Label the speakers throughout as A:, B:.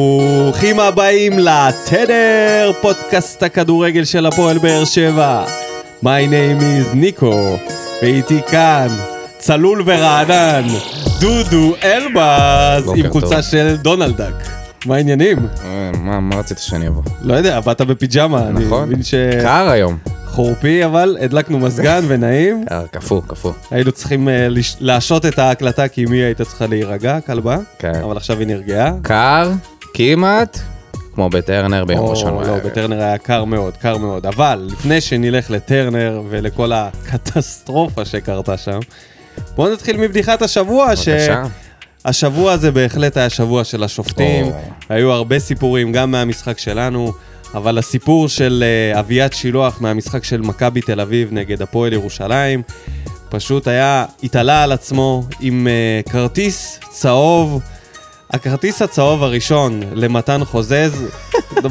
A: ברוכים הבאים לתדר, פודקאסט הכדורגל של הפועל באר שבע. My name is ניקו, ואיתי כאן, צלול ורענן, דודו אלבז,
B: בוקר
A: עם חולצה
B: טוב.
A: של דונלדק. מה העניינים?
B: אה, מה, מה רצית שאני אבוא?
A: לא יודע, באת בפיג'מה, אני
B: נכון.
A: מבין
B: קר היום.
A: שחורפי, אבל הדלקנו מזגן ונעים.
B: קר, קפוא, קפוא.
A: היינו צריכים אה, לש- להשעות את ההקלטה כי מי הייתה צריכה להירגע, כלבה,
B: כן.
A: אבל עכשיו היא נרגעה.
B: קר, כמעט, כמו בטרנר ביום
A: או,
B: ראשון.
A: לא,
B: בערב.
A: בטרנר היה קר מאוד, קר מאוד. אבל לפני שנלך לטרנר ולכל הקטסטרופה שקרתה שם, בואו נתחיל מבדיחת השבוע,
B: בבקשה.
A: שהשבוע הזה בהחלט היה שבוע של השופטים.
B: או.
A: היו הרבה סיפורים, גם מהמשחק שלנו, אבל הסיפור של אה, אביעד שילוח מהמשחק של מכבי תל אביב נגד הפועל ירושלים, פשוט היה, התעלה על עצמו עם אה, כרטיס צהוב. הכרטיס הצהוב הראשון למתן חוזז,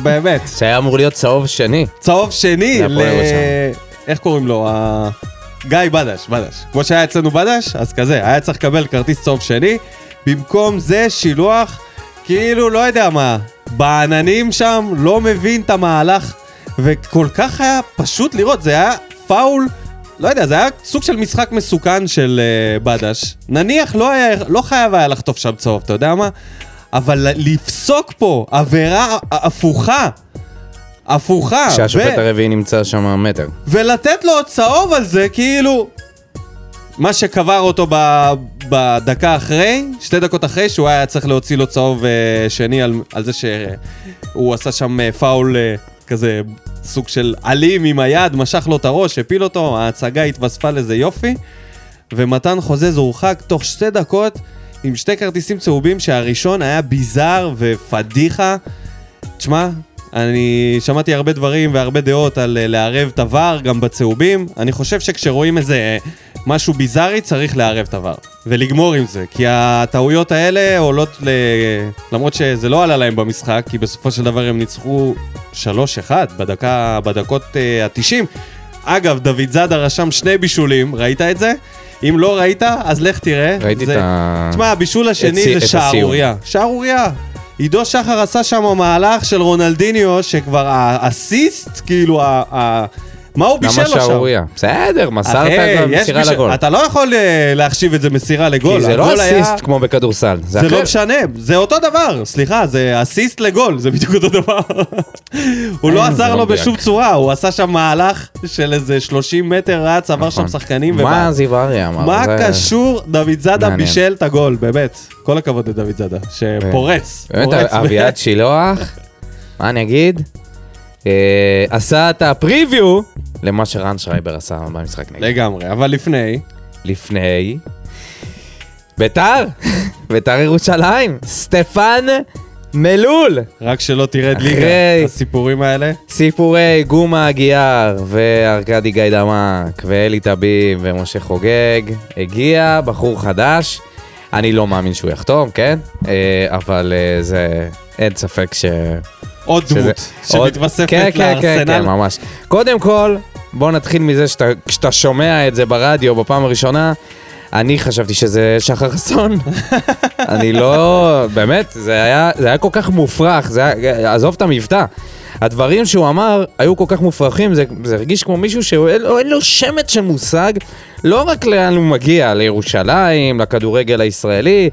A: באמת,
B: שהיה אמור להיות צהוב שני.
A: צהוב שני
B: זה
A: ל...
B: הפועל ירושלים.
A: איך קוראים לו? ה- גיא בדש, בדש. כמו שהיה אצלנו בדש, אז כזה, היה צריך לקבל כרטיס צהוב שני. במקום זה שילוח, כאילו, לא יודע מה, בעננים שם, לא מבין את המהלך, וכל כך היה פשוט לראות, זה היה פאול, לא יודע, זה היה סוג של משחק מסוכן של uh, בדש. נניח לא, היה, לא חייב היה לחטוף שם צהוב, אתה יודע מה? אבל לפסוק פה עבירה הפוכה, הפוכה.
B: שהשופט
A: ו-
B: הרביעי נמצא שם מטר.
A: ולתת לו עוד צהוב על זה, כאילו... מה שקבר אותו ב- בדקה אחרי, שתי דקות אחרי, שהוא היה צריך להוציא לו צהוב אה, שני על, על זה שהוא עשה שם אה, פאול אה, כזה סוג של אלים עם היד, משך לו את הראש, הפיל אותו, ההצגה התווספה לזה יופי. ומתן חוזז הורחק תוך שתי דקות עם שתי כרטיסים צהובים שהראשון היה ביזאר ופדיחה. תשמע, אני שמעתי הרבה דברים והרבה דעות על אה, לערב את הוואר גם בצהובים. אני חושב שכשרואים איזה אה, משהו ביזארי צריך לערב את הוואר. ולגמור עם זה, כי הטעויות האלה עולות ל... למרות שזה לא עלה להם במשחק, כי בסופו של דבר הם ניצחו 3-1 בדקה, בדקות ה-90. אגב, דוד זאדה רשם שני בישולים, ראית את זה? אם לא ראית, אז לך תראה.
B: ראיתי
A: זה-
B: את ה-
A: תשמע, הבישול
B: את סי-
A: השני
B: את
A: זה
B: הסיום.
A: שערורייה. שערורייה. עידו שחר עשה שם מהלך של רונלדיניו, שכבר האסיסט, כאילו, ה- ה- מה הוא בישל
B: למה
A: לו שם?
B: שערורייה? בסדר, מסרת
A: אחי,
B: את
A: יש
B: המסירה
A: בישול.
B: לגול.
A: אתה לא יכול אה, להחשיב את זה מסירה לגול.
B: כי זה לא
A: הגול היה-
B: אסיסט כמו בכדורסל. זה
A: זה
B: אחר.
A: לא משנה, זה אותו דבר, סליחה, זה אסיסט לגול, זה בדיוק אותו דבר. הוא לא
B: אה, זה
A: עזר
B: לא
A: לו
B: מדויק.
A: בשום צורה, הוא עשה שם מהלך של איזה 30 מטר רץ, עבר שם
B: נכון.
A: שחקנים. ובעט.
B: מה זיו אריה אמר?
A: מה
B: זה-
A: קשור דוד זאדה
B: מעניין.
A: בישל את הגול, באמת. כל הכבוד לדוד זאדה, שפורץ.
B: באמת, אה,
A: פורץ ב-
B: אביעד שילוח, מה אני אגיד? אה, עשה את הפריוויו למה שרן שרייבר עשה במשחק נגד.
A: לגמרי, אבל לפני,
B: לפני... ביתר, ביתר ירושלים, סטפן מלול,
A: רק שלא תרד
B: אחרי-
A: ליגה, הסיפורים האלה.
B: סיפורי גומה הגיאר וארכדי גיא דמק ואלי טביב ומשה חוגג, הגיע בחור חדש, אני לא מאמין שהוא יחתום, כן? אה, אבל אה, זה, אין ספק ש...
A: עוד
B: שזה-
A: דמות
B: עוד- כן,
A: שמתווספת
B: כן, כן, כן,
A: לארסנל.
B: ממש. קודם כל, בוא נתחיל מזה שאתה- כשאתה שומע את זה ברדיו בפעם הראשונה, אני חשבתי שזה שחר חסון. אני לא... באמת, זה היה, זה היה כל כך מופרך, זה היה, עזוב את המבטא. הדברים שהוא אמר היו כל כך מופרכים, זה, זה הרגיש כמו מישהו שאין לו, אין לו שמץ של מושג, לא רק לאן הוא מגיע, לירושלים, לכדורגל הישראלי,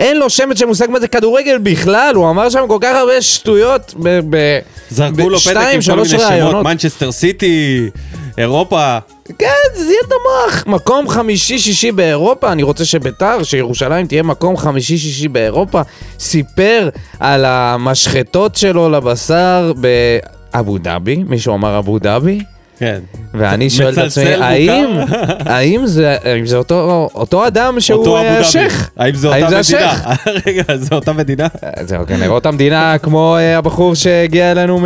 B: אין לו שמץ של מושג מה זה כדורגל בכלל, הוא אמר שם כל כך הרבה שטויות ב... ב
A: זרקו לו פתק עם
B: בשתיים,
A: כל מיני
B: שלוש
A: שמות,
B: רעיונות.
A: מנצ'סטר סיטי, אירופה.
B: כן, זיהה את המוח. מקום חמישי-שישי באירופה, אני רוצה שביתר, שירושלים תהיה מקום חמישי-שישי באירופה. סיפר על המשחטות שלו לבשר באבו דאבי, מישהו אמר אבו דאבי?
A: כן.
B: ואני
A: זה
B: שואל את
A: מצלצל
B: עצמי,
A: מוכר?
B: האם, האם זה, האם זה אותו, אותו אדם
A: אותו
B: שהוא
A: אבו
B: אה,
A: דאבי.
B: השייח?
A: האם זה אותה
B: השייח?
A: מדינה? רגע, זה אותה מדינה?
B: אה, זהו, כנראה אותה מדינה כמו אה, הבחור שהגיע אלינו מ...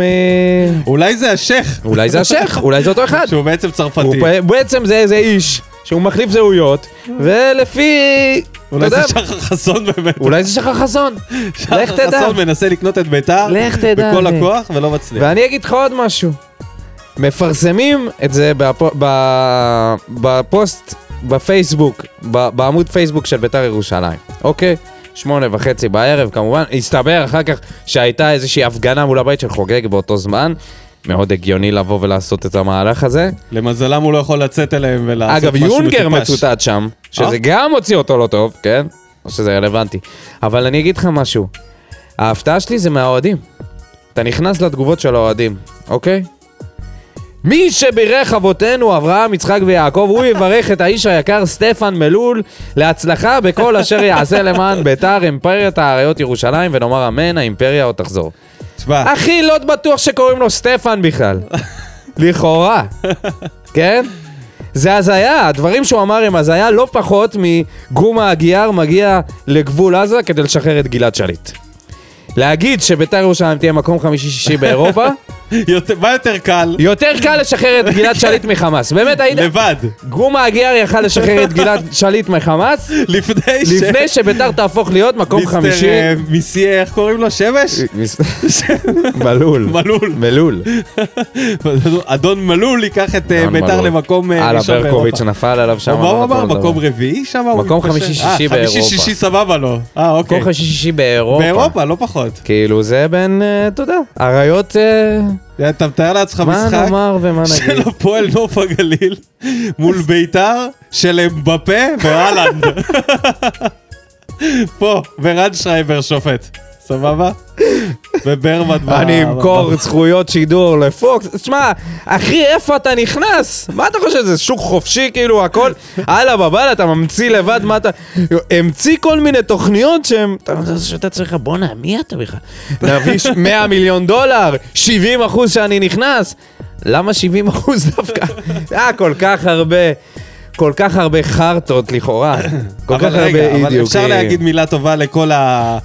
A: אולי זה השייח,
B: אולי זה השייח, אולי זה אותו אחד.
A: שהוא בעצם
B: הוא
A: צרפתי.
B: פ- בעצם זה איזה איש שהוא מחליף זהויות, ולפי... אתה
A: אולי זה
B: יודע,
A: שחר חסון באמת.
B: אולי זה שחר חסון.
A: שחר
B: לך תדע.
A: חסון מנסה לקנות את ביתר.
B: לך תדע,
A: בכל
B: אחי.
A: הכוח ולא מצליח.
B: ואני אגיד לך עוד משהו. מפרסמים את זה בפו- ב- בפוסט בפייסבוק, ב- בעמוד פייסבוק של בית"ר ירושלים, אוקיי? שמונה וחצי בערב, כמובן. הסתבר אחר כך שהייתה איזושהי הפגנה מול הבית של חוגג באותו זמן. מאוד הגיוני לבוא ולעשות את המהלך הזה.
A: למזלם הוא לא יכול לצאת אליהם ולעשות
B: אגב,
A: משהו
B: יונגר
A: מטופש.
B: מצוטט שם,
A: אה?
B: שזה גם הוציא אותו לא טוב, כן? או שזה רלוונטי. אבל אני אגיד לך משהו, ההפתעה שלי זה מהאוהדים. אתה נכנס לתגובות של האוהדים, אוקיי? מי שבירך אבותינו, אברהם, יצחק ויעקב, הוא יברך את האיש היקר סטפן מלול להצלחה בכל אשר יעשה למען ביתר, אימפריית האריות ירושלים, ונאמר אמן, האימפריה עוד תחזור.
A: תשמע,
B: אחי, לא בטוח שקוראים לו סטפן בכלל. לכאורה. כן? זה הזיה, הדברים שהוא אמר הם הזיה לא פחות מגום הגיאר מגיע לגבול עזה כדי לשחרר את גלעד שליט. להגיד שביתר ירושלים תהיה מקום חמישי-שישי באירופה,
A: יותר- מה יותר קל?
B: יותר קל לשחרר את גלעד שליט מחמאס. באמת, היית...
A: לבד.
B: גום הגיאר יכל לשחרר את גלעד שליט מחמאס
A: לפני ש...
B: לפני שביתר תהפוך להיות מקום
A: מיסטר,
B: חמישי. אה.
A: אה, מיסי, איך קוראים לו? שמש?
B: מלול.
A: מלול.
B: מלול.
A: אדון מלול ייקח את אה,
B: אדון
A: ביתר
B: מלול.
A: למקום אה,
B: על
A: ראשון
B: הברקוביץ' שנפל עליו שם.
A: מה
B: לא
A: הוא אמר?
B: נתנו לו
A: מקום
B: לדבר.
A: רביעי שם? הוא
B: מקום
A: מתפשר? אה,
B: חמישי, שישי
A: חמישי,
B: באירופה.
A: שישי סבבה לו. אה, אוקיי.
B: מקום חמישי-שישי באירופה.
A: באירופה, לא פחות.
B: כאילו זה בין, אה, אתה יודע, אריות, אה,
A: אתה מתאר לעצמך
B: מה
A: משחק
B: נאמר ומה נגיד.
A: של הפועל נוף הגליל מול ביתר של אמבפה ואהלנד. פה, ורן שרייבר שופט. סבבה? וברמן ב-
B: אני
A: ב-
B: אמכור
A: ב-
B: זכויות שידור לפוקס. תשמע, אחי, איפה אתה נכנס? מה אתה חושב, זה שוק חופשי, כאילו, הכל? הלאה בבאללה, אתה ממציא לבד מה אתה... המציא כל מיני תוכניות שהם... אתה יודע שאתה צריך, בואנה, מי אתה בכלל? נביא ש- 100 מיליון דולר, 70 אחוז שאני נכנס. למה 70 אחוז דווקא? היה כל כך הרבה... כל כך הרבה חרטות לכאורה, כל כך
A: אבל
B: הרבה אה. כן.
A: רגע,
B: אי
A: אבל אפשר
B: דיוקים.
A: להגיד מילה טובה לכל ה...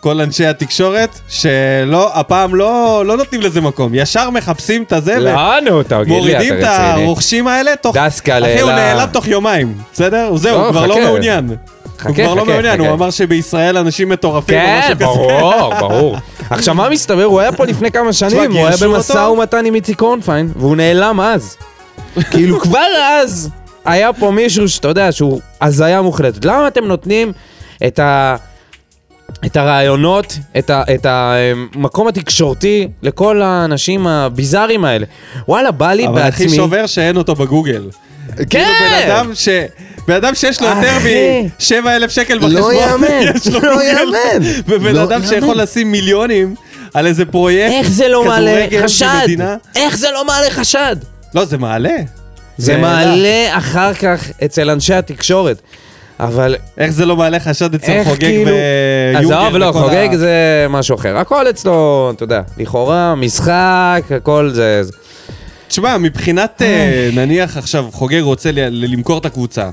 A: כל אנשי התקשורת, שלא, הפעם לא, לא נותנים לזה מקום, ישר מחפשים את הזה, ו-
B: לא, נו, תגיד לי, אתה רציני.
A: מורידים את הרוכשים האלה תוך...
B: דסקל
A: אחי, הוא
B: העלה-
A: נעלם תוך יומיים, בסדר? זהו, הוא
B: לא,
A: כבר לא
B: חכה.
A: מעוניין. הוא כבר לא
B: חכה,
A: מעוניין, הוא
B: חכה.
A: אמר שבישראל אנשים מטורפים או
B: כן,
A: משהו כזה.
B: ברור, ברור. עכשיו, מה מסתבר? הוא היה פה לפני כמה שנים, הוא היה
A: גירשו
B: במשא
A: אותו?
B: ומתן עם איציק קורנפיין, והוא נעלם אז. כאילו, כבר אז היה פה מישהו שאתה יודע שהוא הזיה מוחלטת. למה אתם נותנים את ה... את הרעיונות, את, ה, את המקום התקשורתי לכל האנשים הביזאריים האלה. וואלה, בא לי
A: אבל
B: בעצמי.
A: הכי שובר שאין אותו בגוגל.
B: כן!
A: כאילו בן אדם ש... בן אדם שיש לו יותר
B: אחי.
A: מ-7,000 שקל
B: לא
A: בחשבון,
B: יאמן,
A: יש לו
B: לא
A: גוגל.
B: יאמן.
A: ובן
B: לא
A: אדם שיכול
B: יאמן.
A: לשים מיליונים על איזה פרויקט,
B: איך זה לא מעלה
A: כדורגל
B: חשד?
A: במדינה.
B: איך זה לא מעלה חשד?
A: לא, זה מעלה.
B: זה מעלה אחר כך אצל אנשי התקשורת. אבל
A: איך זה לא מעלה חשד אצל
B: איך
A: חוגג
B: כאילו-
A: ויוגר?
B: עזוב, לא,
A: אה, וכל ה-
B: חוגג זה משהו אחר. הכל אצלו, אתה יודע, לכאורה, משחק, הכל זה... זה-
A: תשמע, מבחינת, אה, נניח עכשיו חוגג רוצה ל- ל- למכור את הקבוצה.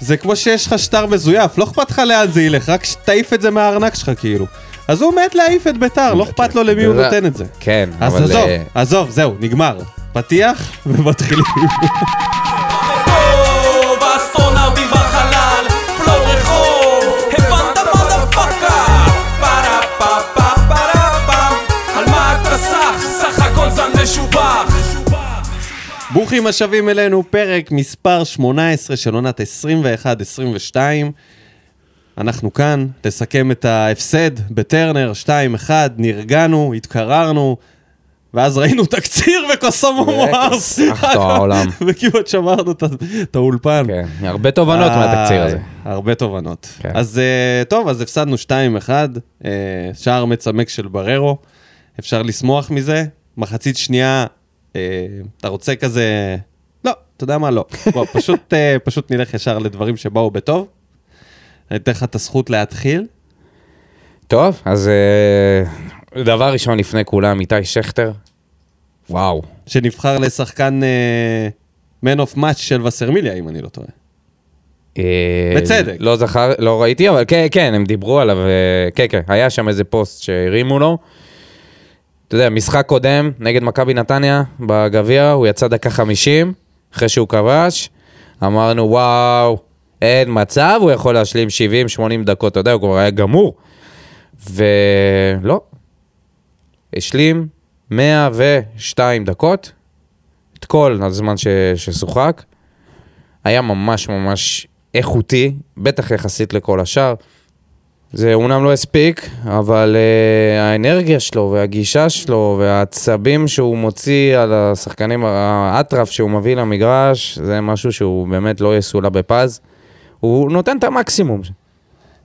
A: זה כמו שיש לך שטר מזויף, לא אכפת לך לאן זה ילך, רק שתעיף את זה מהארנק שלך כאילו. אז הוא מת להעיף את ביתר, לא אכפת לו למי הוא
B: זה-
A: נותן את זה.
B: כן,
A: אז
B: אבל...
A: עזוב,
B: אה,
A: עזוב, זהו, נגמר. פתיח ומתחילים.
C: רחוב, האסטרונאוטים בחלל, פלואו רחוב, הבנת מה דפקה? פרה פה פה פרה פם, על מה אתה סח? סך הכל זן משובח.
A: ברוכים השבים אלינו, פרק מספר 18 של עונת 21-22. אנחנו כאן, לסכם את ההפסד בטרנר 2-1, נרגענו, התקררנו, ואז ראינו תקציר וקוסומו מוארס.
B: אחתו העולם.
A: וכמעט שמרנו את ה- את האולפן.
B: כן, הרבה תובנות
A: אה,
B: מהתקציר הזה.
A: הרבה תובנות.
B: כן.
A: אז אה, טוב, אז הפסדנו 2-1, אה, שער מצמק של בררו, אפשר לשמוח מזה. מחצית שנייה, אה, אתה רוצה כזה... לא, אתה יודע מה, לא. בוא, פשוט, אה, פשוט נלך ישר לדברים שבאו בטוב. אני אתן לך את הזכות להתחיל.
B: טוב, אז אה, דבר ראשון לפני כולם, איתי שכטר. וואו.
A: שנבחר לשחקן אה, Man of Match של וסרמיליה, אם אני לא טועה.
B: אה,
A: בצדק.
B: לא זכר, לא ראיתי, אבל כן, כן, הם דיברו עליו, אה, כן, כן, היה שם איזה פוסט שהרימו לו. אתה יודע, משחק קודם נגד מכבי נתניה בגביע, הוא יצא דקה 50, אחרי שהוא כבש, אמרנו, וואו, אין מצב, הוא יכול להשלים 70-80 דקות, אתה יודע, הוא כבר היה גמור. ולא, השלים 102 דקות, את כל הזמן ש... ששוחק. היה ממש ממש איכותי, בטח יחסית לכל השאר. זה אומנם לא הספיק, אבל uh, האנרגיה שלו והגישה שלו והעצבים שהוא מוציא על השחקנים, האטרף שהוא מביא למגרש, זה משהו שהוא באמת לא יסולא בפז. הוא נותן את המקסימום.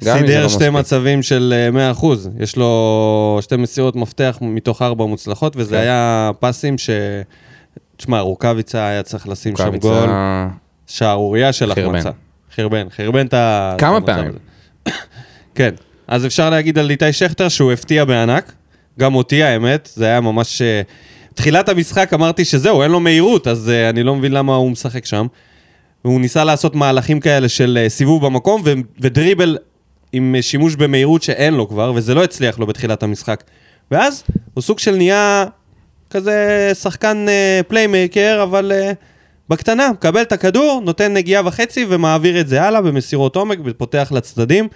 B: גם אם זה
A: סידר
B: לא
A: שתי
B: מספיק.
A: מצבים של אה, 100%. יש לו שתי מסירות מפתח מתוך ארבע מוצלחות, וזה
B: כן.
A: היה פסים ש... תשמע, רוקאביצה היה צריך לשים שם
B: רוקאביצה-
A: גול. שערורייה של
B: חרבן.
A: החמצה. חרבן. חרבן את ה...
B: כמה
A: את המצב
B: פעמים.
A: הזה. כן. אז אפשר להגיד על איתי שכטר שהוא הפתיע בענק. גם אותי, האמת. זה היה ממש... אה, תחילת המשחק אמרתי שזהו, אין לו מהירות, אז אה, אני לא מבין למה הוא משחק שם. והוא ניסה לעשות מהלכים כאלה של אה, סיבוב במקום ו- ודריבל עם אה, שימוש במהירות שאין לו כבר, וזה לא הצליח לו בתחילת המשחק. ואז הוא סוג של נהיה כזה שחקן אה, פליימייקר, אבל אה, בקטנה, מקבל את הכדור, נותן נגיעה וחצי ומעביר את זה הלאה במסירות עומק ופותח לצדדים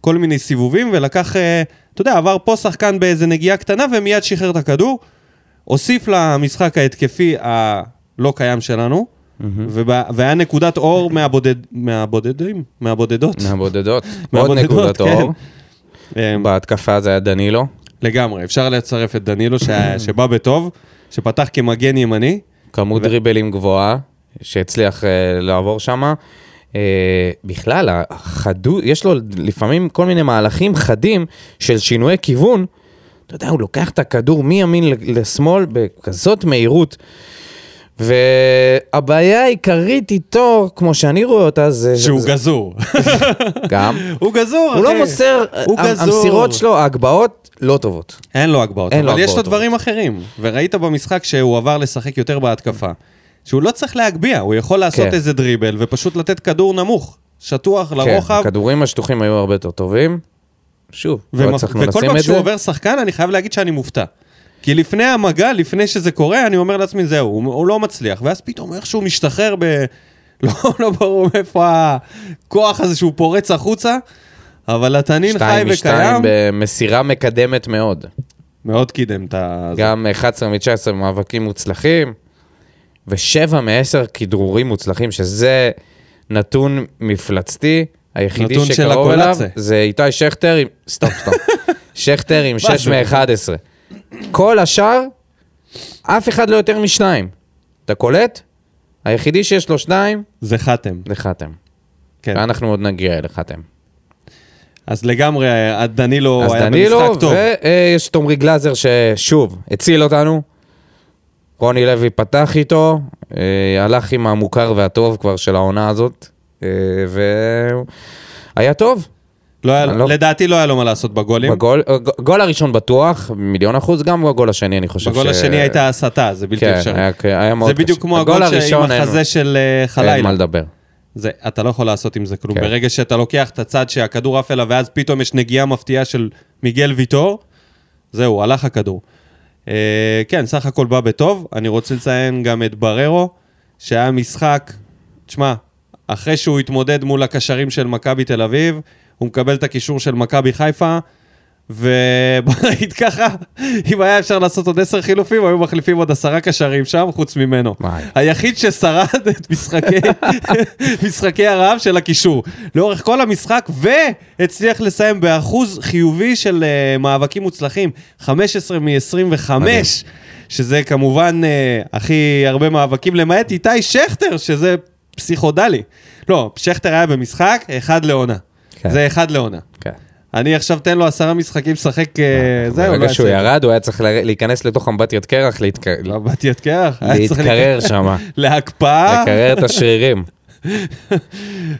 A: כל מיני סיבובים, ולקח, אה, אתה יודע, עבר פה שחקן באיזה נגיעה קטנה ומיד שחרר את הכדור. הוסיף למשחק ההתקפי הלא קיים שלנו, ובא- והיה נקודת אור מהבודד, מהבודדים, מהבודדות.
B: מהבודדות. עוד
A: מהבודדות, כן.
B: נקודת אור.
A: אה,
B: בהתקפה זה היה דנילו.
A: לגמרי, אפשר לצרף את דנילו שה- שבא בטוב, שפתח כמגן ימני.
B: כמות דריבלים גבוהה שהצליח uh, לעבור שמה. Uh, בכלל, החדות, יש לו לפעמים כל מיני מהלכים חדים של שינויי כיוון. אתה יודע, הוא לוקח את הכדור מימין ל- לשמאל בכזאת מהירות. והבעיה העיקרית איתו, כמו שאני רואה אותה, זה...
A: שהוא
B: זה-
A: גזור.
B: גם.
A: הוא גזור, אחי.
B: הוא לא מוסר,
A: הוא
B: המ-
A: גזור.
B: המסירות שלו, ההגבהות, לא טובות.
A: אין לו הגבהות,
B: אין לו
A: אבל יש לו
B: הגבהות,
A: דברים אחרים. וראית במשחק שהוא עבר לשחק יותר בהתקפה. שהוא לא צריך להגביה, הוא יכול לעשות
B: כן.
A: איזה דריבל ופשוט לתת כדור נמוך, שטוח
B: כן,
A: לרוחב.
B: הכדורים השטוחים היו הרבה יותר טובים. שוב,
A: ומ-
B: לא הצלחנו
A: וכל
B: לשים
A: פעם
B: את
A: שהוא
B: זה.
A: עובר שחקן, אני חייב להגיד שאני מופתע. כי לפני המגע, לפני שזה קורה, אני אומר לעצמי, זהו, הוא, הוא לא מצליח. ואז פתאום איכשהו משתחרר ב... לא, לא ברור מאיפה הכוח הזה שהוא פורץ החוצה, אבל התנין חי
B: שתיים
A: וקיים.
B: משתיים במסירה מקדמת מאוד.
A: מאוד קידם את ה...
B: גם 11 מ-19 במאבקים מוצלחים, ושבע מ-10 כדרורים מוצלחים, שזה נתון מפלצתי. היחידי
A: נתון של
B: שקרוב אליו
A: הקולאצה.
B: זה איתי שכטר עם... סתום, סתום. שכטר עם
A: מה
B: 6
A: זה?
B: מ-11. כל השאר, אף אחד לא יותר משניים. אתה קולט? היחידי שיש לו שניים,
A: זה חתם.
B: זה חתם.
A: כן.
B: ואנחנו עוד נגיע אל חתם.
A: אז לגמרי, אה, דנילו
B: אז
A: היה
B: דנילו,
A: במשחק טוב.
B: ויש תומרי גלאזר ששוב, הציל אותנו. רוני לוי פתח איתו, אה, הלך עם המוכר והטוב כבר של העונה הזאת, אה, והיה טוב.
A: לא היה,
B: אני לא-
A: לדעתי לא היה לו מה לעשות בגולים.
B: בגול אה, ג- גול הראשון בטוח, מיליון אחוז, גם בגול השני אני חושב
A: בגול השני הייתה הסתה, זה בלתי
B: כן,
A: אפשרי.
B: היה, היה מאוד
A: זה בדיוק
B: קשה.
A: כמו
B: בגול
A: הגול ש- עם
B: הראשון אין-
A: החזה של אה,
B: אין
A: חלילה.
B: מה לדבר.
A: זה, אתה לא יכול לעשות עם זה כלום.
B: כן.
A: ברגע שאתה לוקח את הצד שהכדור עף אליו, ואז פתאום יש נגיעה מפתיעה של מיגל ויטור, זהו, הלך הכדור. אה, כן, סך הכל בא בטוב. אני רוצה לציין גם את בררו, שהיה משחק, תשמע, אחרי שהוא התמודד מול הקשרים של מכבי תל אביב, הוא מקבל את הקישור של מכבי חיפה, ובוא נגיד ככה, אם היה אפשר לעשות עוד עשר חילופים, היו מחליפים עוד עשרה קשרים שם, חוץ ממנו.
B: וואי.
A: היחיד ששרד את משחקי, משחקי הרעב של הקישור. לאורך כל המשחק, והצליח לסיים באחוז חיובי של uh, מאבקים מוצלחים, 15 מ-25,
B: מדהים.
A: שזה כמובן uh, הכי הרבה מאבקים, למעט איתי שכטר, שזה פסיכודלי. לא, שכטר היה במשחק, אחד לעונה.
B: כן.
A: זה אחד לעונה.
B: כן.
A: אני עכשיו תן לו עשרה משחקים לשחק, אה, זהו,
B: ברגע שהוא
A: יעשה את
B: ירד, הוא היה צריך ל- להיכנס לתוך אמבטיית קרח, להתק-
A: זה. לא באתי את קרח, היה צריך
B: להתקרר שם,
A: להקפאה.
B: לקרר את השרירים.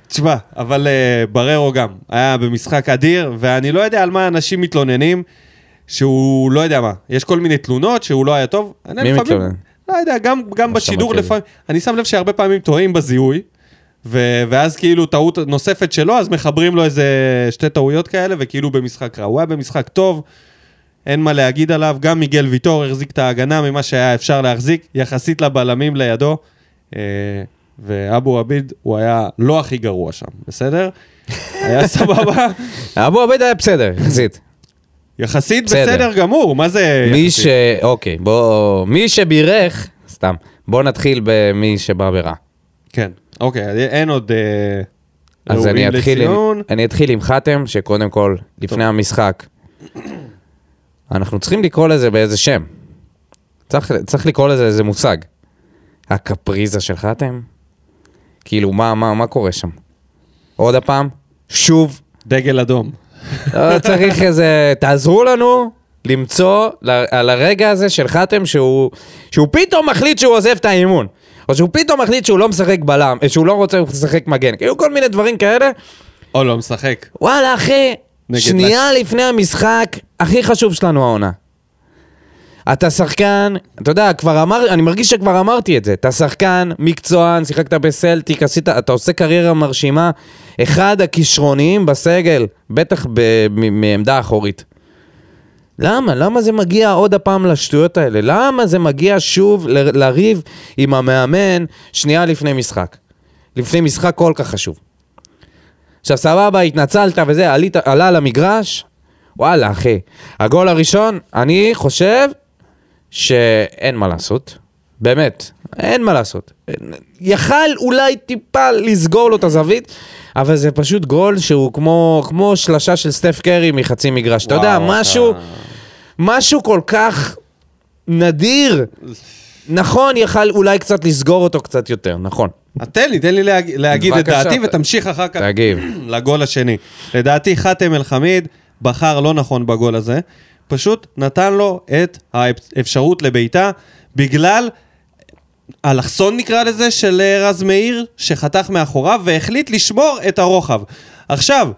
A: תשמע, אבל uh, בררו גם היה במשחק אדיר, ואני לא יודע על מה אנשים מתלוננים, שהוא לא יודע מה. יש כל מיני תלונות שהוא לא היה טוב. אני
B: מי
A: לפעמים-
B: מתלונן?
A: לא יודע, גם, גם
B: לא שמעתי
A: בשידור
B: על זה.
A: לפעמים, אני שם לב שהרבה פעמים טועים בזיהוי, ו- ואז כאילו טעות נוספת שלו, אז מחברים לו איזה שתי טעויות כאלה, וכאילו במשחק רע. הוא היה במשחק טוב, אין מה להגיד עליו, גם מיגל ויטור החזיק את ההגנה ממה שהיה אפשר להחזיק, יחסית לבלמים לידו, אה, ואבו עביד, הוא היה לא הכי גרוע שם, בסדר? היה סבבה.
B: אבו עבד היה בסדר, יחסית.
A: יחסית
B: בסדר.
A: בסדר גמור, מה זה
B: מי ש...
A: כן, יחסית?
B: אוקיי, בוא... מי שבירך, סתם. בוא נתחיל במי שבא ברע.
A: כן, אוקיי, אין עוד... אה,
B: אז אני
A: ראויים
B: אתחיל,
A: לציון.
B: עם, אני אתחיל עם חתם, שקודם כל, לפני המשחק, אנחנו צריכים לקרוא לזה באיזה שם. צריך, צריך לקרוא לזה איזה מושג. הקפריזה של חתם? כאילו, מה, מה, מה קורה שם? עוד הפעם? שוב?
A: דגל אדום.
B: לא צריך איזה... תעזרו לנו למצוא ל- על הרגע הזה של חתם שהוא, שהוא פתאום מחליט שהוא עוזב את האימון. או שהוא פתאום מחליט שהוא לא משחק בלם, אה, שהוא לא רוצה לשחק מגן. כאילו כל מיני דברים כאלה.
A: או לא משחק.
B: וואלה, אחי,
A: נגד
B: שנייה לפני המשחק הכי חשוב שלנו העונה. אתה שחקן, אתה יודע, כבר אמר, אני מרגיש שכבר אמרתי את זה. אתה שחקן, מקצוען, שיחקת בסלטיק, עשית, אתה עושה קריירה מרשימה. אחד הכישרוניים בסגל, בטח ב, מ, מעמדה אחורית. למה? למה זה מגיע עוד הפעם לשטויות האלה? למה זה מגיע שוב ל- לריב עם המאמן שנייה לפני משחק? לפני משחק כל כך חשוב. עכשיו, סבבה, התנצלת וזה, עלית, עלה למגרש, וואלה, אחי. הגול הראשון, אני חושב שאין מה לעשות. באמת, אין מה לעשות. יכל אולי טיפה לסגור לו את הזווית, אבל זה פשוט גול שהוא כמו, כמו שלשה של סטף קרי מחצי מגרש. אתה יודע,
A: וואו,
B: משהו,
A: אתה-
B: משהו כל כך נדיר. נכון, יכל אולי קצת לסגור אותו קצת יותר, נכון.
A: אז תן לי, תן לי להג... להגיד את
B: בבקשה,
A: דעתי
B: ת-
A: ותמשיך אחר כך
B: תגיב.
A: לגול השני. לדעתי חאתם אל-חמיד בחר לא נכון בגול הזה, פשוט נתן לו את האפשרות לבעיטה בגלל אלכסון נקרא לזה, של אה, רז מאיר, שחתך מאחוריו והחליט לשמור את הרוחב. עכשיו,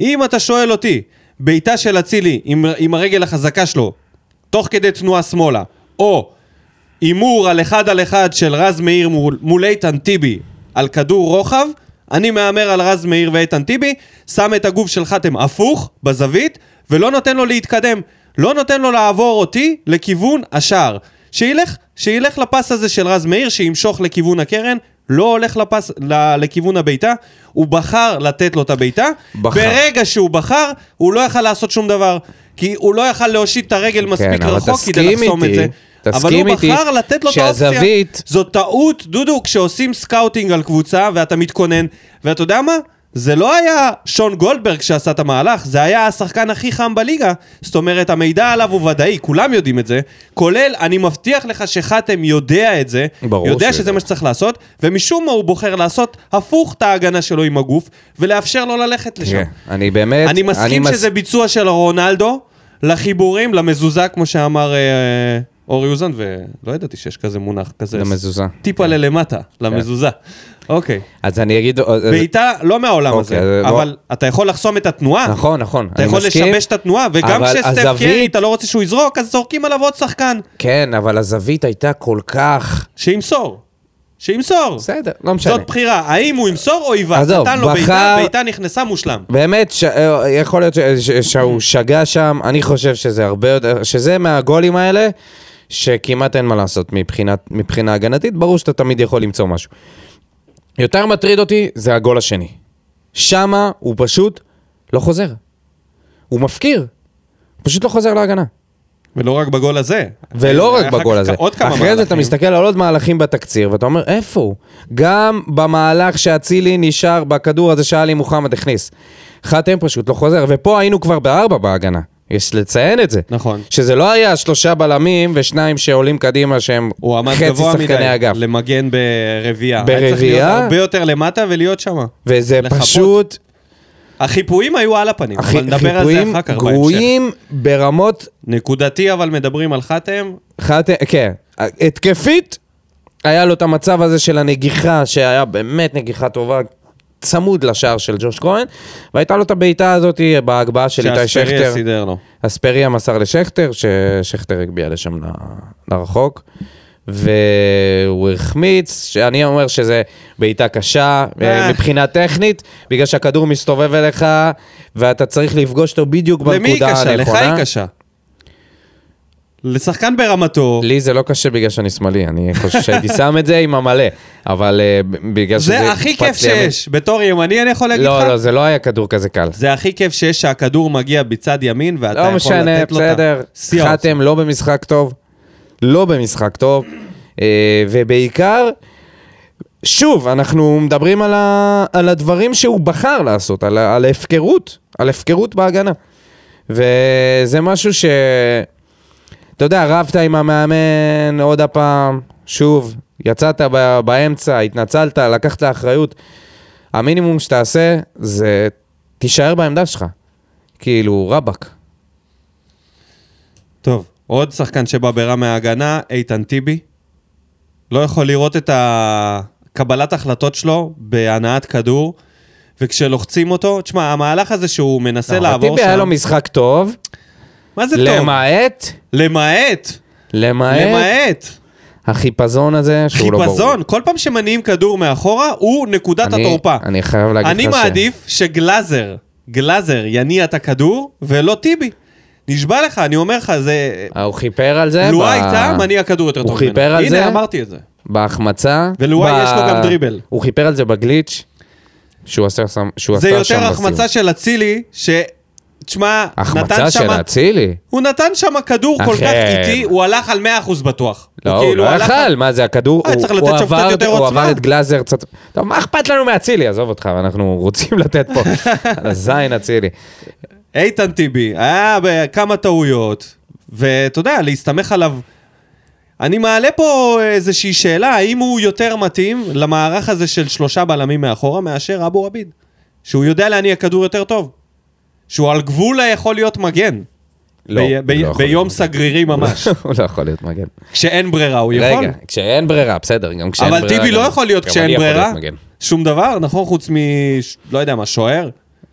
A: אם אתה שואל אותי, בעיטה של אצילי עם, עם הרגל החזקה שלו, תוך כדי תנועה שמאלה, או הימור על אחד על אחד של רז מאיר מול, מול איתן טיבי על כדור רוחב, אני מהמר על רז מאיר ואיתן טיבי, שם את הגוף של חתם הפוך, בזווית, ולא נותן לו להתקדם. לא נותן לו לעבור אותי לכיוון השער. שילך, שילך לפס הזה של רז מאיר, שימשוך לכיוון הקרן, לא הולך לפס, ל, לכיוון הבעיטה, הוא בחר לתת לו את הבעיטה.
B: בחר.
A: ברגע שהוא בחר, הוא לא יכל לעשות שום דבר. כי הוא לא יכל להושיט את הרגל מספיק
B: כן, אבל
A: רחוק כדי
B: תסכים
A: לחסום את
B: איתי,
A: זה.
B: תסכים
A: אבל
B: איתי
A: הוא בחר לתת לו את האופציה.
B: שהזווית-
A: זו טעות, דודו, כשעושים סקאוטינג על קבוצה ואתה מתכונן, ואתה יודע מה? זה לא היה שון גולדברג שעשה את המהלך, זה היה השחקן הכי חם בליגה. זאת אומרת, המידע עליו הוא ודאי, כולם יודעים את זה. כולל, אני מבטיח לך שחתם יודע את זה.
B: ברור
A: יודע
B: שהוא
A: שזה
B: יודע.
A: מה שצריך לעשות, ומשום מה הוא בוחר לעשות הפוך את ההגנה שלו עם הגוף, ולאפשר לו ללכת לשם.
B: תראה, כן, אני באמת...
A: אני מסכים
B: מס-
A: שזה ביצוע של רונלדו לחיבורים, למזוזה, כמו שאמר אה, אורי אוזן, ולא ידעתי שיש כזה מונח כזה.
B: למזוזה. כן.
A: טיפה ללמטה, למזוזה. אוקיי.
B: אז אני אגיד... אה,
A: בעיטה לא מהעולם
B: אוקיי,
A: הזה,
B: אז בוא-
A: אבל אתה יכול לחסום את התנועה.
B: נכון, נכון.
A: אתה
B: אני
A: יכול
B: מסכים.
A: לשבש את התנועה, וגם
B: אבל
A: כשסטף
B: הזווית-
A: קרי, אתה לא רוצה שהוא יזרוק, אז זורקים עליו עוד שחקן.
B: כן, אבל הזווית הייתה כל כך...
A: שימסור. שימסור.
B: בסדר, לא משנה.
A: זאת בחירה, האם הוא ימסור או יבעט.
B: עזוב,
A: נתן לו בעיטה,
B: בחר-
A: בעיטה נכנסה מושלם.
B: באמת, ש... אה, יכול להיות ש... ש... שהוא שגה שם, אני חושב שזה הרבה יותר... שזה מהגולים האלה, שכמעט אין מה לעשות מבחינת... מבחינה הגנתית, ברור שאתה תמיד יכול למצוא משהו. יותר מטריד אותי זה הגול השני. שמה הוא פשוט לא חוזר. הוא מפקיר. הוא פשוט לא חוזר להגנה.
A: ולא רק בגול הזה. היה
B: ולא רק
A: אחר
B: בגול
A: כך
B: הזה.
A: עוד כמה
B: אחרי זה אתה
A: מהלכים.
B: מסתכל על עוד מהלכים בתקציר, ואתה אומר, איפה הוא? גם במהלך שאצילי נשאר בכדור הזה שאלי מוחמד הכניס. חתם פשוט לא חוזר, ופה היינו כבר בארבע בהגנה. יש לציין את זה.
A: נכון.
B: שזה לא היה שלושה בלמים ושניים שעולים קדימה שהם
A: הוא עמד
B: חצי
A: גבוה
B: שחקני
A: מדי
B: אגף.
A: למגן ברביעייה.
B: ברביעייה?
A: היה צריך להיות הרבה יותר למטה ולהיות שם.
B: וזה
A: לחפות.
B: פשוט
A: החיפויים היו על הפנים, אבל
B: חי-
A: נדבר על זה
B: חיפויים
A: אחר כך בהמשך.
B: גרועים ברמות
A: נקודתי, אבל מדברים על חתם.
B: חתם, כן. התקפית, היה לו את המצב הזה של הנגיחה, שהיה באמת נגיחה טובה, צמוד לשער של ג'וש כהן, והייתה לו את הבעיטה הזאת בהגבהה של איתי
A: שהאספריה
B: שכטר.
A: סידר לו.
B: אספריה מסר לשכטר, ששכטר הגביה לשם ל- לרחוק. והוא החמיץ, שאני אומר שזה בעיטה קשה
A: אה.
B: אה, מבחינה טכנית, בגלל שהכדור מסתובב אליך ואתה צריך לפגוש אותו בדיוק בנקודה
A: למי היא
B: הנכונה.
A: קשה? לך היא קשה. לשחקן ברמתו,
B: לי זה לא קשה בגלל שאני שמאלי, אני חושב שהייתי שם את זה עם המלא, אבל אה, ב- בגלל שזה...
A: זה הכי כיף
B: הוקפץ לי ימין.
A: שיש. בתור ימני אני יכול להגיד
B: לא, לא,
A: לך?
B: זה לא היה כדור כזה קל.
A: זה הכי כיף שיש שהכדור מגיע בצד ימין ואתה
B: לא
A: יכול
B: משנה,
A: לתת לו את
B: בסדר.
A: שיא העוצמה.
B: חתם לא במשחק טוב, לא במשחק טוב, אה, ובעיקר, שוב, אנחנו מדברים על, ה, על הדברים שהוא בחר לעשות, על, ה- על ההפקרות, על הפקרות בהגנה. וזה משהו ש... אתה יודע, רבת עם המאמן עוד הפעם, שוב, יצאת ב- באמצע, התנצלת, לקחת אחריות. המינימום שתעשה זה תישאר בעמדה שלך. כאילו, רבאק.
A: טוב, עוד שחקן שבא ברע מההגנה, איתן טיבי. לא יכול לראות את הקבלת החלטות שלו בהנעת כדור, וכשלוחצים אותו, תשמע, המהלך הזה שהוא מנסה לעבור
B: טיבי היה לו
A: שם,
B: משחק טוב,
A: מה זה טוב?
B: למעט,
A: למעט,
B: למעט,
A: למעט,
B: החיפזון הזה, שהוא לא ברור.
A: חיפזון, כל פעם שמניעים כדור מאחורה, הוא נקודת
B: אני-
A: התורפה.
B: אני חייב להגיד לך
A: אני
B: ש-
A: מעדיף שגלאזר, גלאזר יניע את הכדור, ולא טיבי. נשבע לך, אני אומר לך, זה...
B: אה, הוא חיפר על זה?
A: לו
B: ב-
A: הייתה, מניע כדור יותר
B: הוא
A: טוב
B: חיפר על זה?
A: הנה, אמרתי את זה.
B: בהחמצה.
A: ולואי
B: ב-
A: יש לו גם דריבל.
B: הוא חיפר על זה בגליץ', שהוא עשה שם שהוא
A: זה
B: עשה שם
A: יותר
B: בסיום.
A: החמצה של אצילי, ש... תשמע, נתן
B: החמצה של
A: שם...
B: אצילי.
A: הוא נתן שם כדור כל
B: אחי.
A: כך איטי, הוא הלך על 100% בטוח.
B: לא, הוא
A: כאילו
B: לא
A: הלך-
B: אכל, מה זה, הכדור,
A: אה, צריך
B: הוא-
A: לתת
B: הוא
A: שם קצת
B: עבר-
A: יותר
B: הוא
A: עוצמה.
B: עבר את גלאזר, קצת- טוב, מה אכפת לנו מאצילי? עזוב אותך, אנחנו רוצים לתת פה, על הזין אצילי.
A: איתן טיבי, היה בכמה טעויות, ואתה יודע, להסתמך עליו. אני מעלה פה איזושהי שאלה, האם הוא יותר מתאים למערך הזה של שלושה בלמים מאחורה מאשר אבו עביד? שהוא יודע להניע כדור יותר טוב. שהוא על גבול היכול להיות מגן.
B: לא,
A: ב-
B: הוא
A: ב-
B: לא יכול
A: ביום
B: להיות.
A: סגרירי ממש.
B: הוא לא יכול להיות מגן.
A: כשאין ברירה הוא יכול.
B: רגע, כשאין ברירה, בסדר, גם כשאין ברירה.
A: אבל טיבי לא
B: גם-
A: יכול להיות
B: גם אני
A: כשאין
B: יכול
A: ברירה.
B: להיות מגן.
A: שום דבר, נכון? חוץ מ... לא יודע מה, שוער?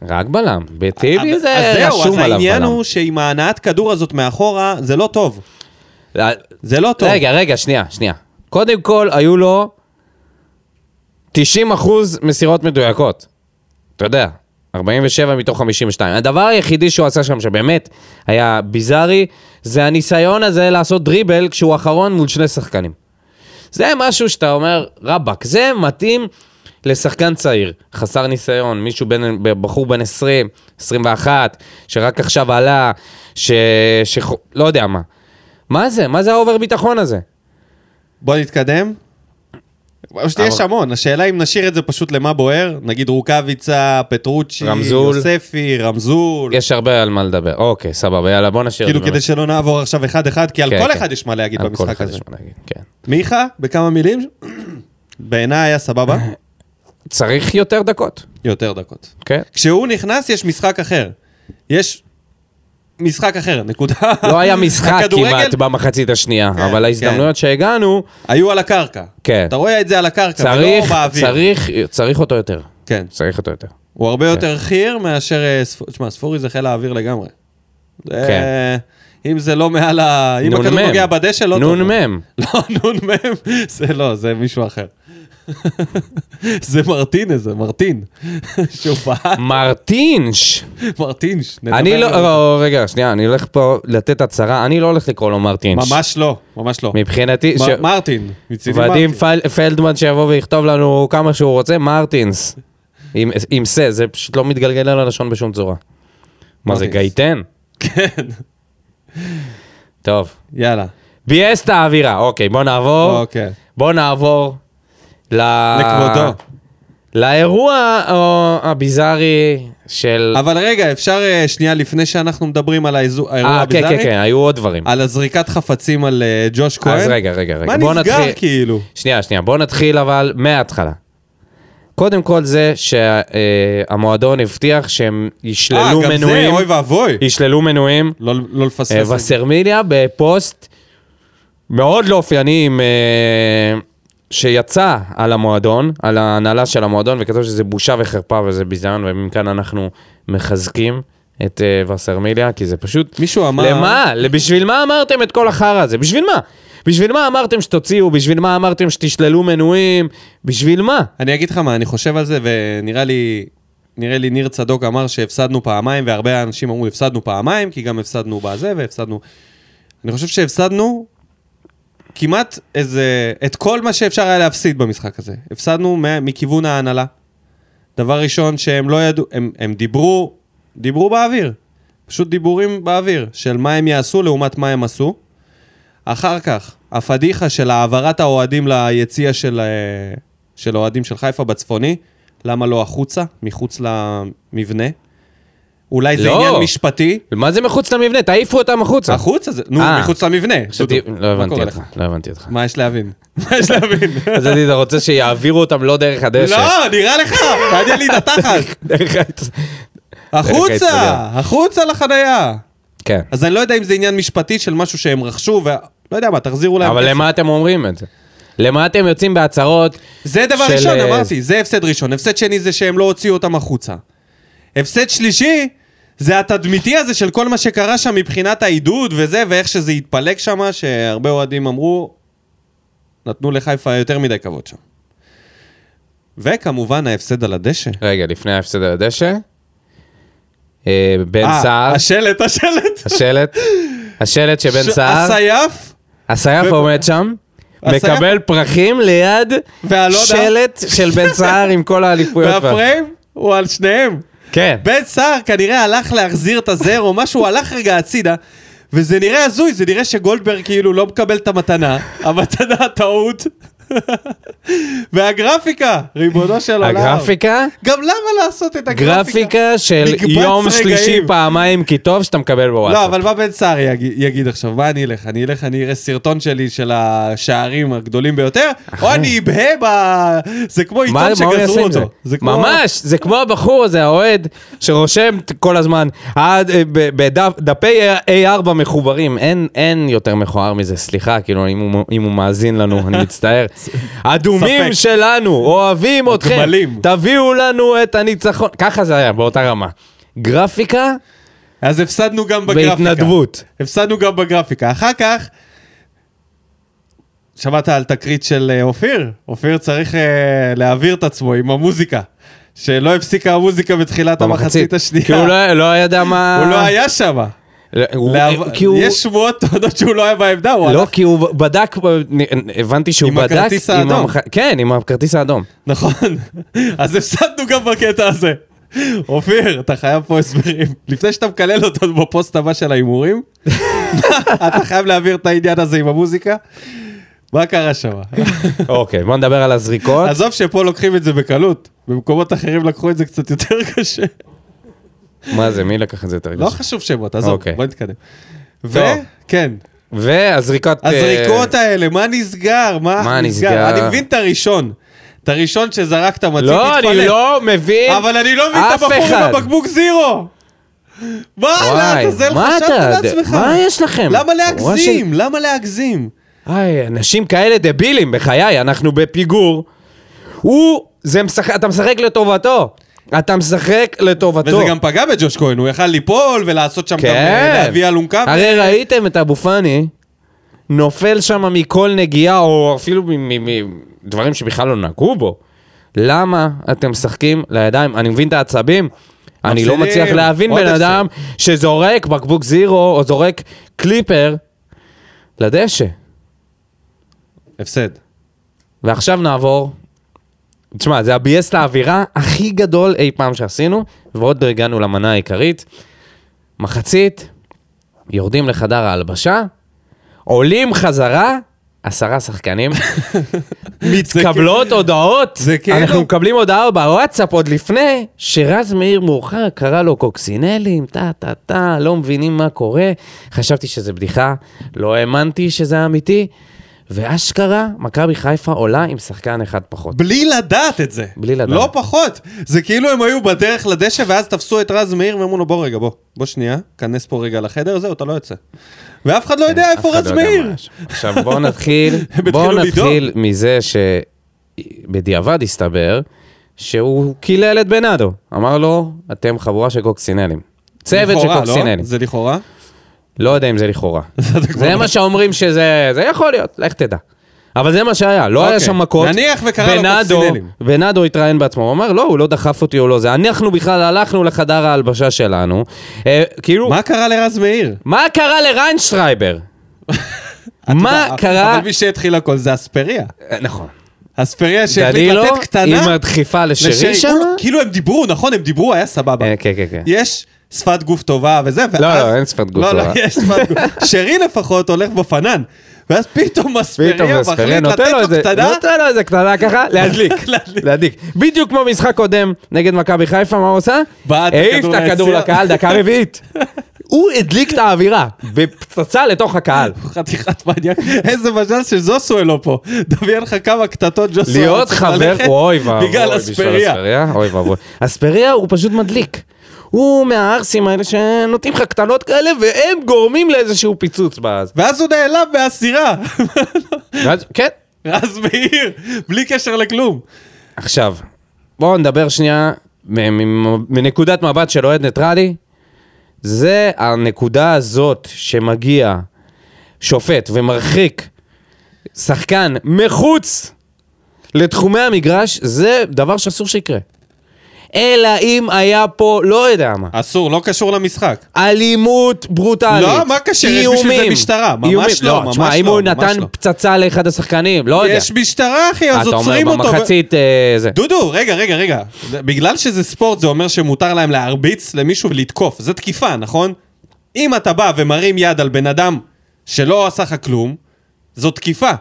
B: רק בלם, בטיבי
A: אז-
B: זה
A: אה, אז זהו,
B: רשום
A: אז
B: עליו
A: העניין
B: בלם.
A: הוא שעם ההנעת כדור הזאת מאחורה, זה לא טוב.
B: אה,
A: זה לא טוב.
B: רגע, רגע, שנייה, שנייה. קודם כל, היו לו 90 אחוז מסירות מדויקות. אתה יודע, 47 מתוך 52. הדבר היחידי שהוא עשה שם, שבאמת היה ביזארי, זה הניסיון הזה לעשות דריבל כשהוא אחרון מול שני שחקנים. זה משהו שאתה אומר, רבאק, זה מתאים לשחקן צעיר, חסר ניסיון, מישהו בין, בחור בן 20, 21, שרק עכשיו עלה, ש... ש... לא יודע מה. מה זה? מה זה האובר ביטחון הזה?
A: בוא נתקדם. פשוט יש המון, השאלה אם נשאיר את זה פשוט למה בוער, נגיד רוקאביצה, פטרוצ'י,
B: רמזול.
A: יוספי, רמזול,
B: יש הרבה על מה לדבר. אוקיי, סבבה, יאללה, בוא נשאיר.
A: כאילו
B: את זה
A: כדי שלא נעבור עכשיו אחד-אחד, כי על
B: כן,
A: כל
B: כן.
A: אחד יש מה להגיד
B: על כל
A: במשחק
B: אחד
A: הזה.
B: יש מה להגיד, כן.
A: מיכה, בכמה מילים? בעיניי היה סבבה,
B: צריך יותר דקות,
A: יותר דקות.
B: כן?
A: כשהוא נכנס יש משחק אחר. יש משחק אחר, נקודה.
B: לא היה משחק
A: הכדורגל כן,
B: כמעט במחצית השנייה, אבל ההזדמנויות שהגענו,
A: היו על הקרקע.
B: כן.
A: אתה רואה את זה על הקרקע,
B: צריך,
A: ולא לא באוויר.
B: צריך, כן. צריך אותו יותר.
A: כן.
B: צריך אותו יותר.
A: הוא הרבה יותר חי"ר מאשר... אה, ספ- תשמע, ספורי זה חיל האוויר לגמרי. זה-
B: כן.
A: אם זה לא מעל ה... אם הכדור
B: נ"מ.
A: נוגע בדשא, לא טוב.
B: נ"מ.
A: לא, נ"מ. זה לא, זה מישהו אחר. זה מרטינז, זה מרטין. שהוא פעל,
B: מרטינש.
A: מרטינש. נדבר
B: אני לא,
A: על זה.
B: לא, רגע, שנייה, אני הולך פה לתת הצהרה, אני לא הולך לקרוא לו מרטינש.
A: ממש לא, ממש לא.
B: מבחינתי,
A: מ-
B: ש-
A: מרטין, מצידי מרטין.
B: ועדים פל- פלדמן שיבוא ויכתוב לנו כמה שהוא רוצה, מרטינס. עם- עם סה, זה פשוט לא מתגלגל על הלשון בשום צורה. מה זה,
A: מרטינס.
B: גייטן?
A: כן,
B: טוב.
A: יאללה.
B: ביאסטה האווירה, אוקיי, בוא נעבור.
A: אוקיי.
B: בוא נעבור ל...
A: לכבודו.
B: לאירוע או, הביזארי של...
A: אבל רגע, אפשר אה, שנייה לפני שאנחנו מדברים על האיזו- האירוע
B: אה, כן,
A: הביזארי?
B: כן, כן, היו עוד דברים.
A: על הזריקת חפצים על אה, ג'וש כהן?
B: אז רגע, רגע, רגע.
A: מה
B: בוא
A: נסגר
B: נתחיל- אה,
A: כאילו?
B: שנייה, שנייה, בוא נתחיל אבל מההתחלה. קודם כל זה שהמועדון הבטיח שהם
A: אה,
B: ישללו
A: גם זה,
B: מנויים, אה,
A: אוי ואבוי.
B: ישללו מנויים,
A: לא לא לפספס.
B: אה,
A: את זה.
B: וסרמיליה בפוסט מאוד לא אופייני עם, אה, שיצא על המועדון, על ההנהלה של המועדון, וכתוב שזה בושה וחרפה וזה ביזיון, ומכאן אנחנו מחזקים את אה, וסרמיליה, כי זה פשוט...
A: מישהו אמר-
B: למה? בשביל מה אמרתם את כל החרא הזה? בשביל מה? בשביל מה אמרתם שתוציאו? בשביל מה אמרתם שתשללו מנויים? בשביל מה?
A: אני אגיד לך מה אני חושב על זה, ונראה לי... נראה לי ניר צדוק אמר שהפסדנו פעמיים, והרבה אנשים אמרו הפסדנו פעמיים, כי גם הפסדנו בזה והפסדנו... אני חושב שהפסדנו כמעט איזה... את כל מה שאפשר היה להפסיד במשחק הזה. הפסדנו מה- מכיוון ההנהלה. דבר ראשון שהם לא ידעו, הם, הם דיברו, דיברו באוויר. פשוט דיבורים באוויר, של מה הם יעשו לעומת מה הם עשו. אחר כך, הפדיחה של העברת האוהדים ליציע של, אה, של אוהדים של חיפה בצפוני, למה לא החוצה, מחוץ למבנה? אולי זה
B: לא.
A: עניין משפטי?
B: מה זה מחוץ למבנה? תעיפו אותם החוצה.
A: החוצה זה, נו,
B: אה.
A: מחוץ למבנה.
B: חשבתי-
A: דודו,
B: לא
A: מה
B: הבנתי
A: קורה
B: אותך,
A: לך?
B: לא הבנתי אותך.
A: מה יש להבין? מה יש להבין?
B: חשבתי, אתה רוצה שיעבירו אותם לא דרך הדשא.
A: לא, נראה לך, תעניין לי את התחת.
B: דרך ה-
A: החוצה,
B: האצטדיון.
A: החוצה לחנייה.
B: כן.
A: אז אני לא יודע אם זה עניין משפטי של משהו שהם רכשו, ולא יודע מה, תחזירו להם.
B: אבל
A: כסף.
B: למה אתם אומרים את זה? למה אתם יוצאים בהצהרות?
A: זה דבר
B: של,
A: ראשון,
B: אה,
A: אמרתי, זה הפסד ראשון. הפסד שני זה שהם לא הוציאו אותם החוצה. הפסד שלישי, זה התדמיתי הזה של כל מה שקרה שם מבחינת העידוד וזה, ואיך שזה התפלג שם, שהרבה אוהדים אמרו, נתנו לחיפה יותר מדי כבוד שם. וכמובן ההפסד על הדשא.
B: רגע, לפני ההפסד על הדשא. אה, בן
A: אה,
B: סער,
A: השלט, השלט.
B: השלט, השלט שבן
A: ש-
B: סער,
A: הסייף
B: הסייף
A: ו-
B: עומד שם,
A: הסייף-
B: מקבל פרחים ליד
A: והלודה.
B: שלט של בן סער עם כל האליפויות. וה-
A: והפריים הוא על שניהם.
B: כן.
A: בן סער כנראה הלך להחזיר את הזר או משהו, הוא הלך רגע הצידה. וזה נראה הזוי, זה נראה שגולדברג כאילו לא מקבל את המתנה, המתנה טעות. והגרפיקה, ריבונו של עולם.
B: הגרפיקה?
A: גם למה לעשות את הגרפיקה?
B: גרפיקה של
A: מקבץ
B: יום
A: רגעים.
B: שלישי פעמיים כי טוב שאתה מקבל
A: לא,
B: בוואטסאפ.
A: אבל מה בן סער יגיד, יגיד עכשיו? מה אני אלך? אני אלך, אני אראה סרטון שלי של השערים הגדולים ביותר, או אני אבהה ב... זה כמו
B: מה-
A: עיתון
B: מה הוא יעשה
A: שגזרו
B: עם זה?
A: אותו. זה כמו-
B: ממש, זה כמו הבחור הזה, האוהד, שרושם ת- כל הזמן, "עד, אה, ב- בדף- דפי A4 מחוברים, אין- אין יותר מכוער מזה, סליחה, כאילו, אם הוא- אם הוא מאזין לנו, אני מצטער. אדומים
A: ספק.
B: שלנו, אוהבים אתכם,
A: הגמלים.
B: תביאו לנו את הניצחון. ככה זה היה, באותה רמה. גרפיקה
A: אז הפסדנו גם בגרפיקה.
B: בהתנדבות.
A: הפסדנו גם בגרפיקה. אחר כך, שמעת על תקרית של אה, אופיר? אופיר צריך אה, להעביר את עצמו עם המוזיקה. שלא הפסיקה המוזיקה בתחילת המחצית השנייה.
B: כי הוא לא- לא ידע מה...
A: הוא לא היה שם.
B: לא, הוא-
A: להב-
B: כי הוא-
A: יש שמועות טוענות שהוא לא היה בעמדה, הוא
B: לא,
A: הלך.
B: כי הוא בדק, אה, הבנתי שהוא
A: עם
B: בדק...
A: הכרטיס האדום.
B: המח- כן, עם הכרטיס האדום.
A: נכון. אז הפסדנו גם בקטע הזה. אופיר, אתה חייב פה הסברים. לפני שאתה מקלל אותנו בפוסט הבא של ההימורים, אתה חייב להעביר את העניין הזה עם המוזיקה. מה קרה שם?
B: אוקיי, בוא נדבר על הזריקות.
A: עזוב שפה לוקחים את זה בקלות, במקומות אחרים לקחו את זה קצת יותר קשה.
B: מה זה, מי לקח את זה יותר
A: לא
B: קשה?
A: חשוב שמות, עזוב,
B: אוקיי.
A: בוא נתקדם. ו...
B: טוב.
A: כן,
B: והזריקות... אה,
A: הזריקות האלה, מה נסגר?
B: מה נסגר?
A: אני מבין את הראשון. את הראשון שזרק את המצית,
B: לא, אני לא מבין.
A: אבל אני לא מבין את
B: אף
A: הבחור
B: אחד.
A: עם הבקבוק זירו! מה
B: וואי,
A: לעזאזל
B: מה
A: חשבת
B: אתה-
A: לעצמך?
B: מה יש לכם?
A: למה
B: רואה ש-
A: להגזים? למה להגזים?
B: היי, אנשים כאלה דבילים, בחיי, אנחנו בפיגור. הוא, זה משחק, אתה משחק לטובתו. אתה משחק לטובתו.
A: וזה גם פגע בג'וש כהן, הוא יכל ליפול ולעשות שם גם אה,
B: כן.
A: להביא אלונקה.
B: הרי ראיתם את אבו פאני נופל שם מכל נגיעה, או אפילו מדברים שבכלל לא נגעו בו. למה אתם משחקים לידיים? אני מבין את העצבים. אני לא
A: מפסידים.
B: מצליח להבין
A: עוד
B: בן
A: הפסד.
B: אדם שזורק בקבוק זירו או זורק קליפר לדשא.
A: הפסד.
B: ועכשיו נעבור. תשמע, זה הביאס לאווירה הכי גדול אי פעם שעשינו, ועוד לא הגענו למנה העיקרית. מחצית, יורדים לחדר ההלבשה, עולים חזרה, עשרה שחקנים, מתקבלות הודעות.
A: זה כאילו-
B: אנחנו מקבלים הודעה בוואטסאפ עוד לפני שרז מאיר מאוחר קרא לו קוקסינלים, טה טה טה, לא מבינים מה קורה. חשבתי שזה בדיחה, לא האמנתי שזה אמיתי, ואשכרה, מכבי חיפה עולה עם שחקן אחד פחות.
A: בלי לדעת את זה.
B: בלי לדעת.
A: לא פחות. זה כאילו הם היו בדרך לדשא, ואז תפסו את רז מאיר ואמרו לו, בוא רגע, בוא, בוא שנייה, כנס פה רגע לחדר, זהו, אתה לא יוצא. ואף אחד לא יודע איפה
B: אף אחד
A: רז
B: לא יודע
A: מאיר.
B: מה יש. עכשיו בואו נתחיל,
A: הם
B: בואו
A: התחילו
B: נתחיל מזה שבדיעבד הסתבר שהוא קילל את בנאדו. אמר לו, אתם חבורה של קוקסינלים. צוות של
A: לכאורה, לא?
B: קוקסינלים.
A: זה לכאורה?
B: לא יודע אם זה לכאורה. זה מה שאומרים שזה, זה יכול להיות, לך תדע. אבל זה מה שהיה, לא היה
A: אוקיי.
B: שם מכות.
A: נניח וקרא לו
B: בנאדו-
A: קוקסינלים.
B: בנאדו התראיין בעצמו, הוא אמר, לא, הוא לא דחף אותי או לא זה. אנחנו בכלל הלכנו לחדר ההלבשה שלנו. אה, כאילו,
A: מה קרה לרז מאיר?
B: מה קרה לריינשטרייבר? מה
A: אתה-
B: קרה...
A: אבל מי שהתחיל הכל זה אספריה.
B: אה, נכון.
A: אספריה שהחליט
B: דנילו
A: לתת
B: עם
A: קטנה.
B: הדחיפה לשרי
A: לשרי.
B: שם?
A: כאילו הם דיברו, נכון, הם דיברו, היה סבבה.
B: אה, כן, כן, כן.
A: יש שפת גוף טובה וזה, ואז...
B: לא, אין שפת גוף
A: לא, לא,
B: טובה.
A: יש שפת גוף. שרי לפחות הולך בפנן, ואז פתאום מספריה
B: פתאום
A: מחליט
B: אספריה
A: לתת
B: נותן לו
A: לו
B: איזה,
A: קטנה.
B: נותן לו איזה קטנה ככה, להדליק, להדליק. בדיוק כמו משחק קודם נגד מכבי חיפה, מה הוא עושה?
A: בעט את
B: העיף
A: הכדור
B: את הכדור
A: ליציע.
B: לקהל, דקה רביעית. הוא הדליק את האווירה, בפצצה לתוך הקהל.
A: חתיכת מניאק, איזה מזל שזוסואל לא פה. תביא לך כמה קטטות ז'וסואל.
B: להיות חבר, אוי ואבוי,
A: בגלל
B: בשביל
A: אספריה.
B: אוי ואבוי. אספריה הוא פשוט מדליק. הוא מהערסים האלה שנותנים לך קטנות כאלה, והם גורמים לאיזשהו פיצוץ באז.
A: ואז הוא נעלם מהסירה.
B: ואז- כן.
A: רז מאיר, בלי קשר לכלום.
B: עכשיו, בואו נדבר שנייה מ- מ- מנקודת מבט של אוהד ניטרלי. זה הנקודה הזאת שמגיע שופט ומרחיק שחקן מחוץ לתחומי המגרש, זה דבר שאסור שיקרה. אלא אם היה פה, לא יודע מה,
A: אסור, לא קשור למשחק.
B: אלימות ברוטלית,
A: לא, מה קשר? יש בשביל זה משטרה. ממש לא,
B: לא,
A: ממש
B: תשמע, אם
A: לא,
B: הוא
A: ממש
B: נתן
A: לא.
B: פצצה לאחד השחקנים, לא יודע.
A: יש משטרה, אחי, אז
B: אתה אומר
A: עוצרים אותו. ו-
B: במחצית אה, זה.
A: דודו, רגע, רגע, רגע. בגלל שזה ספורט, זה אומר שמותר להם להרביץ למישהו ולתקוף. זה תקיפה, נכון? אם אתה בא ומרים יד על בן אדם שלא עשה לך כלום, זו תקיפה.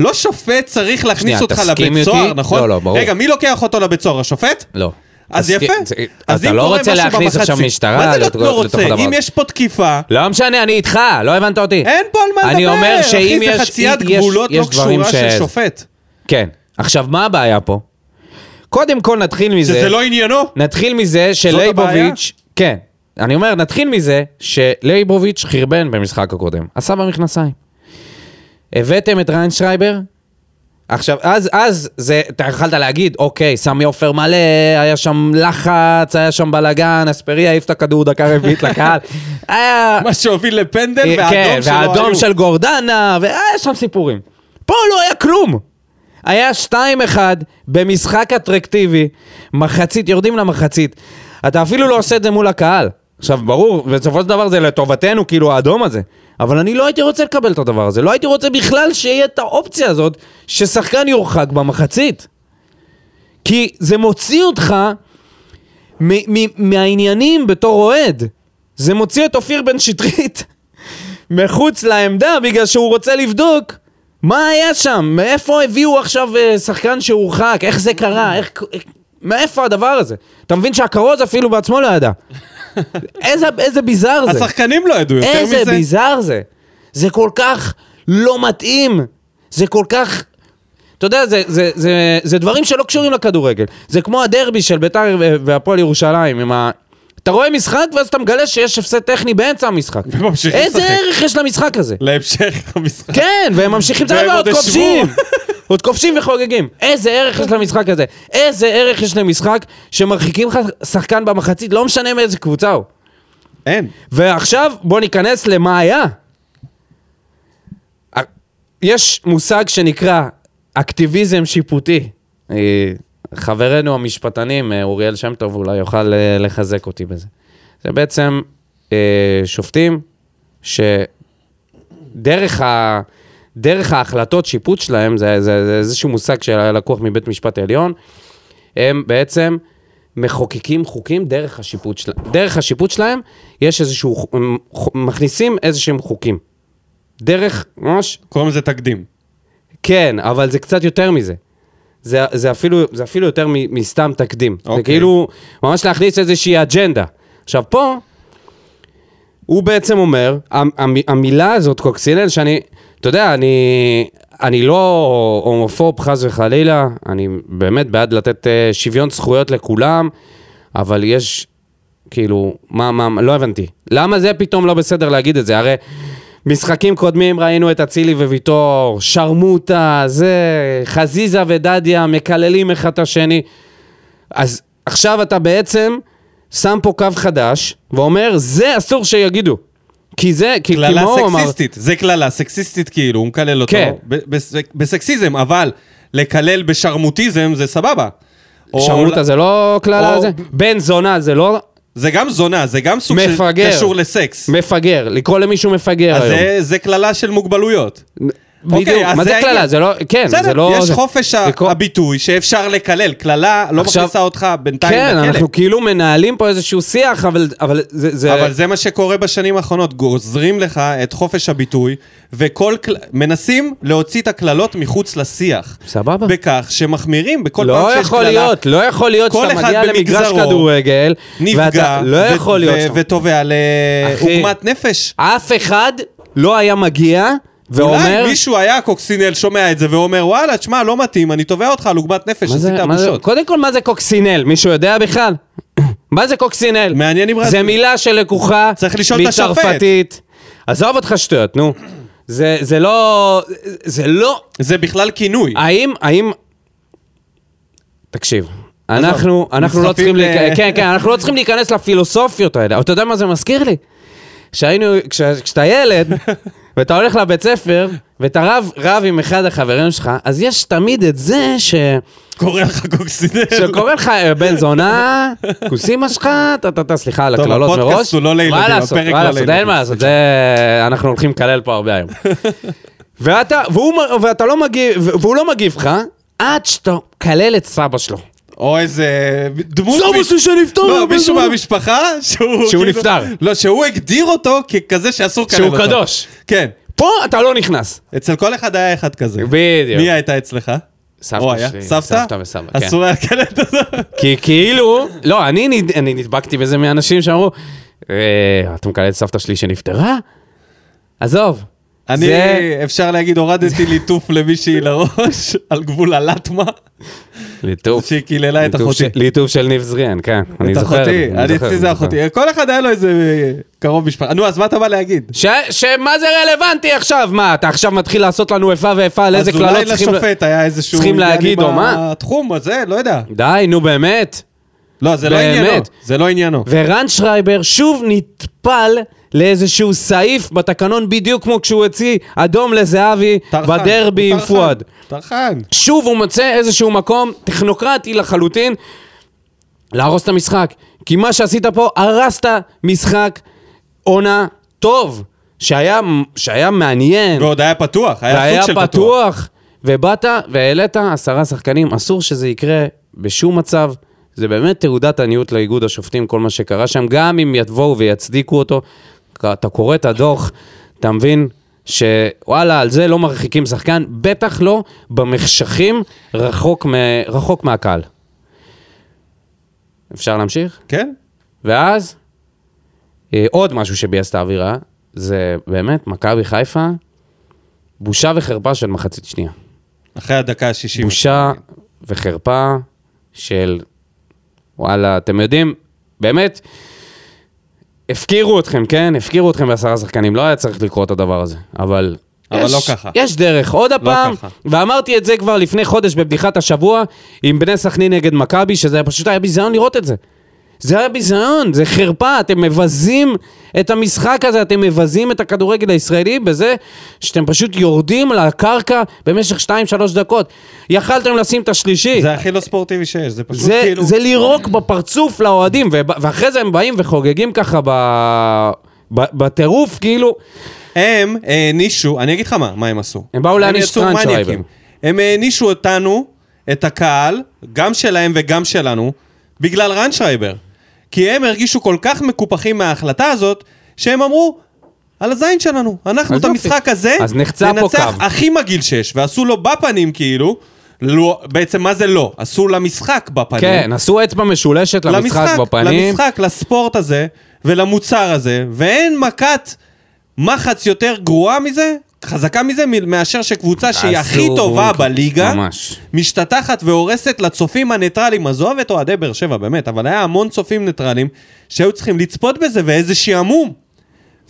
A: לא שופט צריך להכניס
B: שנייה,
A: אותך
B: תסכים
A: לבית סוהר,
B: איתי?
A: נכון?
B: לא, לא, ברור.
A: רגע, מי לוקח אותו לבית סוהר? השופט?
B: לא.
A: אז
B: תסכים-
A: יפה.
B: זה-
A: אז
B: אתה
A: אם
B: לא
A: קורה
B: רוצה
A: משהו
B: להכניס עכשיו
A: במחצית-
B: משטרה
A: מה זה
B: לתוך-
A: לא רוצה?
B: לתוך הדבר
A: אם
B: הזה.
A: יש אה? פה תקיפה,
B: לא משנה, אני איתך, לא הבנת אותי.
A: אין פה על מה לדבר.
B: אני אומר שאם
A: אחי,
B: יש-
A: זה חציית
B: יש-
A: גבולות
B: יש
A: לא
B: דברים
A: קשורה של
B: ש-
A: שופט.
B: כן. עכשיו, מה הבעיה פה? קודם כל נתחיל מזה...
A: שזה לא עניינו?
B: נתחיל מזה שלייבוביץ'... כן. אני אומר, נתחיל מזה שלייבוביץ' חרבן במשחק הקודם. עשה במכנסיים. הבאתם את ריין שרייבר? עכשיו, אז, אז, זה, אתה יכלת להגיד, אוקיי, סמי עופר מלא, היה שם לחץ, היה שם בלאגן, אספריה העיף את הכדור דקה רביעית לקהל. היה...
A: מה שהוביל לפנדל
B: אה, כן,
A: והאדום שלו היו.
B: והאדום של גורדנה, והיה שם סיפורים. פה לא היה כלום. היה 2-1 במשחק אטרקטיבי, מחצית, יורדים למחצית. אתה אפילו לא עושה את זה מול הקהל. עכשיו, ברור, בסופו של דבר זה לטובתנו, כאילו, האדום הזה. אבל אני לא הייתי רוצה לקבל את הדבר הזה. לא הייתי רוצה בכלל שיהיה את האופציה הזאת ששחקן יורחק במחצית. כי זה מוציא אותך מ- מ- מהעניינים בתור אוהד. זה מוציא את אופיר בן שטרית מחוץ לעמדה בגלל שהוא רוצה לבדוק מה היה שם, מאיפה הביאו עכשיו אה, שחקן שהורחק, איך זה קרה, איך... איך- מאיפה הדבר הזה? אתה מבין שהכרוז אפילו בעצמו לא ידע. איזה, איזה ביזאר זה.
A: השחקנים לא ידעו יותר מזה.
B: איזה ביזאר זה. זה כל כך לא מתאים. זה כל כך... אתה יודע, זה, זה, זה, זה דברים שלא קשורים לכדורגל. זה כמו הדרבי של ביתר ו- והפועל ירושלים, עם ה... אתה רואה משחק ואז אתה מגלה שיש הפסד טכני באמצע המשחק.
A: וממשיכים
B: איזה
A: לשחק.
B: ערך יש למשחק הזה?
A: להמשך המשחק.
B: כן, והם ממשיכים את
A: והם
B: הרבה,
A: עוד
B: עוד
A: ישבו.
B: כובשים. עוד כובשים וחוגגים. איזה ערך יש למשחק הזה? איזה ערך יש למשחק שמרחיקים לך שחקן במחצית, לא משנה מאיזה קבוצה הוא.
A: אין.
B: ועכשיו בוא ניכנס למה היה. ה- יש מושג שנקרא אקטיביזם שיפוטי. אה, חברנו המשפטנים, אה, אוריאל שם טוב, אולי יוכל אה, לחזק אותי בזה. זה בעצם אה, שופטים שדרך ה... דרך ההחלטות שיפוט שלהם, זה, זה, זה איזשהו מושג שהיה לקוח מבית משפט העליון, הם בעצם מחוקקים חוקים דרך השיפוט שלהם. דרך השיפוט שלהם יש איזשהו, חו- הם חו- מכניסים איזשהם חוקים. דרך, ממש,
A: קוראים לזה תקדים.
B: כן, אבל זה קצת יותר מזה. זה, זה, אפילו, זה אפילו יותר מ, מסתם תקדים. Okay. זה
A: אוקיי.
B: כאילו, ממש להכניס איזושהי אג'נדה. עכשיו, פה, הוא בעצם אומר, המ, המ, המילה הזאת, קוקסינל, שאני, אתה יודע, אני, אני לא הומופוב, חס וחלילה, אני באמת בעד לתת uh, שוויון זכויות לכולם, אבל יש, כאילו, מה, מה, לא הבנתי. למה זה פתאום לא בסדר להגיד את זה? הרי משחקים קודמים ראינו את אצילי וויטור, שרמוטה, זה, חזיזה ודדיה, מקללים אחד את השני. אז עכשיו אתה בעצם שם פה קו חדש, ואומר, זה אסור שיגידו. כי זה, כי, כי
A: קללה
B: מה הוא אמר...
A: סקסיסטית. זה קללה סקסיסטית כאילו, הוא מקלל אותו.
B: כן.
A: ב- בס- בסקסיזם, אבל לקלל בשרמוטיזם זה סבבה. או-
B: שרמוטה זה לא קללה
A: או-
B: זה? בן זונה זה לא
A: זה גם זונה, זה גם סוג
B: מפגר.
A: שקשור לסקס.
B: מפגר, לקרוא למישהו מפגר
A: אז
B: היום.
A: זה- זה קללה של מוגבלויות.
B: בדיוק,
A: אז
B: מה זה
A: העניין.
B: קללה? זה לא, כן, זה
A: בסדר,
B: לא...
A: יש חופש ה-
B: זה כל-
A: הביטוי שאפשר לקלל. קללה לא
B: עכשיו-
A: מכניסה אותך בינתיים
B: כן,
A: לכלא.
B: אנחנו כאילו מנהלים פה איזשהו שיח, אבל, אבל זה... זה...
A: אבל זה מה שקורה בשנים האחרונות, גוזרים לך את חופש הביטוי, וכל כל... מנסים להוציא את הקללות מחוץ לשיח.
B: סבבה.
A: בכך שמחמירים בכל פעם
B: לא
A: שיש
B: יכול
A: קללה.
B: להיות, לא יכול להיות
A: כל
B: שאתה
A: אחד
B: מגיע למגרש
A: במגזרו
B: כדורגל,
A: נפגע,
B: ואתה לא
A: ו-
B: יכול
A: ו-
B: להיות שאתה-
A: ותובע
B: אחי.
A: לעוגמת נפש.
B: אף אחד לא היה מגיע ואומר...
A: אולי מישהו היה קוקסינל, שומע את זה ואומר, וואלה, תשמע, לא מתאים, אני תובע אותך על עוגמת נפש,
B: מה
A: עשית
B: זה, מה זה,
A: בושות.
B: קודם כל, מה זה קוקסינל? מישהו יודע בכלל? מה זה קוקסינל?
A: מעניין אם
B: זה
A: רצו.
B: מילה שלקוחה
A: צריך לשאול את השופט.
B: מצרפתית. עזוב אותך שטויות, נו. זה, זה לא... זה לא...
A: זה בכלל כינוי.
B: האם, האם... תקשיב, אנחנו, אנחנו לא
A: נסחפים
B: צריכים,
A: ל-
B: להיכנס, כן, כן, אנחנו לא צריכים להיכנס לפילוסופיות האלה. אבל אתה יודע מה זה מזכיר לי? שהיינו, כש, כשאתה ילד, ואתה הולך לבית ספר, ואתה רב, רב עם אחד החברים שלך, אז יש תמיד את זה ש...
A: קורא לך קוקסינל.
B: שקורא לך אה, בן זונה, כוסימה שלך, טה טה טה, סליחה על
A: טוב,
B: הקללות מראש.
A: הפודקאסט הוא לא לילדים,
B: מה לעשות,
A: הפרק
B: מה
A: לא
B: לעשות,
A: לילדים.
B: אין מה לעשות, זה... אנחנו הולכים לקלל פה הרבה היום. ואתה, והוא, מ- ואתה לא מגיב, והוא לא מגיב לך, עד שאתה מקלל את סבא שלו.
A: או איזה דמות...
B: סבא
A: מיש-
B: שלי שנפטר,
A: לא,
B: אבל
A: מישהו
B: זה-
A: מהמשפחה שהוא...
B: שהוא
A: כאילו-
B: נפטר.
A: לא, שהוא הגדיר אותו ככזה שאסור לקלל
B: שהוא
A: אותו.
B: קדוש.
A: כן.
B: פה אתה לא נכנס.
A: אצל כל אחד היה אחד כזה.
B: בדיוק.
A: מי הייתה אצלך?
B: סבתא
A: או היה?
B: שלי,
A: סבתא?
B: סבתא וסבא, כן.
A: אסור היה לקלל את זה.
B: כי כאילו, לא, אני, נד- אני נדבקתי בזה מאנשים שאמרו, "אה, אתה מקלל את סבתא שלי שנפטרה? עזוב.
A: אני,
B: זה-
A: אפשר להגיד, הורדתי ליטוף למישהי לראש על גבול הלטמה,
B: ליטוף.
A: שהיא קיללה את
B: ליטוף
A: אחותי.
B: של- ליטוף של ניב זריאן, כן. אני
A: את
B: זוכר.
A: אחותי,
B: זוכר,
A: אני אצלי זה
B: זוכר.
A: אחותי. כל אחד היה לו איזה קרוב משפחה. נו, אז מה אתה בא להגיד?
B: ש... שמה זה רלוונטי עכשיו? מה, אתה עכשיו מתחיל לעשות לנו איפה ואיפה על איזה קללות
A: אז
B: צריכים...
A: אולי לשופט היה איזשהו...
B: צריכים
A: עניין
B: להגיד,
A: עם
B: או מה?
A: התחום הזה, לא יודע.
B: די, נו באמת.
A: לא, זה לא
B: באמת.
A: עניינו. זה לא עניינו.
B: ורן שרייבר שוב נטפל לאיזשהו סעיף בתקנון בדיוק כמו כשהוא הוציא אדום לזהבי
A: טרחן,
B: בדרבי
A: הוא
B: עם
A: טרחן,
B: פואד.
A: טרחן.
B: שוב הוא מוצא איזשהו מקום טכנוקרטי לחלוטין להרוס את המשחק. כי מה שעשית פה, הרסת משחק עונה טוב, שהיה, שהיה מעניין,
A: ועוד היה פתוח, היה
B: והיה
A: סוג של פתוח.
B: פתוח, ובאת והעלית עשרה שחקנים, אסור שזה יקרה בשום מצב. זה באמת תעודת עניות לאיגוד השופטים, כל מה שקרה שם, גם אם יבואו ויצדיקו אותו. אתה קורא את הדוח, אתה מבין שוואלה, על זה לא מרחיקים שחקן, בטח לא במחשכים רחוק, מ... רחוק מהקהל. אפשר להמשיך?
A: כן?
B: ואז, אה, עוד משהו שביאס את האווירה, זה באמת מכבי חיפה, בושה וחרפה של מחצית שנייה.
A: אחרי הדקה ה-60.
B: בושה וחרפה של, וואלה, אתם יודעים, באמת, הפקירו אתכם, כן? הפקירו אתכם בעשרה שחקנים, לא היה צריך לקרות את הדבר הזה, אבל...
A: אבל
B: יש,
A: לא ככה. לא
B: יש דרך, עוד הפעם,
A: ככה.
B: ואמרתי את זה כבר לפני חודש בבדיחת השבוע, עם בני סכנין נגד מכבי, שזה היה פשוט היה ביזיון לראות את זה. זה היה ביזיון, זה חרפה, אתם מבזים את המשחק הזה, אתם מבזים את הכדורגל הישראלי בזה שאתם פשוט יורדים לקרקע במשך 2-3 דקות. יכלתם לשים את השלישי.
A: זה הכי לא ספורטיבי שיש, זה פשוט
B: זה,
A: כאילו...
B: זה לירוק בפרצוף לאוהדים, ובא- ואחרי זה הם באים וחוגגים ככה ב... ב- בטירוף, כאילו,
A: הם הענישו, אני אגיד לך מה, מה הם עשו.
B: הם באו להעניש
A: יצאו
B: טרנס
A: מניאקים.
B: שרייבר.
A: הם הענישו אותנו, את הקהל, גם שלהם וגם שלנו, בגלל רנשרייבר. כי הם הרגישו כל כך מקופחים מההחלטה הזאת, שהם אמרו, על הזין שלנו, אנחנו
B: אז
A: את
B: יופי.
A: המשחק הזה,
B: אז נחצה פה
A: ננצח
B: קו.
A: הכי מגעיל שיש, ועשו לו בפנים כאילו, לא, בעצם מה זה לא? עשו למשחק בפנים.
B: כן, עשו אצבע משולשת למשחק בפנים.
A: למשחק, לספורט הזה ולמוצר הזה, ואין מכת מחץ יותר גרועה מזה, חזקה מזה, מ- מאשר שקבוצה שהיא הכי
B: אסור,
A: טובה בליגה,
B: ממש.
A: משתטחת והורסת לצופים הניטרלים. עזוב את אוהדי באר שבע, באמת, אבל היה המון צופים ניטרלים שהיו צריכים לצפות בזה ואיזה שעמום.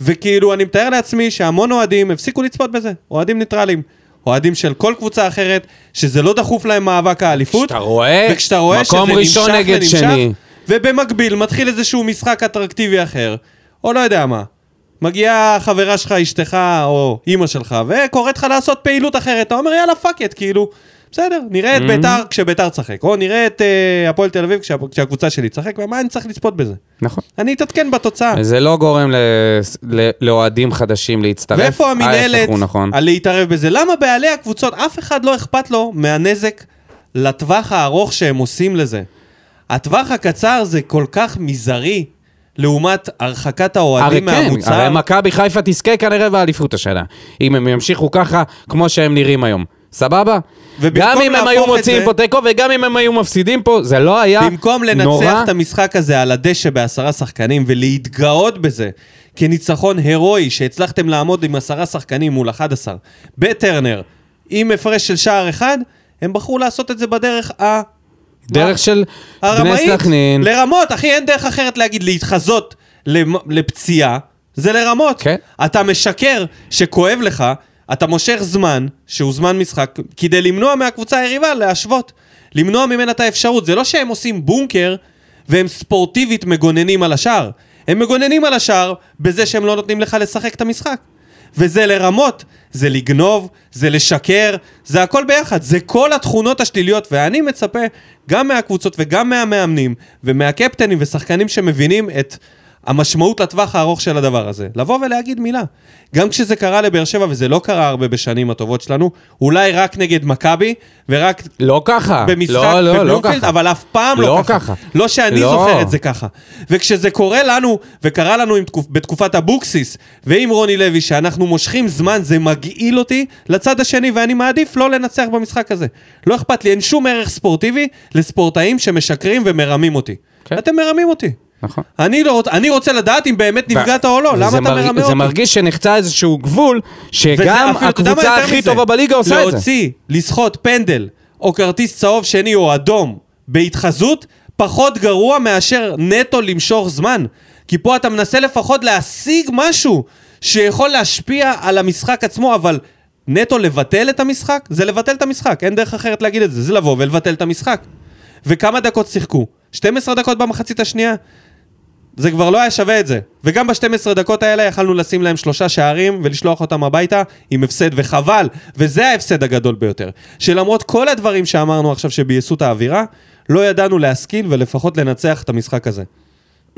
A: וכאילו, אני מתאר לעצמי שהמון אוהדים הפסיקו לצפות בזה, אוהדים ניטרלים. אוהדים של כל קבוצה אחרת, שזה לא דחוף להם מאבק האליפות.
B: כשאתה רואה
A: וכשאתה רואה שזה
B: מקום
A: נמשך
B: ראשון נגד
A: ונמשך,
B: שני.
A: ובמקביל מתחיל איזשהו משחק אטרקטיבי אחר, או לא יודע מה. מגיעה חברה שלך, אשתך, או אימא שלך, וקוראת לך לעשות פעילות אחרת, אתה אומר יאללה פאק את, כאילו, בסדר, נראה את
B: Mm-hmm.
A: ביתר כשביתר תשחק, או נראה את אה, הפועל תל אביב כשה- כשהקבוצה שלי תשחק, ומה אני צריך לצפות בזה?
B: נכון.
A: אני אתעדכן בתוצאה.
B: זה לא גורם לס- ל- לאוהדים חדשים להצטרף.
A: ואיפה
B: ההפך
A: המינהלת
B: הוא נכון.
A: על להתערב בזה? למה בעלי הקבוצות, אף אחד לא אכפת לו מהנזק לטווח הארוך שהם עושים לזה? הטווח הקצר זה כל כך מזערי לעומת הרחקת
B: הרי
A: האוהדים
B: כן,
A: מהמוצר.
B: הרי מכבי חיפה תזכה כנראה באליפות השנה. אם הם ימשיכו ככה, כמו שהם נראים היום. סבבה?
A: ובמקום
B: גם אם הם היו
A: להפוך את
B: מוציאים
A: זה-
B: פה תיקו וגם אם הם היו מפסידים פה, זה לא היה
A: במקום לנצח
B: נורא.
A: את המשחק הזה על הדשא בעשרה שחקנים ולהתגאות בזה כניצחון הירואי שהצלחתם לעמוד עם עשרה שחקנים מול 11 בטרנר עם הפרש של שער אחד, הם בחרו לעשות את זה בדרך ה...
B: דרך של בני
A: הרמאית.
B: סכנין.
A: לרמות, אחי, אין דרך אחרת להגיד להתחזות למ- לפציעה, זה לרמות.
B: כן.
A: אתה משקר שכואב לך, אתה מושך זמן, שהוא זמן משחק, כדי למנוע מהקבוצה היריבה להשוות. למנוע ממנה את האפשרות. זה לא שהם עושים בונקר והם ספורטיבית מגוננים על השער. הם מגוננים על השער בזה שהם לא נותנים לך לשחק את המשחק. וזה לרמות, זה לגנוב, זה לשקר, זה הכל ביחד, זה כל התכונות השליליות, ואני מצפה גם מהקבוצות וגם מהמאמנים ומהקפטנים ושחקנים שמבינים את המשמעות לטווח הארוך של הדבר הזה. לבוא ולהגיד מילה. גם כשזה קרה לבאר שבע, וזה לא קרה הרבה בשנים הטובות שלנו, אולי רק נגד מכבי, ורק
B: לא ככה.
A: במשחק
B: לא, לא, לא
A: בבלומפילד,
B: ככה.
A: אבל אף פעם לא,
B: לא
A: ככה.
B: ככה.
A: לא שאני
B: לא.
A: זוכר את זה ככה. וכשזה קורה לנו, וקרה לנו עם תקופ, בתקופת אבוקסיס, ועם רוני לוי, שאנחנו מושכים זמן, זה מגעיל אותי לצד השני, ואני מעדיף לא לנצח במשחק הזה. לא אכפת לי, אין שום ערך ספורטיבי לספורטאים שמשקרים ומרמים אותי.
B: כן.
A: אתם מרמים אותי.
B: נכון.
A: אני, לא, רוצ- אני רוצה לדעת אם באמת נפגעת או לא,
B: וזה
A: למה אתה
B: מרג-
A: מרמה אותי?
B: זה מרגיש שנחצה איזשהו גבול,
A: וזה
B: שגם
A: אפילו, אתה יודע מה,
B: הקבוצה
A: יותר
B: הכי
A: מזה.
B: טובה בליגה עושה את זה.
A: להוציא, לסחוט פנדל, או כרטיס צהוב שני או אדום, בהתחזות, פחות גרוע מאשר נטו למשוך זמן. כי פה אתה מנסה לפחות להשיג משהו שיכול להשפיע על המשחק עצמו, אבל נטו לבטל את המשחק? זה לבטל את המשחק, אין דרך אחרת להגיד את זה, זה לבוא ולבטל את המשחק. וכמה דקות שיחקו? 12 דקות במחצית השנייה? זה כבר לא היה שווה את זה. וגם ב-12 דקות האלה יכלנו לשים להם שלושה שערים ולשלוח אותם הביתה עם הפסד, וחבל. וזה ההפסד הגדול ביותר. שלמרות כל הדברים שאמרנו עכשיו שביאסו את האווירה, לא ידענו להשכיל ולפחות לנצח את המשחק הזה.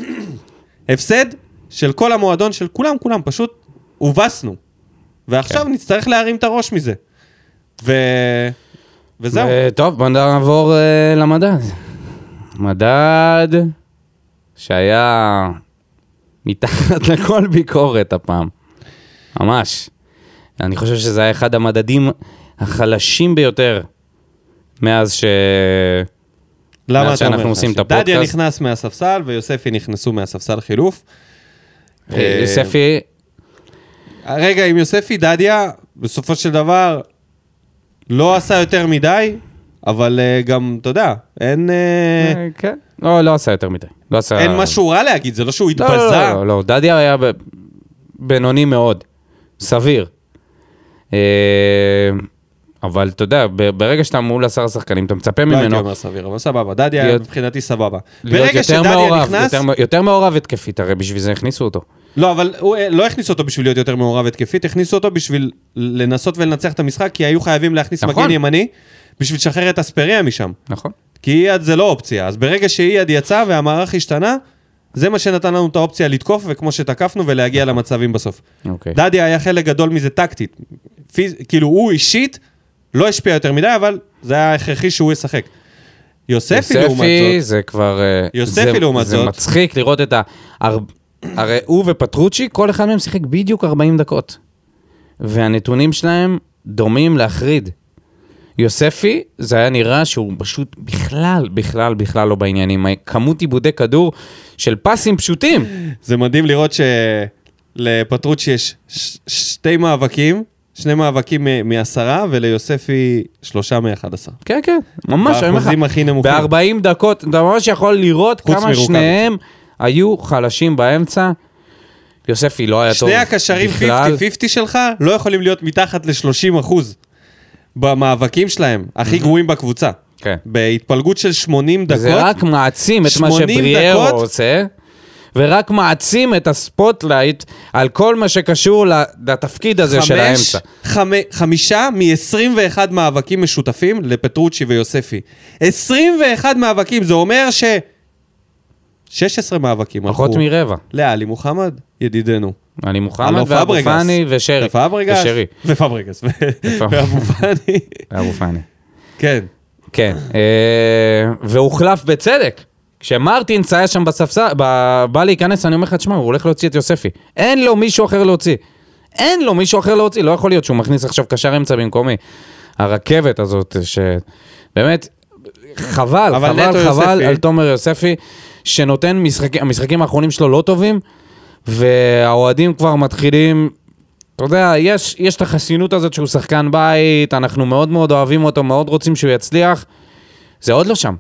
A: הפסד של כל המועדון, של כולם, כולם, פשוט הובסנו. ועכשיו כן. נצטרך להרים את הראש מזה. ו... וזהו.
B: אה, טוב, בוא נעבור אה, למדד. מדד שהיה מתחת לכל ביקורת הפעם. ממש. אני חושב שזה היה אחד המדדים החלשים ביותר מאז ש...
A: למה
B: מאז
A: אתה אומר
B: שאנחנו עושים את
A: לך? דדיה
B: הפודקאסט.
A: נכנס מהספסל ויוספי נכנסו מהספסל חילוף.
B: אה, יוספי,
A: אה, רגע, עם יוספי דדיה, בסופו של דבר, לא עשה יותר מדי, אבל אה, גם, אתה יודע, אין, אה,
B: אה, כן. לא, לא עשה יותר מדי. לא עשה...
A: אין משהו רע להגיד, זה לא שהוא
B: לא, לא,
A: התבזה.
B: לא, לא, לא, דדיה היה ב- בינוני מאוד, סביר. אה, אבל אתה יודע, ב- ברגע שאתה מול עשר השחקנים, אתה מצפה
A: לא הייתי
B: ממנו
A: אומר סביר, אבל סבבה, דדיה היה
B: להיות-
A: מבחינתי סבבה.
B: להיות
A: ברגע
B: יותר
A: שדדיה
B: מעורב,
A: נכנס,
B: יותר מ- יותר מעורב התקפית, הרי בשביל זה הכניסו אותו.
A: לא, אבל הוא אה, לא הכניסו אותו בשביל להיות יותר מעורב התקפית, הכניסו אותו בשביל לנסות ולנצח את המשחק, כי היו חייבים להכניס
B: נכון.
A: מגן ימני, בשביל לשחרר את אספריה משם.
B: נכון.
A: כי אייד זה לא אופציה. אז ברגע שאייד יצא והמערך השתנה, זה מה שנתן לנו את האופציה לתקוף, וכמו שתקפנו, ולהגיע למצבים בסוף.
B: אוקיי.
A: דדיה היה חלק גדול מזה טקטית. פיז... כאילו, הוא אישית לא השפיע יותר מדי, אבל זה היה הכרחי שהוא ישחק. יוספי, לעומת
B: יוספי,
A: זאת,
B: זה כבר... אה,
A: יוספי
B: זה-
A: לעומת
B: זה
A: זאת.
B: מצחיק לראות את ה... הר- הרי הוא ופטרוצ'י, כל אחד מהם שיחק בדיוק 40 דקות. והנתונים שלהם דומים להחריד. יוספי, זה היה נראה שהוא פשוט בכלל, בכלל, בכלל לא בעניינים. כמות עיבודי כדור של פסים פשוטים.
A: זה מדהים לראות שלפטרוצ'י יש ש... שתי מאבקים, שני מאבקים מ- מעשרה, וליוספי שלושה מאחד עשר.
B: כן, כן, ממש, אני אומר לך.
A: באחוזים הכי נמוכים.
B: ב-40 דקות, אתה ממש יכול לראות
A: חוץ
B: כמה
A: מרוקאביצה.
B: שניהם היו חלשים באמצע. יוספי לא היה טוב
A: שני הקשרים 50-50
B: בכלל.
A: שלך לא יכולים להיות מתחת ל-30 אחוז במאבקים שלהם, הכי גרועים בקבוצה.
B: כן.
A: בהתפלגות של 80 דקות.
B: זה רק מעצים את מה
A: 80
B: שבריארו
A: דקות.
B: עושה, ורק מעצים את הספוטלייט על כל מה שקשור ל- לתפקיד הזה של האמצע.
A: חמ- חמישה מ-21 מאבקים משותפים לפטרוצ'י ויוספי. 21 מאבקים, זה אומר ש... 16 מאבקים
B: פחות
A: הלכו
B: מרבע.
A: לאלי מוחמד, ידידנו.
B: אני מוחמד
A: הלו
B: ואבו
A: פאברגס.
B: פאני ושרי.
A: ופאברגס.
B: ושרי.
A: ופאברגס. ו- ואבו פאני.
B: אבו פאני.
A: כן.
B: כן. אה, והוחלף בצדק. כשמרטינס היה שם בספסל, ב- בא להיכנס, אני אומר לך, תשמע, הוא הולך להוציא את יוספי. אין לו מישהו אחר להוציא. אין לו מישהו אחר להוציא. לא יכול להיות שהוא מכניס עכשיו קשר אמצע במקומי. הרכבת הזאת, שבאמת, חבל,
A: אבל נטו
B: חבל, חבל
A: יוספי.
B: על תומר יוספי, שנותן משחקים, המשחקים האחרונים שלו לא טובים, והאוהדים כבר מתחילים אתה יודע, יש, יש את החסינות הזאת שהוא שחקן בית, אנחנו מאוד מאוד אוהבים אותו, מאוד רוצים שהוא יצליח. זה עוד לא שם.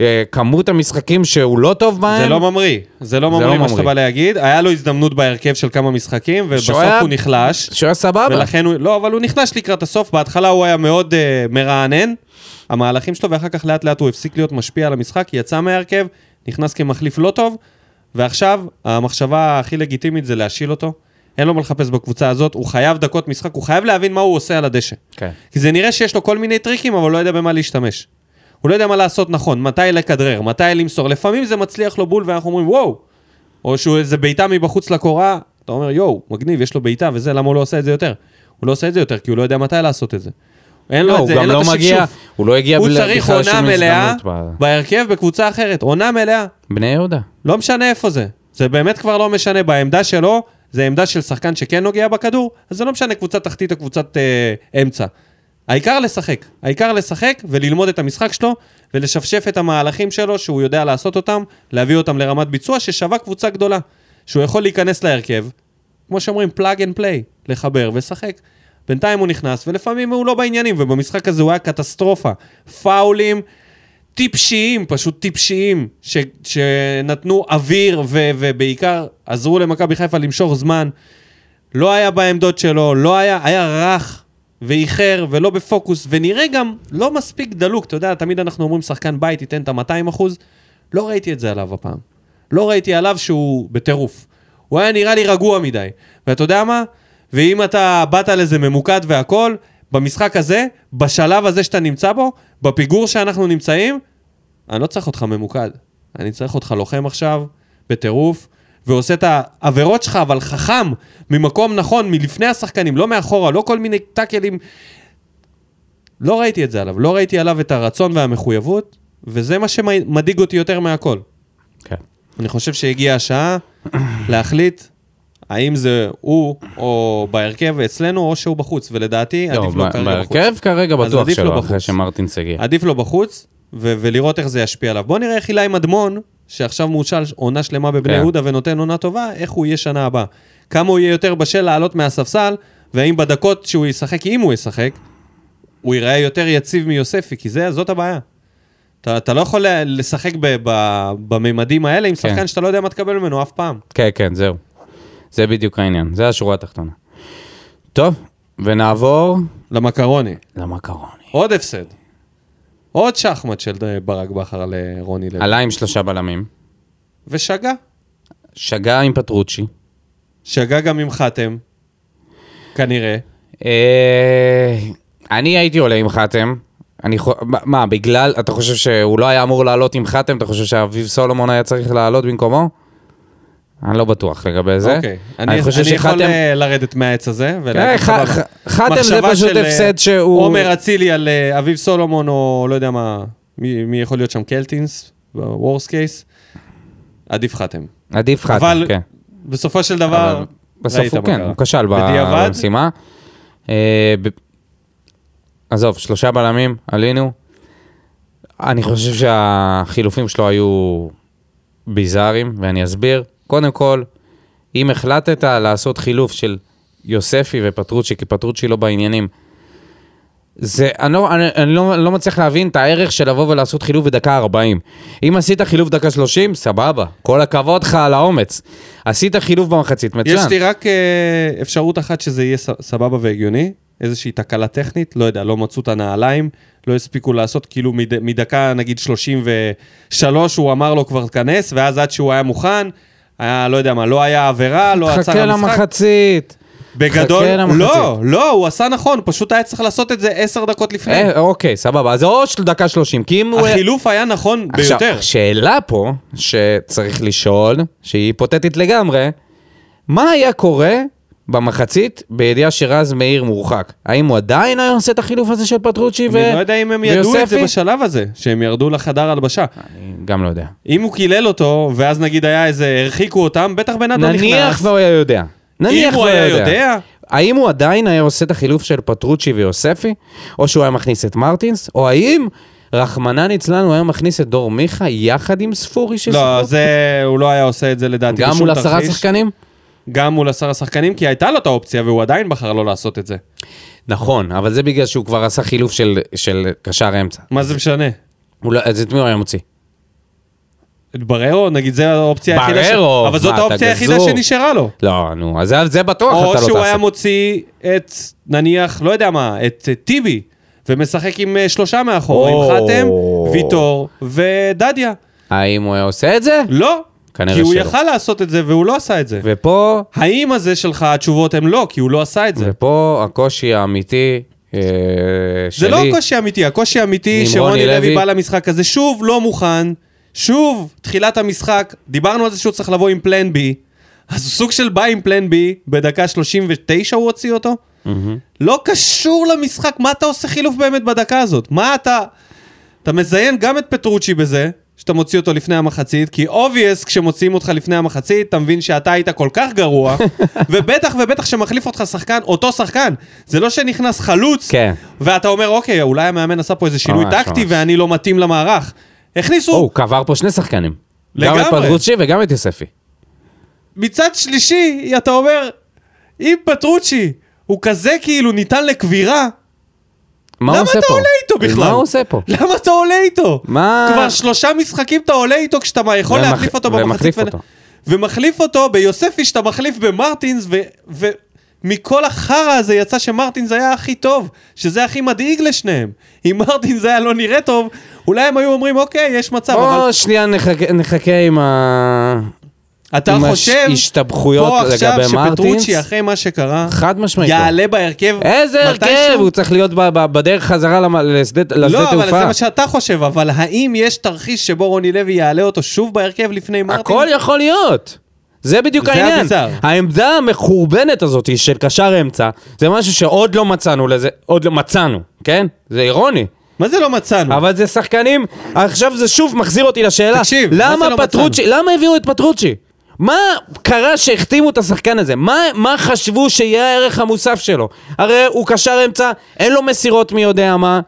B: אה, כמות המשחקים שהוא לא טוב בהם,
A: זה לא ממריא, זה לא ממריא מה שאתה
B: ממריא.
A: בא להגיד. היה לו הזדמנות בהרכב של כמה משחקים, ובסוף
B: שהיה-
A: הוא נחלש.
B: שהוא היה סבבה.
A: ולכן הוא, לא, אבל הוא נכנס לקראת הסוף, בהתחלה הוא היה מאוד אה, מרענן, המהלכים שלו, ואחר כך לאט לאט הוא הפסיק להיות משפיע על המשחק, יצא מההרכב, נכנס כמחליף לא טוב, ועכשיו המחשבה הכי לגיטימית זה להשיל אותו. אין לו מה לחפש בקבוצה הזאת, הוא חייב דקות משחק, הוא חייב להבין מה הוא עושה על הדשא.
B: כן.
A: כי זה נראה שיש לו כל מיני טריקים, אבל הוא לא יודע במה להשתמש. הוא לא יודע מה לעשות נכון, מתי לכדרר, מתי למסור. לפעמים זה מצליח לו בול ואנחנו אומרים, וואו. או שהוא איזה בעיטה מבחוץ לקורה, אתה אומר, יואו, מגניב, יש לו בעיטה וזה, למה הוא לא עושה את זה יותר? הוא לא עושה את זה יותר, כי הוא לא יודע מתי לעשות את זה. אין
B: לא,
A: לו את
B: הוא
A: זה, אין
B: גם
A: לו
B: לא
A: את
B: מגיע,
A: השפשוף.
B: הוא לא הגיע
A: הוא
B: בלי-
A: צריך
B: בכלל
A: עונה
B: שום
A: מלאה
B: הזדמנות. ב-
A: בהרכב בקבוצה אחרת, עונה מלאה.
B: בני יהודה.
A: לא משנה איפה זה. זה באמת כבר לא משנה. בעמדה שלו, זה עמדה של שחקן שכן נוגע בכדור, אז זה לא משנה קבוצה תחתית או קבוצת אה, אמצע. העיקר לשחק. העיקר לשחק וללמוד את המשחק שלו, ולשפשף את המהלכים שלו, שהוא יודע לעשות אותם, להביא אותם לרמת ביצוע ששווה קבוצה גדולה. שהוא יכול להיכנס להרכב, כמו שאומרים, פלאג אנד פליי, לחבר ולשחק. בינתיים הוא נכנס, ולפעמים הוא לא בעניינים, ובמשחק הזה הוא היה קטסטרופה. פאולים, טיפשיים, פשוט טיפשיים, ש, שנתנו אוויר ו, ובעיקר עזרו למכבי חיפה למשוך זמן. לא היה בעמדות שלו, לא היה, היה רך ואיחר ולא בפוקוס, ונראה גם לא מספיק דלוק. אתה יודע, תמיד אנחנו אומרים שחקן בית ייתן את ה-200 אחוז, לא ראיתי את זה עליו הפעם. לא ראיתי עליו שהוא בטירוף. הוא היה נראה לי רגוע מדי. ואתה יודע מה? ואם אתה באת לזה ממוקד והכול, במשחק הזה, בשלב הזה שאתה נמצא בו, בפיגור שאנחנו נמצאים, אני לא צריך אותך ממוקד. אני צריך אותך לוחם עכשיו, בטירוף, ועושה את העבירות שלך, אבל חכם, ממקום נכון, מלפני השחקנים, לא מאחורה, לא כל מיני טאקלים. לא ראיתי את זה עליו, לא ראיתי עליו את הרצון והמחויבות, וזה מה שמדאיג אותי יותר מהכל.
B: כן.
A: אני חושב שהגיעה השעה להחליט האם זה הוא או בהרכב אצלנו, או שהוא בחוץ, ולדעתי
B: לא,
A: עדיף לו
B: ב-
A: כרגע בחוץ.
B: בהרכב כרגע
A: אז
B: בטוח
A: עדיף לו
B: שלא, אחרי
A: בחוץ.
B: שמרטינס הגיע.
A: כן. עדיף לו בחוץ, ו- ולראות איך זה ישפיע עליו. בוא נראה איך אילי מדמון, שעכשיו מושל עונה שלמה בבני
B: כן.
A: יהודה ונותן עונה טובה, איך הוא יהיה שנה הבאה. כמה הוא יהיה יותר בשל לעלות מהספסל, והאם בדקות שהוא ישחק, אם הוא ישחק, הוא ייראה יותר יציב מיוספי, כי זה, זאת הבעיה. אתה, אתה לא יכול ל- לשחק ב- ב- בממדים האלה עם שחקן
B: כן.
A: שאתה לא יודע מה תקבל ממנו אף פעם.
B: כן, כן, זהו. זה בדיוק העניין, זה השורה התחתונה. טוב, ונעבור
A: למקרוני.
B: למקרוני.
A: עוד הפסד. עוד שחמט של אה, ברק בכר לרוני לוי.
B: עלה עם שלושה בלמים,
A: ושגה.
B: שגה עם פטרוצ'י.
A: שגה גם עם חתם, כנראה.
B: אה, אני הייתי עולה עם חתם. אני חו... מה- מה, בגלל, אתה חושב שהוא לא היה אמור לעלות עם חתם? אתה חושב שאביב סולומון היה צריך לעלות במקומו? אני לא בטוח לגבי זה.
A: אוקיי. אני, אני, אני יכול אה, לרדת מהעץ הזה
B: אה,
A: ולהגיד לך...
B: ח-
A: אבל-
B: ח- חתם זה
A: מחשבה
B: פשוט
A: של, אה,
B: הפסד שהוא...
A: עומר אצילי על אה, אביב סולומון, או לא יודע מה, מי, מי יכול להיות שם? קלטינס, ב-Worst case, עדיף חתם.
B: עדיף חתם,
A: אבל
B: כן.
A: בסופו של דבר,
B: אבל בסוף
A: ראית
B: הוא
A: מה
B: כן,
A: קרה.
B: הוא כשל ב-
A: בדיעבד?
B: במשימה. אה, ב- עזוב, שלושה בלמים, עלינו. אני חושב שהחילופים שלו היו ביזאריים, ואני אסביר. קודם כל, אם החלטת לעשות חילוף של יוספי ופטרוצ'י, כי פטרוצ'י לא בעניינים, זה, אני לא, אני, אני לא, אני לא מצליח להבין את הערך של לבוא ולעשות חילוף בדקה 40. אם עשית חילוף דקה 30, סבבה. כל הכבוד לך על האומץ. עשית חילוף במחצית, מצוין.
A: יש לי רק אה, אפשרות אחת שזה יהיה ס- סבבה והגיוני, איזושהי תקלה טכנית, לא יודע, לא מצאו את הנעליים, לא הספיקו לעשות, כאילו מד, מדקה נגיד 33 הוא אמר לו כבר תכנס, ואז עד שהוא היה מוכן, היה, לא יודע מה, לא היה עבירה, לא עצר
B: חכה
A: המשחק.
B: למחצית.
A: בגדול,
B: חכה למחצית.
A: לא, לא, הוא עשה נכון, הוא פשוט היה צריך לעשות את זה עשר דקות לפני.
B: אה, אוקיי, סבבה, אז זה או של דקה שלושים, כי אם הוא...
A: החילוף היה נכון
B: עכשיו,
A: ביותר.
B: השאלה פה, שצריך לשאול, שהיא היפותטית לגמרי, מה היה קורה במחצית בידיעה שרז מאיר מורחק? האם הוא עדיין היה עושה את החילוף הזה של פטרוצ'י ו...
A: אני לא יודע אם הם ידעו את זה
B: ויוספי?
A: בשלב הזה, שהם ירדו לחדר הלבשה.
B: אני גם לא יודע.
A: אם הוא קילל אותו, ואז נגיד היה איזה, הרחיקו אותם, בטח בנאדו נכנס.
B: נניח והוא היה יודע. נניח
A: אם הוא
B: והוא
A: היה יודע,
B: האם הוא עדיין היה עושה את החילוף של פטרוצ'י ויוספי, או שהוא היה מכניס את מרטינס, או האם, רחמנא ליצלן, הוא היה מכניס את דור מיכה יחד עם ספורי של
A: לא, זה, הוא לא היה עושה את זה לדעתי
B: גם
A: בשום
B: מול עשרה
A: תרחיש.
B: שחקנים?
A: גם מול עשרה שחקנים, כי הייתה לו את האופציה, והוא עדיין בחר לא לעשות את זה.
B: נכון, אבל זה בגלל שהוא כבר עשה חילוף של, של קשר אמצע.
A: מה זה משנה?
B: הוא לא, אז את מי הוא היה מוציא?
A: את בררו, נגיד, זה האופציה היחידה
B: בררו,
A: אבל זאת
B: מה, אתה
A: האופציה היחידה
B: גזור?
A: שנשארה לו.
B: לא, נו, אז זה- זה בטוח
A: או
B: אתה לא
A: שהוא
B: תעשה.
A: היה מוציא את, נניח, לא יודע מה, את אה, טיבי, ומשחק עם אה, שלושה מאחור,
B: או.
A: עם חתם, ויטור ודדיה.
B: האם הוא היה עושה את זה?
A: לא,
B: כנראה
A: כי הוא
B: שלא.
A: יכל לעשות את זה והוא לא עשה את זה.
B: ופה,
A: האם הזה שלך, התשובות הן לא, כי הוא לא עשה את זה.
B: ופה הקושי האמיתי אה,
A: זה
B: שלי.
A: לא קושי אמיתי, הקושי האמיתי
B: עם
A: שרוני
B: רוני
A: לוי
B: לוי.
A: בא למשחק הזה שוב לא מוכן, שוב תחילת המשחק, דיברנו על זה שהוא צריך לבוא עם פלן בי, אז הוא סוג של בא עם פלן בי, בדקה 39 הוא הוציא אותו,
B: מהמם.
A: לא קשור למשחק, מה אתה עושה חילוף באמת בדקה הזאת? מה אתה... אתה מזיין גם את פטרוצ'י בזה, שאתה מוציא אותו לפני המחצית, כי אובייס כשמוציאים אותך לפני המחצית, אתה מבין שאתה היית כל כך גרוע, ובטח ובטח שמחליף אותך שחקן, אותו שחקן. זה לא שנכנס חלוץ,
B: כן.
A: ואתה אומר, אוקיי, אולי המאמן עשה פה איזה שינוי
B: ממש,
A: טקטי
B: ממש.
A: ואני לא מתאים למערך. הכניסו,
B: או, הוא קבר פה שני שחקנים. גם את
A: לגמרי.
B: פטרוצ'י וגם את יוספי.
A: מצד שלישי, אתה אומר, אם פטרוצ'י הוא כזה כאילו ניתן לקבירה,
B: מה הוא
A: למה
B: עושה פה?
A: אתה עולה איתו בכלל?
B: מה הוא עושה פה?
A: למה אתה עולה איתו?
B: מה?
A: כבר שלושה משחקים אתה עולה איתו כשאתה מה- יכול
B: ומח-
A: להחליף אותו במחצית.
B: ומחליף
A: ו-
B: אותו.
A: ומחליף אותו ביוספי שאתה מחליף במרטינס, ו- ומכל החרא הזה יצא שמרטינס היה הכי טוב, שזה הכי מדאיג לשניהם. אם מרטינס היה לא נראה טוב, אולי הם היו אומרים, אוקיי, יש מצב, אבל
B: בוא שנייה נחכה- נחכה עם ה...
A: אתה
B: עם
A: חושב,
B: ההשתבחויות
A: פה עכשיו
B: לגבי מרטינס?
A: שפטרוצ'י אחרי מה שקרה,
B: חד משמעית. לא.
A: יעלה בהרכב
B: איזה הרכב?
A: מתישהו?
B: הוא צריך להיות ב- ב- בדרך חזרה למ- לשדה לשדה תעופה.
A: לא, אבל זה מה שאתה חושב, אבל האם יש תרחיש שבו רוני לוי יעלה אותו שוב בהרכב לפני מרטין?
B: הכל יכול להיות. זה בדיוק
A: זה
B: העניין.
A: הביזאר.
B: העמדה המחורבנת הזאת של קשר אמצע, זה משהו שעוד לא מצאנו לזה, עוד לא מצאנו, כן? זה אירוני.
A: מה זה לא מצאנו?
B: אבל זה שחקנים, עכשיו זה שוב מחזיר אותי לשאלה,
A: תקשיב, מה
B: למה
A: זה לא
B: פטרוצ'י, למה הביאו את פטרוצ'י? מה קרה שהחתימו את השחקן הזה? מה, מה חשבו שיהיה הערך המוסף שלו? הרי הוא קשר אמצע, אין לו מסירות מי יודע מה,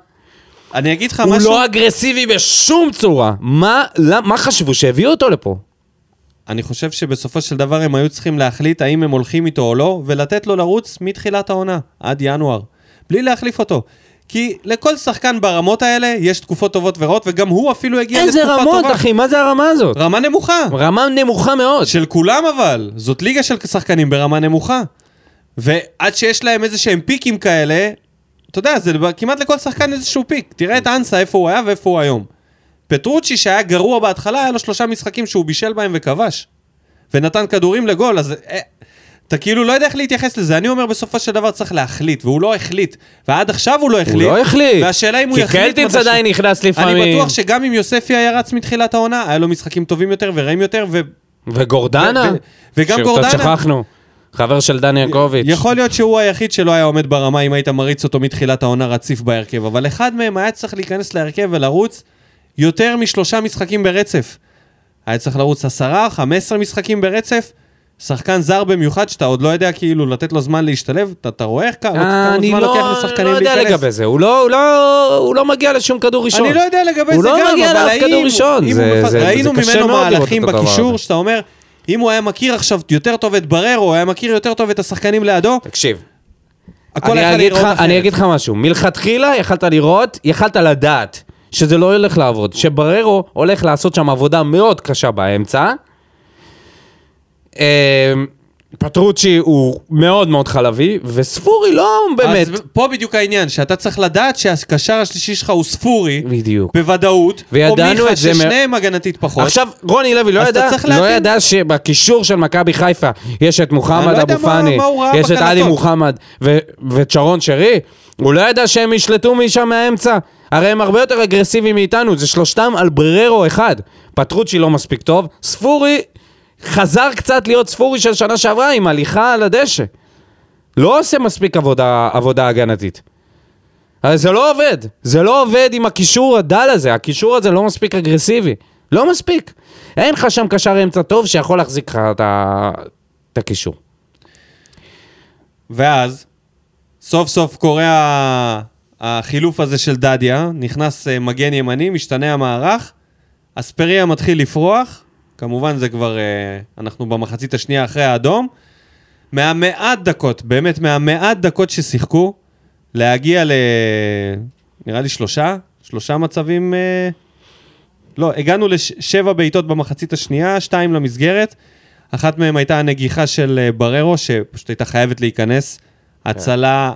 A: אני אגיד לך
B: הוא
A: אה, משהו,
B: לא אגרסיבי בשום צורה. מה, למ, מה חשבו שהביאו אותו לפה?
A: אני חושב שבסופו של דבר הם היו צריכים להחליט האם הם הולכים איתו או לא, ולתת לו לרוץ מתחילת העונה עד ינואר, בלי להחליף אותו. כי לכל שחקן ברמות האלה יש תקופות טובות ורעות, וגם הוא אפילו הגיע לתקופה
B: איזה
A: טובה.
B: רמות, אחי, מה זה הרמה הזאת?
A: רמה נמוכה.
B: רמה נמוכה מאוד.
A: של כולם אבל, זאת ליגה של שחקנים ברמה נמוכה. ועד שיש להם איזה שהם פיקים כאלה, אתה יודע, זה ב- כמעט לכל שחקן איזשהו פיק. תראה את אנסה, איפה הוא היה ואיפה הוא היום. פטרוצ'י, שהיה גרוע בהתחלה, היה לו שלושה משחקים שהוא בישל בהם וכבש. ונתן כדורים לגול, אז... אה, אתה כאילו לא יודע איך להתייחס לזה, אני אומר בסופו של דבר צריך להחליט, והוא לא החליט, ועד עכשיו הוא לא החליט.
B: הוא לא החליט.
A: והשאלה אם הוא
B: כי
A: יחליט...
B: קלטינס
A: מתישהו.
B: עדיין נכנס לפעמים.
A: אני בטוח שגם אם יוספי היה רץ מתחילת העונה, היה לו משחקים טובים יותר ורעים יותר, ו...
B: וגורדנה?
A: ו- ו- וגם גורדנה.
B: שאותו שכחנו. חבר של דני ינקוביץ'.
A: יכול להיות שהוא היחיד שלא היה עומד ברמה אם היית מריץ אותו מתחילת העונה רציף בהרכב, אבל אחד מהם היה צריך להיכנס להרכב ולרוץ יותר משלושה משחקים ברצף. היה צריך לרוץ עשרה, חמש עשרה משחקים ברצף. שחקן זר במיוחד, שאתה עוד לא יודע כאילו לתת לו זמן להשתלב, אתה, אתה רואה איך כ- כמה
B: אה, אני
A: זמן לוקח
B: לא,
A: לשחקנים
B: לא יודע
A: להיכנס?
B: לגבי זה, הוא לא, הוא, לא, הוא לא מגיע לשום כדור ראשון.
A: אני לא יודע לגבי
B: הוא
A: זה
B: לא
A: גם,
B: מגיע
A: אבל
B: לאף
A: האם-
B: כדור
A: אם
B: ראשון,
A: הוא
B: זה-
A: מפס-
B: זה- זה
A: ראינו
B: קשה
A: ממנו
B: מאוד לראות
A: מהלכים
B: את הדבר
A: בקישור,
B: הזה.
A: שאתה אומר, אם הוא היה מכיר עכשיו יותר טוב את בררו, הוא היה מכיר יותר טוב את השחקנים לידו,
B: תקשיב,
A: הכל
B: אני
A: היה
B: אגיד,
A: להיראות
B: לך,
A: אחרת.
B: אני אגיד לך משהו, מלכתחילה יכלת לראות, יכלת לדעת שזה לא הולך לעבוד, שבררו הולך לעשות שם עבודה מאוד קשה באמצע. אמ, פטרוצ'י הוא מאוד מאוד חלבי, וספורי לא באמת.
A: אז פה בדיוק העניין, שאתה צריך לדעת שהקשר השלישי שלך הוא ספורי,
B: בדיוק.
A: בוודאות,
B: וידענו
A: או מיכה
B: את זה מ-
A: ששניהם הגנתית פחות.
B: עכשיו, רוני לוי לא
A: אז אתה
B: ידע,
A: צריך
B: לא
A: להתאים.
B: ידע שבקישור של מכבי חיפה יש את
A: אני
B: מוחמד
A: לא
B: אבו
A: יודע מה-
B: פאני,
A: מה הוא ראה
B: יש את עלי
A: בקלטות.
B: מוחמד ו- ואת שרון שרי, הוא לא ידע שהם ישלטו משם מהאמצע. הרי הם הרבה יותר אגרסיביים מאיתנו, זה שלושתם על בררו אחד. פטרוצ'י לא מספיק טוב, ספורי חזר קצת להיות ספורי של שנה שעברה עם הליכה על הדשא. לא עושה מספיק עבודה, עבודה הגנתית. הרי זה לא עובד. זה לא עובד עם הקישור הדל הזה. הקישור הזה לא מספיק אגרסיבי. לא מספיק. אין לך שם קשר אמצע טוב שיכול להחזיק לך את ה- את הקישור.
A: ואז, סוף סוף קורה ה- החילוף הזה של דדיה, נכנס אה, מגן ימני, משתנה המערך, אספריה מתחיל לפרוח, כמובן זה כבר, אה, אנחנו במחצית השנייה אחרי האדום. מהמעט דקות, באמת מהמעט דקות ששיחקו, להגיע ל... נראה לי שלושה, שלושה מצבים... אה, לא, הגענו לשבע בעיטות במחצית השנייה, שתיים למסגרת. אחת מהן הייתה הנגיחה של אה, בררו, שפשוט הייתה חייבת להיכנס.
B: כן.
A: הצלה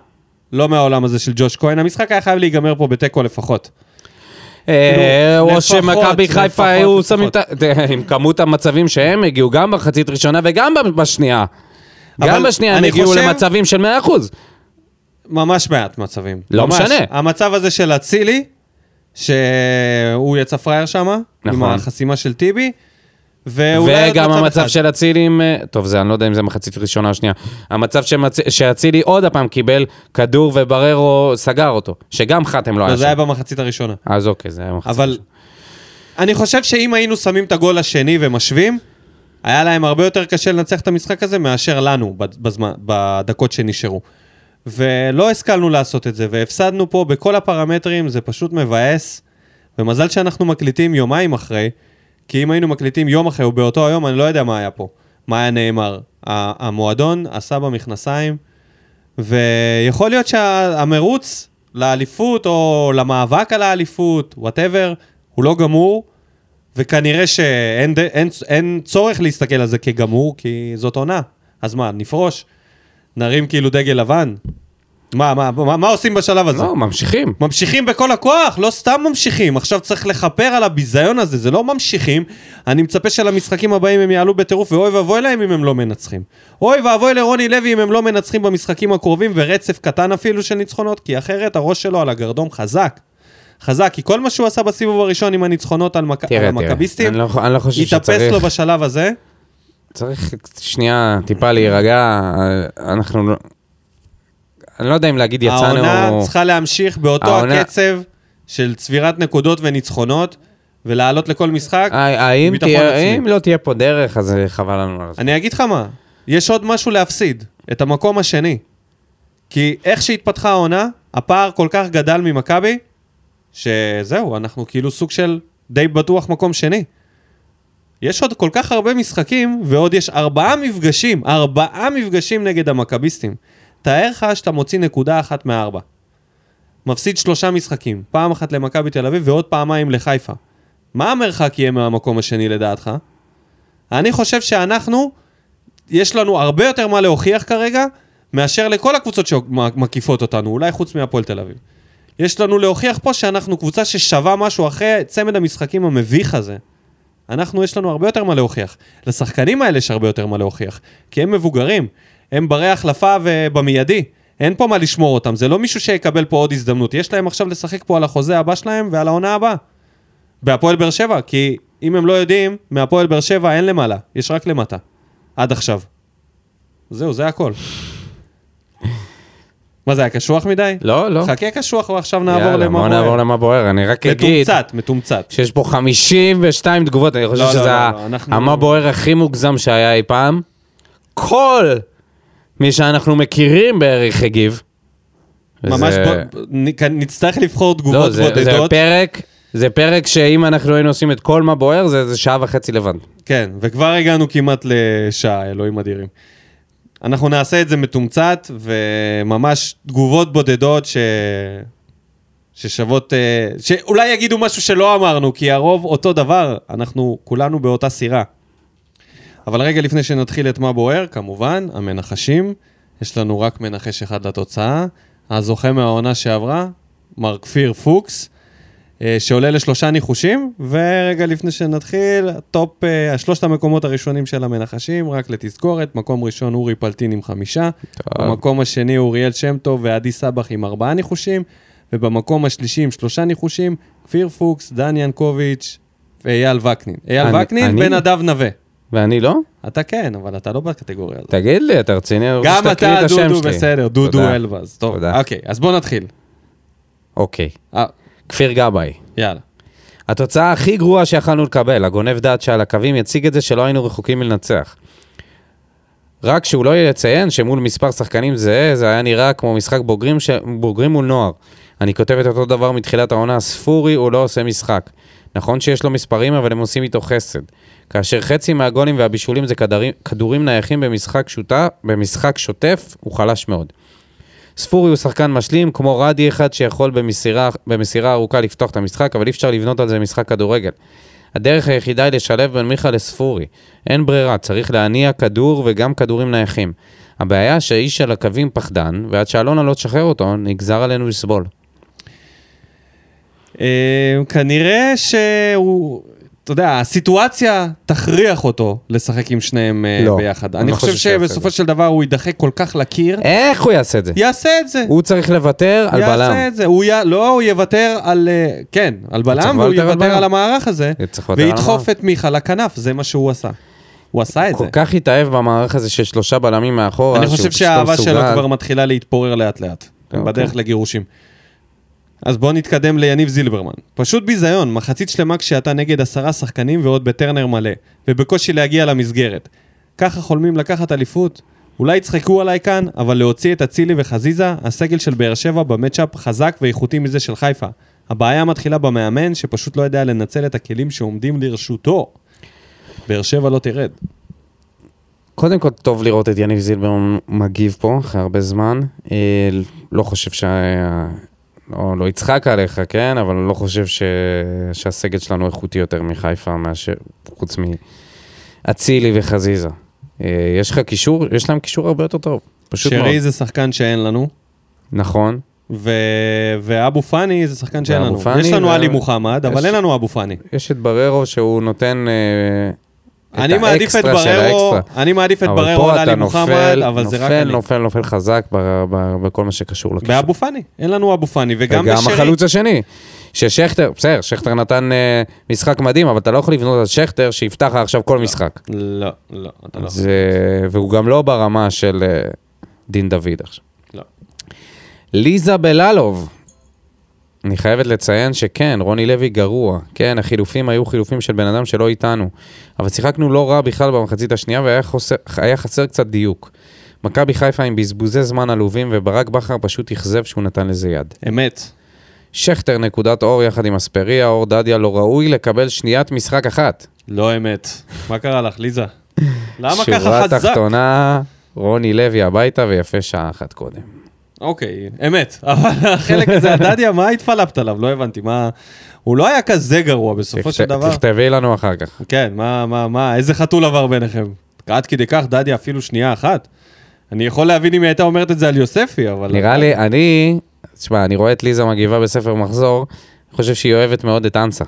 A: לא מהעולם הזה של ג'וש כהן. המשחק היה חייב להיגמר פה בתיקו לפחות.
B: אה, או
A: כאילו, לפחות,
B: שמכבי
A: לפחות,
B: חיפה היו
A: לפחות.
B: שמים את ה... עם כמות המצבים שהם הגיעו, גם במחצית ראשונה וגם בשנייה. גם
A: אבל
B: בשנייה הם
A: אני
B: הגיעו
A: חושב-
B: למצבים של 100%.
A: ממש מעט מצבים.
B: לא
A: ממש.
B: משנה.
A: המצב הזה של אצילי, שהוא יצא פראייר שם, עם
B: נכון.
A: החסימה של טיבי, ואולי עוד
B: וגם
A: מצב
B: המצב
A: אחד.
B: של אצילי עם... אה, טוב, זה, אני לא יודע אם זה מחצית ראשונה או שנייה. המצב שמצ- שאצילי עוד הפעם קיבל כדור ובררו סגר אותו, שגם חתם לא
A: לא,
B: היה
A: זה היה
B: שם.
A: במחצית הראשונה.
B: אז אוקיי, זה היה מחצית.
A: אבל אני חושב שאם היינו שמים את הגול השני ומשווים, היה להם הרבה יותר קשה לנצח את המשחק הזה מאשר לנו בד- בזמן, בדקות שנשארו. ולא השכלנו לעשות את זה, והפסדנו פה בכל הפרמטרים, זה פשוט מבאס. ומזל שאנחנו מקליטים יומיים אחרי, כי אם היינו מקליטים יום אחרי או באותו היום, אני לא יודע מה היה פה, מה היה נאמר. ה- המועדון עשה במכנסיים, ויכול להיות שהמרוץ לאליפות או למאבק על האליפות, וואטאבר, הוא לא גמור, וכנראה שאין ד- אין, אין צורך להסתכל על זה כגמור, כי זאת עונה. אז מה, נפרוש? נרים כאילו דגל לבן? מה, מה, מה, מה עושים בשלב הזה?
B: לא, ממשיכים.
A: ממשיכים בכל הכוח, לא סתם ממשיכים. עכשיו צריך לכפר על הביזיון הזה, זה לא ממשיכים. אני מצפה שלמשחקים הבאים הם יעלו בטירוף, ואוי ואבוי להם אם הם לא מנצחים. אוי ואבוי לרוני לוי אם הם לא מנצחים במשחקים הקרובים, ורצף קטן אפילו של ניצחונות, כי אחרת הראש שלו על הגרדום חזק. חזק, כי כל מה שהוא עשה בסיבוב הראשון עם הניצחונות על, מק... על
B: תראה, תראה.
A: המכביסטים,
B: אני לא ח- אני לא חושב
A: יתאפס לו
B: שצריך...
A: בשלב הזה.
B: צריך שנייה טיפה להירגע. אה, אנחנו... לא- אני לא יודע אם להגיד יצאנו...
A: העונה צריכה להמשיך באותו
B: העונה-
A: הקצב של צבירת נקודות וניצחונות, ולעלות לכל משחק.
B: אה, האם
A: ביטחון
B: תהיה-
A: עצמי.
B: אם לא תהיה פה דרך, אז אה, חבל לנו על זה.
A: אני אגיד לך מה, יש עוד משהו להפסיד, את המקום השני. כי איך שהתפתחה העונה, הפער כל כך גדל ממכבי, שזהו, אנחנו כאילו סוג של די בטוח מקום שני. יש עוד כל כך הרבה משחקים, ועוד יש ארבעה מפגשים, ארבעה מפגשים נגד המכביסטים. תאר לך שאתה מוציא נקודה אחת מארבע. מפסיד שלושה משחקים, פעם אחת למכבי תל אביב ועוד פעמיים לחיפה. מה המרחק יהיה מהמקום השני לדעתך? אני חושב שאנחנו, יש לנו הרבה יותר מה להוכיח כרגע, מאשר לכל הקבוצות שמקיפות אותנו, אולי חוץ מהפועל תל אביב. יש לנו להוכיח פה שאנחנו קבוצה ששווה משהו אחרי צמד המשחקים המביך הזה. אנחנו, יש לנו הרבה יותר מה להוכיח. לשחקנים האלה יש הרבה יותר מה להוכיח, כי הם מבוגרים, הם ברי החלפה ובמיידי. אין פה מה לשמור אותם, זה לא מישהו שיקבל פה עוד הזדמנות. יש להם עכשיו לשחק פה על החוזה הבא שלהם ועל העונה הבאה. בהפועל באר שבע, כי אם הם לא יודעים, מהפועל באר שבע אין למעלה, יש רק למטה. עד עכשיו. זהו, זה הכל. מה זה היה קשוח מדי?
B: לא, לא.
A: חכה קשוח, עכשיו נעבור
B: יאללה,
A: למה
B: בוא
A: בוער.
B: נעבור למה בוער. אני רק אגיד...
A: מתומצת, מתומצת.
B: שיש פה 52 תגובות, אני חושב
A: לא,
B: שזה
A: לא,
B: ה-
A: לא, אנחנו-
B: המה בוער הכי מוגזם שהיה אי פעם. כל מי שאנחנו מכירים בערך הגיב.
A: ממש,
B: וזה-
A: בוא- נ- כאן נצטרך לבחור
B: לא,
A: תגובות
B: זה, זה
A: בודדות.
B: פרק, זה פרק שאם אנחנו היינו עושים את כל מה בוער, זה, זה שעה וחצי לבד.
A: כן, וכבר הגענו כמעט לשעה, אלוהים אדירים. אנחנו נעשה את זה מתומצת, וממש תגובות בודדות ש... ששוות... אה, שאולי יגידו משהו שלא אמרנו, כי הרוב אותו דבר, אנחנו כולנו באותה סירה. אבל רגע לפני שנתחיל את מה בוער, כמובן, המנחשים. יש לנו רק מנחש אחד לתוצאה. הזוכה מהעונה שעברה, מר כפיר פוקס, אה, שעולה לשלושה ניחושים, ורגע לפני שנתחיל, טופ, אה, שלושת המקומות הראשונים של המנחשים, רק לתזכורת, מקום ראשון אורי פלטין עם חמישה,
B: טוב.
A: במקום השני אוריאל שם טוב ועדי סבח עם ארבעה ניחושים, ובמקום השלישי עם שלושה ניחושים, כפיר פוקס, דן ינקוביץ' ואייל וקנין. אייל
B: אני-
A: וקנין
B: אני?
A: ונדב נווה.
B: ואני לא?
A: אתה כן, אבל אתה לא בקטגוריה הזאת.
B: תגיד לי, אתה רציני? אני רוצה
A: גם
B: שתקריא
A: אתה,
B: את השם
A: דודו,
B: שלי.
A: בסדר, דודו
B: תודה.
A: אלבז. טוב,
B: תודה.
A: אוקיי, אז בוא נתחיל.
B: אוקיי.
A: אה,
B: כפיר גבאי.
A: יאללה.
B: התוצאה הכי גרועה שיכלנו לקבל, הגונב דעת שעל הקווים יציג את זה שלא היינו רחוקים מלנצח. רק שהוא לא יציין שמול מספר שחקנים זהה, זה היה נראה כמו משחק בוגרים, ש... בוגרים מול נוער. אני כותב את אותו דבר מתחילת העונה, ספורי הוא לא עושה משחק. נכון שיש לו מספרים, אבל הם עושים איתו חסד. כאשר חצי מהגולים והבישולים זה כדרים, כדורים נייחים במשחק, שוטה, במשחק שוטף, הוא חלש מאוד. ספורי הוא שחקן משלים, כמו רדי אחד שיכול במסירה, במסירה ארוכה לפתוח את המשחק, אבל אי אפשר לבנות על זה משחק כדורגל. הדרך היחידה היא לשלב בין מיכה לספורי. אין ברירה, צריך להניע כדור וגם כדורים נייחים. הבעיה שהאיש על הקווים פחדן, ועד שאלונה לא תשחרר אותו, נגזר עלינו לסבול.
A: אה, כנראה שהוא, אתה יודע, הסיטואציה תכריח אותו לשחק עם שניהם אה,
B: לא,
A: ביחד.
B: אני
A: אני
B: לא
A: חושב
B: חושב שהוא יעשה
A: שבסופו
B: את זה.
A: של דבר הוא יידחק כל כך לקיר,
B: איך הוא יעשה את זה?
A: יעשה את זה.
B: הוא צריך לוותר על בלם.
A: יעשה את זה. הוא י... לא, הוא יוותר על... אה, כן, על
B: צריך
A: בלם, והוא
B: לוותר על
A: יוותר
B: בלם.
A: על המערך הזה,
B: צריך לוותר על
A: וידחוף
B: המערך.
A: את מיכה לכנף, זה מה שהוא עשה. הוא עשה את זה.
B: כל כך התאהב במערך הזה של שלושה בלמים מאחורה,
A: אני
B: שהוא
A: חושב
B: פשוט לא
A: שהאהבה שלו
B: מסוגל.
A: כבר מתחילה להתפורר לאט-לאט,
B: אוקיי.
A: בדרך לגירושים. אז בואו נתקדם ליניב זילברמן. פשוט ביזיון, מחצית שלמה כשאתה נגד עשרה שחקנים ועוד בטרנר מלא, ובקושי להגיע למסגרת. ככה חולמים לקחת אליפות? אולי יצחקו עליי כאן, אבל להוציא את אצילי וחזיזה, הסגל של באר שבע במצ'אפ חזק ואיכותי מזה של חיפה. הבעיה מתחילה במאמן, שפשוט לא יודע לנצל את הכלים שעומדים לרשותו. באר שבע לא תרד.
B: קודם כל, טוב לראות את יניב זילברמן מגיב פה, אחרי הרבה זמן. אה, לא חושב שה... לא, לא יצחק עליך, כן? אבל לא חושב ש... שהסגל שלנו איכותי יותר מחיפה, מאשר... חוץ מאצילי וחזיזה. אה, יש לך קישור, יש להם קישור הרבה יותר טוב. פשוט מאוד.
A: שרי זה שחקן שאין לנו.
B: נכון.
A: ו... ואבו פאני זה שחקן שאין
B: ואבו
A: לנו.
B: פאני
A: יש לנו
B: ו-
A: עלי מוחמד, אבל
B: יש-
A: אין לנו אבו פאני.
B: יש את בררו שהוא נותן... אה, את
A: אני מעדיף את
B: האקסטרה של
A: בררו,
B: האקסטרה.
A: אני מעדיף את
B: אבל
A: בררו על
B: פה אתה
A: עלי מוחמד,
B: נופל,
A: אבל זה רק
B: נופל,
A: אני. לא,
B: נופל, נופל חזק ב- ב- בכל מה שקשור לקישור.
A: באבו פאני, אין לנו אבו פאני, וגם
B: וגם
A: בשרי.
B: החלוץ השני, ששכטר, בסדר, שכטר נתן אה, משחק מדהים, אבל אתה לא יכול לבנות על שכטר שיפתח לך עכשיו כל משחק.
A: לא, לא, אתה לא. יכול.
B: זה, והוא גם לא ברמה של אה, דין דוד עכשיו.
A: לא.
B: ליזה בללוב. אני חייבת לציין שכן, רוני לוי גרוע. כן, החילופים היו חילופים של בן אדם שלא איתנו. אבל שיחקנו לא רע בכלל במחצית השנייה והיה חוסר, היה חסר קצת דיוק. מכבי חיפה עם בזבוזי זמן עלובים וברק בכר פשוט אכזב שהוא נתן לזה יד.
A: אמת.
B: שכטר נקודת אור יחד עם אספריה, אור דדיה לא ראוי לקבל שניית משחק אחת.
A: לא אמת. מה קרה לך, ליזה? למה ככה
B: שורה
A: חזק?
B: תחתונה, רוני לוי הביתה ויפה שעה אחת קודם.
A: אוקיי, אמת. אבל החלק הזה, דדיה, מה התפלפת עליו? לא הבנתי, מה... הוא לא היה כזה גרוע בסופו של
B: תכת-
A: דבר.
B: תכתבי לנו אחר כך.
A: כן, מה, מה, מה, איזה חתול עבר ביניכם? עד כדי כך, דדיה, אפילו שנייה אחת. אני יכול להבין אם היא הייתה אומרת את זה על יוספי, אבל...
B: נראה לי, אני, תשמע, אני רואה את ליזה מגיבה בספר מחזור, אני חושב שהיא אוהבת מאוד את אנסה.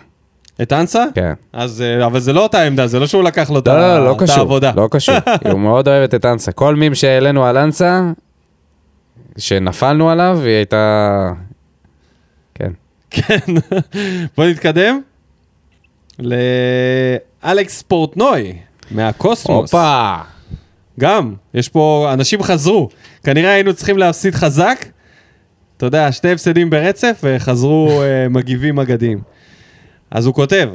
A: את אנסה?
B: כן.
A: אז, אה, אבל זה לא אותה עמדה, זה לא שהוא לקח לו את
B: לא,
A: ה-
B: לא, לא
A: את
B: קשור,
A: העבודה.
B: לא קשור. היא מאוד אוהבת את אנסה. כל מים שהעלינו על אנסה, שנפלנו עליו, היא הייתה... כן.
A: כן. בוא נתקדם. לאלכס פורטנוי, מהקוסמוס.
B: הופה!
A: גם, יש פה, אנשים חזרו. כנראה היינו צריכים להפסיד חזק. אתה יודע, שני הפסדים ברצף, וחזרו אה, מגיבים אגדיים. אז הוא כותב,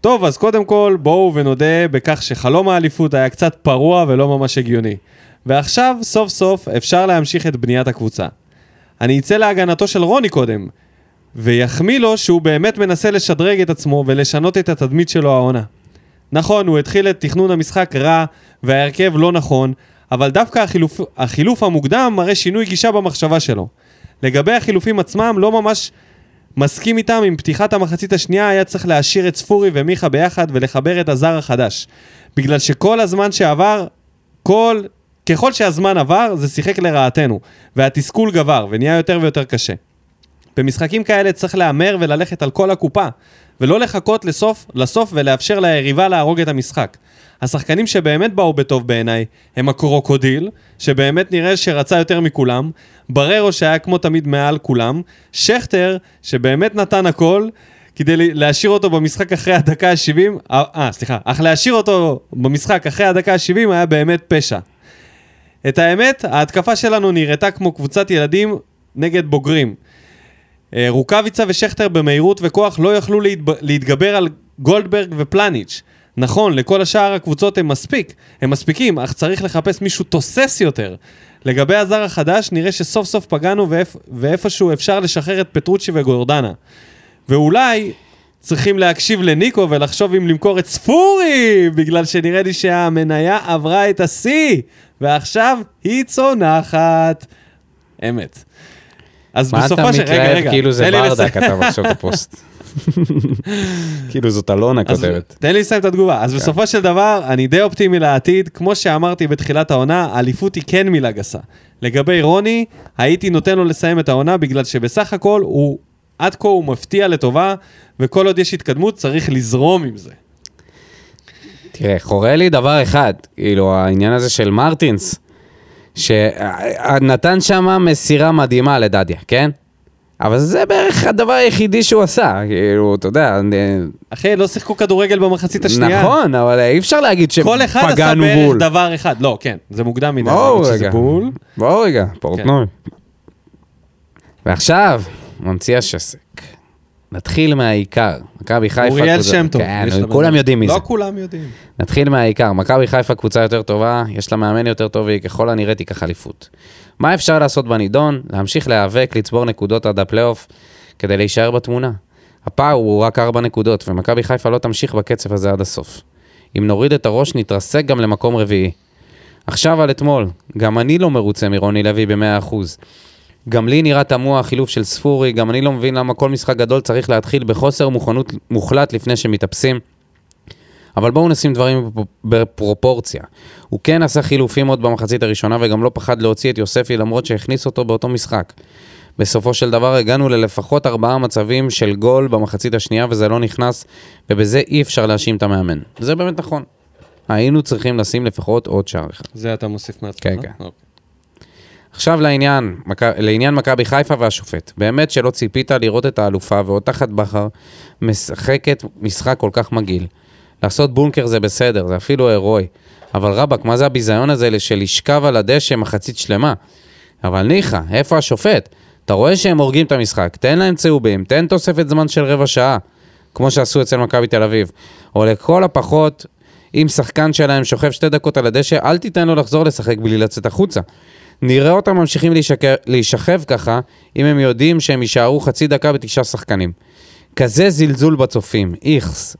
A: טוב, אז קודם כל, בואו ונודה בכך שחלום האליפות היה קצת פרוע ולא ממש הגיוני. ועכשיו, סוף סוף, אפשר להמשיך את בניית הקבוצה. אני אצא להגנתו של רוני קודם, ויחמיא לו שהוא באמת מנסה לשדרג את עצמו ולשנות את התדמית שלו העונה. נכון, הוא התחיל את תכנון המשחק רע, וההרכב לא נכון, אבל דווקא החילוף, החילוף המוקדם מראה שינוי גישה במחשבה שלו. לגבי החילופים עצמם, לא ממש מסכים איתם, עם פתיחת המחצית השנייה היה צריך להשאיר את ספורי ומיכה ביחד ולחבר את הזר החדש. בגלל שכל הזמן שעבר, כל... ככל שהזמן עבר, זה שיחק לרעתנו, והתסכול גבר ונהיה יותר ויותר קשה. במשחקים כאלה צריך להמר וללכת על כל הקופה, ולא לחכות לסוף, לסוף ולאפשר ליריבה להרוג את המשחק. השחקנים שבאמת באו בטוב בעיניי הם הקרוקודיל, שבאמת נראה שרצה יותר מכולם, בררו שהיה כמו תמיד מעל כולם, שכטר שבאמת נתן הכל כדי ל- להשאיר אותו במשחק אחרי הדקה ה-70, אה, סליחה, אך להשאיר אותו במשחק אחרי הדקה ה-70 היה באמת פשע. את האמת, ההתקפה שלנו נראתה כמו קבוצת ילדים נגד בוגרים. אה, רוקאביצה ושכטר במהירות וכוח לא יכלו להתב... להתגבר על גולדברג ופלניץ'. נכון, לכל השאר הקבוצות הם מספיק, הם מספיקים, אך צריך לחפש מישהו תוסס יותר. לגבי הזר החדש, נראה שסוף סוף פגענו ואיפ... ואיפשהו אפשר לשחרר את פטרוצ'י וגורדנה. ואולי צריכים להקשיב לניקו ולחשוב אם למכור את ספורי, בגלל שנראה לי שהמניה עברה את השיא, ועכשיו היא צונחת. אמת. אז
B: מה אתה
A: בסופו של... רגע,
B: מתלהב
A: רגע,
B: כאילו זה
A: תן לי
B: ברדה
A: לסיים.
B: כתב עכשיו את הפוסט? כאילו זאת אלונה
A: אז
B: כותבת.
A: תן לי לסיים את התגובה.
B: כן.
A: אז בסופו של דבר, אני די אופטימי לעתיד. כמו שאמרתי בתחילת העונה, אליפות היא כן מילה גסה. לגבי רוני, הייתי נותן לו לסיים את העונה בגלל שבסך הכל הוא, עד כה הוא מפתיע לטובה, וכל עוד יש התקדמות צריך לזרום עם זה.
B: תראה, חורה לי דבר אחד, כאילו העניין הזה של מרטינס, שנתן שם מסירה מדהימה לדדיה, כן? אבל זה בערך הדבר היחידי שהוא עשה, כאילו, אתה יודע, אני-
A: אחי, לא שיחקו כדורגל במחצית השנייה.
B: נכון, אבל אי אפשר להגיד
A: כל אחד עשה
B: שפגענו
A: בערך
B: בול.
A: דבר אחד. לא, כן, זה מוקדם מדי.
B: בואו
A: להגיד שזה
B: רגע,
A: בול.
B: בואו רגע, פורטנוי. כן. ועכשיו, ממציא השסק. נתחיל מהעיקר, מכבי חיפה.
A: אוריאל
B: קבוצה-
A: שם טוב.
B: כן,
A: יש לה בן
B: כולם
A: אדם.
B: יודעים מי זה.
A: לא כולם יודעים.
B: נתחיל מהעיקר, מכבי חיפה קבוצה יותר טובה, יש לה מאמן יותר טוב, והיא ככל הנראה תיקח אליפות. מה אפשר לעשות בנידון? להמשיך להיאבק, לצבור נקודות עד הפלייאוף, כדי להישאר בתמונה. הפער הוא רק ארבע נקודות, ומכבי חיפה לא תמשיך בקצב הזה עד הסוף. אם נוריד את הראש, נתרסק גם למקום רביעי. עכשיו על אתמול, גם אני לא מרוצה מרוני לוי ב-100%. גם לי נראה תמוה החילוף של ספורי, גם אני לא מבין למה כל משחק גדול צריך להתחיל בחוסר מוכנות מוחלט לפני שמתאפסים. אבל בואו נשים דברים בפ- בפרופורציה. הוא כן עשה חילופים עוד במחצית הראשונה וגם לא פחד להוציא את יוספי למרות שהכניס אותו באותו משחק. בסופו של דבר הגענו ללפחות ארבעה מצבים של גול במחצית השנייה וזה לא נכנס, ובזה אי אפשר להאשים את המאמן. זה באמת נכון. היינו צריכים לשים לפחות עוד שער אחד.
A: זה אתה מוסיף מעצמך?
B: כן, כן.
A: אוקיי.
B: עכשיו לעניין, מק... לעניין מכבי חיפה והשופט. באמת שלא ציפית לראות את האלופה ועוד תחת בכר משחקת משחק כל כך מגעיל. לעשות בונקר זה בסדר, זה אפילו הירואי. אבל רבאק, מה זה הביזיון הזה של לשכב על הדשא מחצית שלמה? אבל ניחא, איפה השופט? אתה רואה שהם הורגים את המשחק, תן להם צהובים, תן תוספת זמן של רבע שעה, כמו שעשו אצל מכבי תל אביב. או לכל הפחות, אם שחקן שלהם שוכב שתי דקות על הדשא, אל תיתן לו לחזור לשחק בלי לצאת החוצה. נראה אותם ממשיכים להישכב, להישכב ככה, אם הם יודעים שהם יישארו חצי דקה בתשעה שחקנים. כזה זלזול בצופים, איכס.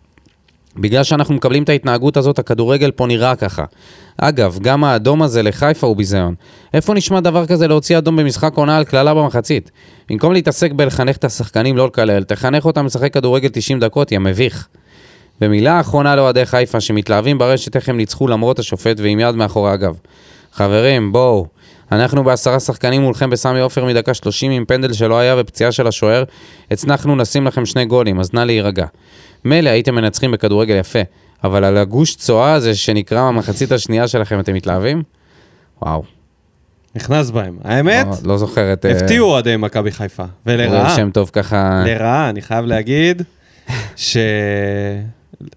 B: בגלל שאנחנו מקבלים את ההתנהגות הזאת, הכדורגל פה נראה ככה. אגב, גם האדום הזה לחיפה הוא ביזיון. איפה נשמע דבר כזה להוציא אדום במשחק עונה על קללה במחצית? במקום להתעסק בלחנך את השחקנים לא לקלל, תחנך אותם לשחק כדורגל 90 דקות, יא מביך. ומילה אחרונה לאוהדי חיפה שמתלהבים ברשת איך הם ניצחו למרות השופט ועם יד מאחורי הגב. חברים, בואו. אנחנו בעשרה שחקנים מולכם בסמי עופר מדקה 30 עם פנדל שלא היה ופציעה של השוער. הצלחנו לשים לכם שני גולים, אז נא להירגע. מילא הייתם מנצחים בכדורגל יפה, אבל על הגוש צואה הזה שנקרא המחצית השנייה שלכם אתם מתלהבים? וואו.
A: נכנס בהם. האמת,
B: לא, לא זוכר את... אה,
A: הפתיעו אוהדי מכבי חיפה,
B: אורי
A: ולרעה.
B: שם טוב ככה...
A: לרעה, אני חייב להגיד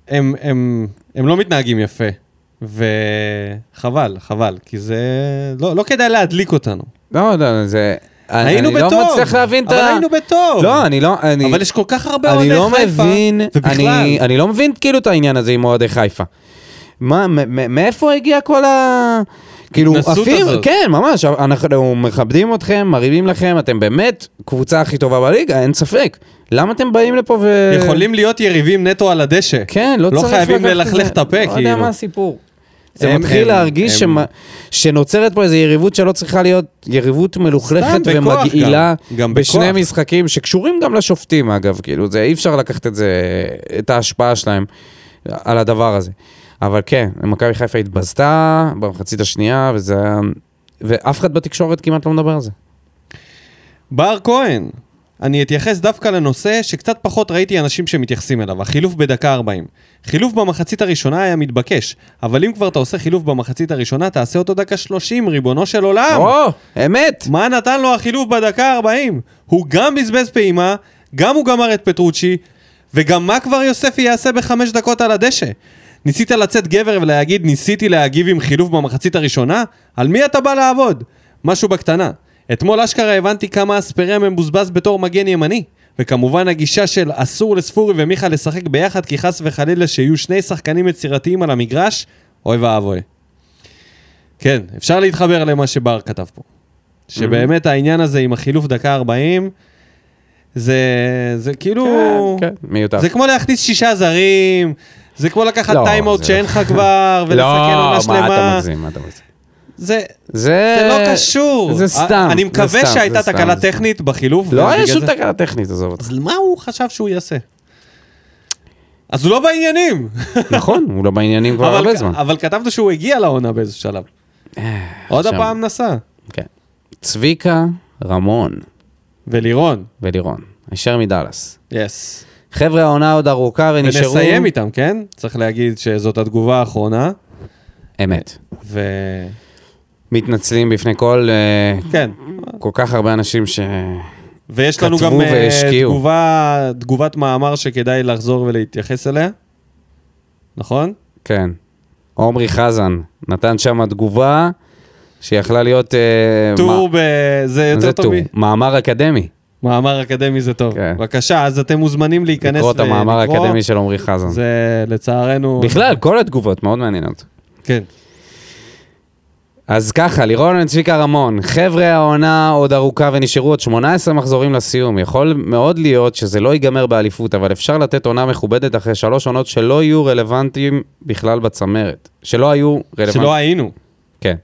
A: שהם הם, הם לא מתנהגים יפה, וחבל, חבל, כי זה לא, לא כדאי להדליק אותנו.
B: לא, לא, זה... אני-
A: היינו
B: אני
A: בטוב,
B: לא מצליח להבין את ה...
A: אבל היינו בטוב.
B: לא, אני לא... אני...
A: אבל יש כל כך הרבה
B: אני
A: אוהדי
B: לא
A: חיפה,
B: מבין,
A: ובכלל,
B: אני, אני לא מבין כאילו את העניין הזה עם אוהדי חיפה. מה, מ- מ- מאיפה הגיע כל ה... כאילו,
A: ההתנסות
B: עפים,
A: הזאת.
B: כן, ממש, אנחנו מכבדים אתכם, מרעיבים לכם, אתם באמת קבוצה הכי טובה בליגה, אין ספק. למה אתם באים לפה ו...
A: יכולים להיות יריבים נטו על הדשא.
B: כן, לא,
A: לא
B: צריך
A: חייבים
B: לקחת
A: ללכלך
B: זה.
A: את הפה,
B: לא יודע
A: כאילו.
B: מה הסיפור.
A: הם-
B: זה מתחיל
A: הם-
B: להרגיש
A: הם-
B: שמ- שנוצרת פה איזו יריבות שלא צריכה להיות יריבות מלוכלכת
A: סתם, בכוח
B: ומגעילה
A: גם. גם
B: בשני
A: בכוח.
B: משחקים שקשורים גם לשופטים, אגב, כאילו, זה אי אפשר לקחת את זה, את ההשפעה שלהם על הדבר הזה. אבל כן, מכבי חיפה התבזתה במחצית השנייה, וזה היה... ואף אחד בתקשורת כמעט לא מדבר על זה.
A: בר כהן, אני אתייחס דווקא לנושא שקצת פחות ראיתי אנשים שמתייחסים אליו, החילוף בדקה 40. חילוף במחצית הראשונה היה מתבקש, אבל אם כבר אתה עושה חילוף במחצית הראשונה, תעשה אותו דקה 30, ריבונו של עולם!
B: או, אמת!
A: מה נתן לו החילוף בדקה ה-40? הוא גם בזבז פעימה, גם הוא גמר את פטרוצ'י, וגם מה כבר יוספי יעשה בחמש דקות על הדשא? ניסית לצאת גבר ולהגיד, ניסיתי להגיב עם חילוף במחצית הראשונה? על מי אתה בא לעבוד? משהו בקטנה. אתמול אשכרה הבנתי כמה אספריה מבוזבז בתור מגן ימני. וכמובן הגישה של אסור לספורי ומיכה לשחק ביחד כי חס וחלילה שיהיו שני שחקנים יצירתיים על המגרש, אוי ואבוי. כן, אפשר להתחבר למה שבר כתב פה. שבאמת העניין הזה עם החילוף דקה 40, זה, זה כאילו...
B: כן, מיותר.
A: זה כמו להכניס שישה זרים, זה כמו לקחת
B: לא,
A: טיימאוט
B: זה-
A: שאין לך כבר, ולסכן עונה שלמה.
B: לא, מה אתה מגזים, מה אתה מגזים.
A: זה,
B: זה...
A: זה לא קשור.
B: זה סתם.
A: אני
B: זה
A: מקווה
B: סתם,
A: שהייתה
B: זה סתם,
A: תקלה
B: זה סתם.
A: טכנית בחילוף.
B: לא
A: ובגלל
B: היה שום
A: זה-
B: תקלה טכנית, עזוב אותך.
A: אז מה הוא חשב שהוא יעשה? אז הוא לא בעניינים.
B: נכון, הוא לא בעניינים כבר
A: אבל-
B: הרבה זמן. אה,
A: אבל כתבת שהוא הגיע לעונה באיזשהו שלב. עוד
B: שם.
A: הפעם נסע.
B: כן. צביקה, רמון
A: ולירון,
B: ולירון, הישר מדאלאס.
A: יס.
B: חבר'ה, העונה עוד ארוכה ונשארו...
A: ונסיים איתם, כן? צריך להגיד שזאת התגובה האחרונה,
B: אמת.
A: ו...
B: מתנצלים בפני כל... אה,
A: כן.
B: כל כך הרבה אנשים ש...
A: ויש לנו
B: כתבו
A: גם אה,
B: והשקיעו.
A: תגובה, תגובת מאמר שכדאי לחזור ולהתייחס אליה, נכון?
B: כן. עומרי חזן נתן שם תגובה שיכלה להיות... אה,
A: טור ב...
B: מה-
A: זה
B: זה
A: יותר טוב
B: טור.
A: מ...
B: מאמר אקדמי.
A: מאמר אקדמי זה טוב.
B: כן.
A: בבקשה, אז אתם מוזמנים להיכנס
B: לקרוא את המאמר
A: ולקרוא.
B: האקדמי של עומרי חזן.
A: זה לצערנו...
B: בכלל, כל התגובות מאוד מעניינות.
A: כן.
B: אז ככה, לירון וצביקה רמון, חבר'ה העונה עוד ארוכה ונשארו עוד 18 מחזורים לסיום. יכול מאוד להיות שזה לא ייגמר באליפות, אבל אפשר לתת עונה מכובדת אחרי שלוש עונות שלא יהיו רלוונטיים בכלל בצמרת. שלא היו רלוונטיים.
A: שלא היינו.
B: כן.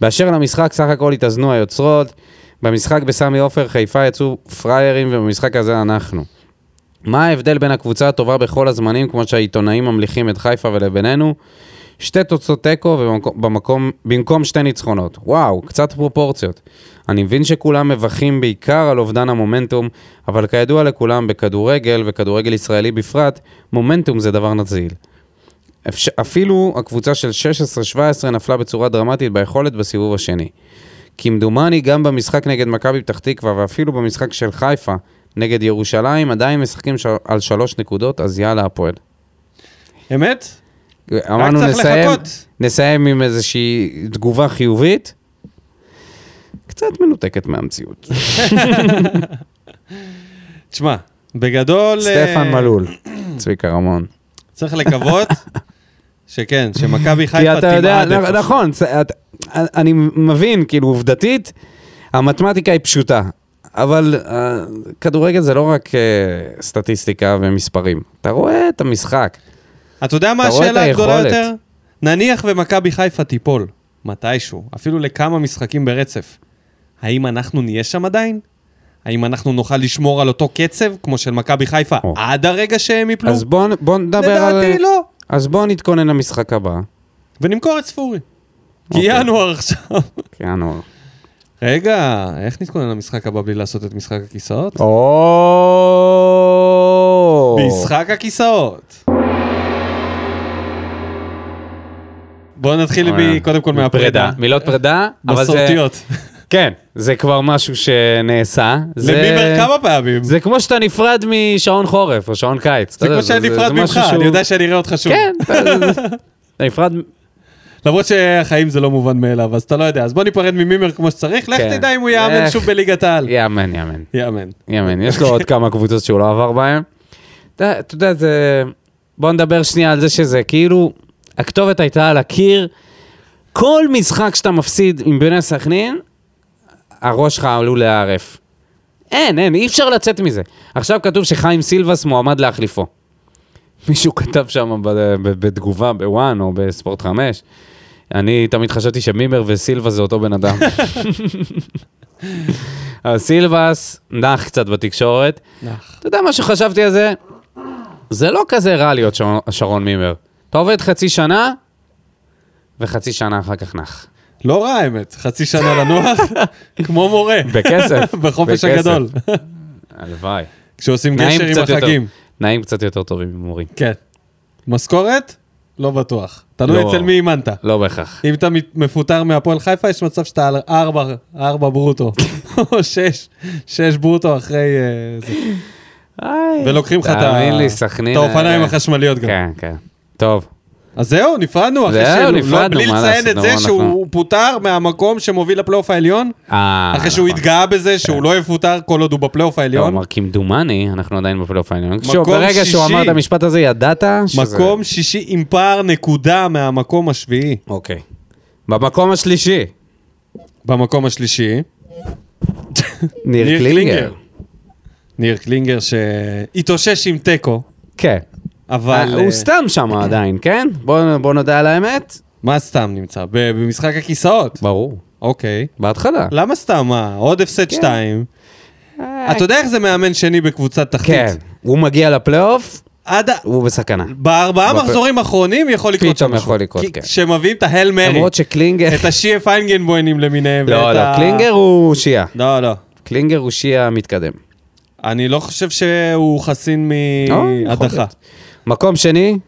B: באשר למשחק, סך הכל התאזנו היוצרות. במשחק בסמי עופר חיפה יצאו פראיירים, ובמשחק הזה אנחנו. מה ההבדל בין הקבוצה הטובה בכל הזמנים, כמו שהעיתונאים ממליכים את חיפה ולבינינו? שתי תוצאות תיקו ובמקום, במקום שתי ניצחונות. וואו, קצת פרופורציות. אני מבין שכולם מבכים בעיקר על אובדן המומנטום, אבל כידוע לכולם, בכדורגל, וכדורגל ישראלי בפרט, מומנטום זה דבר נזיל. אפש- אפילו הקבוצה של 16-17 נפלה בצורה דרמטית ביכולת בסיבוב השני. כמדומני, גם במשחק נגד מכבי פתח תקווה, ואפילו במשחק של חיפה נגד ירושלים, עדיין משחקים של... על שלוש נקודות, אז יאללה, הפועל.
A: אמת?
B: אמרנו
A: צריך
B: נסיים,
A: לחכות.
B: נסיים עם איזושהי תגובה חיובית, קצת מנותקת מהמציאות.
A: תשמע, בגדול... אה,
B: סטפן מלול, צביקה רמון.
A: צריך לקוות שכן, שמכבי חיפה
B: כי
A: תמעד
B: אתה יודע,
A: איפשהו.
B: נ- נכון, צ- את- אני מבין, כאילו עובדתית, המתמטיקה היא פשוטה, אבל אה, כדורגל זה לא רק אה, סטטיסטיקה ומספרים. אתה רואה את המשחק.
A: אתה יודע מה
B: אתה רואה
A: השאלה
B: את
A: הגדולה
B: היכולת.
A: יותר? נניח ומכבי חיפה תיפול, מתישהו, אפילו לכמה משחקים ברצף. האם אנחנו נהיה שם עדיין? האם אנחנו נוכל לשמור על אותו קצב כמו של מכבי חיפה
B: או.
A: עד הרגע שהם יפלו?
B: אז בואו בוא נדבר על...
A: לדעתי לא.
B: אז בואו נתכונן למשחק הבא.
A: ונמכור את ספורי. כי
B: אוקיי.
A: ינואר עכשיו.
B: ינואר.
A: רגע, איך נתכונן למשחק הבא בלי לעשות את משחק הכיסאות?
B: או...
A: משחק הכיסאות. בואו נתחיל מ- קודם כל מהפרידה.
B: מילות פרידה, אבל זה...
A: מסורתיות.
B: כן, זה כבר משהו שנעשה. זה-
A: לביבר כמה פעמים.
B: זה כמו שאתה נפרד משעון חורף או שעון קיץ.
A: זה כמו שאני נפרד ממך, אני יודע שאני אראה אותך שוב.
B: כן, אתה- זה- אתה נפרד...
A: למרות שהחיים זה לא מובן מאליו, אז אתה לא יודע. אז בוא ניפרד ממימר כמו שצריך, לך
B: כן.
A: תדע אם הוא יאמן
B: לך.
A: שוב בליגת העל.
B: יאמן, יאמן.
A: יאמן.
B: יאמן, יש לו עוד כמה קבוצות שהוא לא עבר בהן. אתה אתה יודע, זה... בוא נדבר שנייה על זה שזה כאילו, הכתובת הייתה על הקיר. כל משחק שאתה מפסיד עם בני סכנין, הראש שלך עלול להיערף. אין, אין, אי אפשר לצאת מזה. עכשיו כתוב שחיים סילבס מועמד להחליפו. מישהו כתב שם ב- ב- בתגובה בוואן או בספורט חמש, אני תמיד חשבתי שמימר וסילבס זה אותו בן אדם. אבל סילבס נח קצת בתקשורת.
A: נח.
B: אתה יודע מה שחשבתי על זה? זה לא כזה רע להיות שרון, שרון מימר. אתה עובד חצי שנה, וחצי שנה אחר כך נח.
A: לא רע האמת, חצי שנה לנוח, כמו מורה.
B: בכסף.
A: בחופש
B: בכסף.
A: הגדול.
B: הלוואי.
A: כשעושים
B: נעים
A: גשר עם
B: קצת יותר.
A: החגים.
B: תנאים קצת יותר טובים עם מורים.
A: כן. משכורת? לא בטוח. תלוי
B: לא.
A: אצל מי אימנת.
B: לא בהכרח.
A: אם אתה מת- מפוטר מהפועל חיפה, יש מצב שאתה על ארבע, ארבע ברוטו. או שש, שש ברוטו אחרי... אה, זה. ולוקחים לך את ה-
B: תאמין לי, סכנין...
A: את האופניים
B: אה,
A: החשמליות גם.
B: כן, כן. טוב.
A: אז זהו, נפרדנו. אחרי
B: זהו,
A: שהוא- לא,
B: נפרדנו,
A: בלי
B: מה
A: לציין
B: לעשות,
A: את זה
B: נו,
A: שהוא
B: אנחנו-
A: פוטר מהמקום שמוביל לפלייאוף העליון,
B: אה,
A: אחרי שהוא
B: נכון. לא,
A: התגאה בזה שהוא לא יפוטר כל עוד הוא בפלייאוף
B: הוא
A: העליון.
B: אמר, כמדומני, אנחנו עדיין בפלייאוף העליון.
A: מקום
B: כשהוא- ברגע שהוא
A: שישי.
B: אמר את המשפט הזה, ידעת שזה...
A: מקום שישי עם פער נקודה מהמקום השביעי.
B: אוקיי. במקום השלישי,
A: במקום השלישי,
B: ניר
A: ניר
B: קלינגר.
A: קלינגר. ניר קלינגר שהתאושש עם תיקו,
B: כן.
A: אבל...
B: אה, הוא
A: אה,
B: סתם שם עדיין, כן? בוא בוא נודה על האמת.
A: מה סתם נמצא? ב- במשחק הכיסאות.
B: ברור.
A: אוקיי.
B: בהתחלה.
A: למה סתם? מה? עוד הפסד
B: כן. אה,
A: שתיים. אתה יודע איך זה מאמן שני בקבוצת תחתית?
B: כן. הוא מגיע לפלייאוף,
A: עד... ה-
B: הוא בסכנה.
A: בארבעה
B: בפ-
A: מחזורים האחרונים יכול לקרות
B: פתאום
A: שם משהו.
B: יכול לקרות,
A: כי-
B: כן.
A: שמביאים את ההל מרי,
B: למרות שקלינגר...
A: את השיאף איינגנבוינים למיניהם.
B: לא,
A: ואת ה-
B: לא, קלינגר הוא שיעה.
A: לא, לא.
B: קלינגר הוא שיעה מתקדם.
A: אני לא חושב שהוא חסין
B: אה, יכול
A: מהדחה.
B: להיות. מקום שני,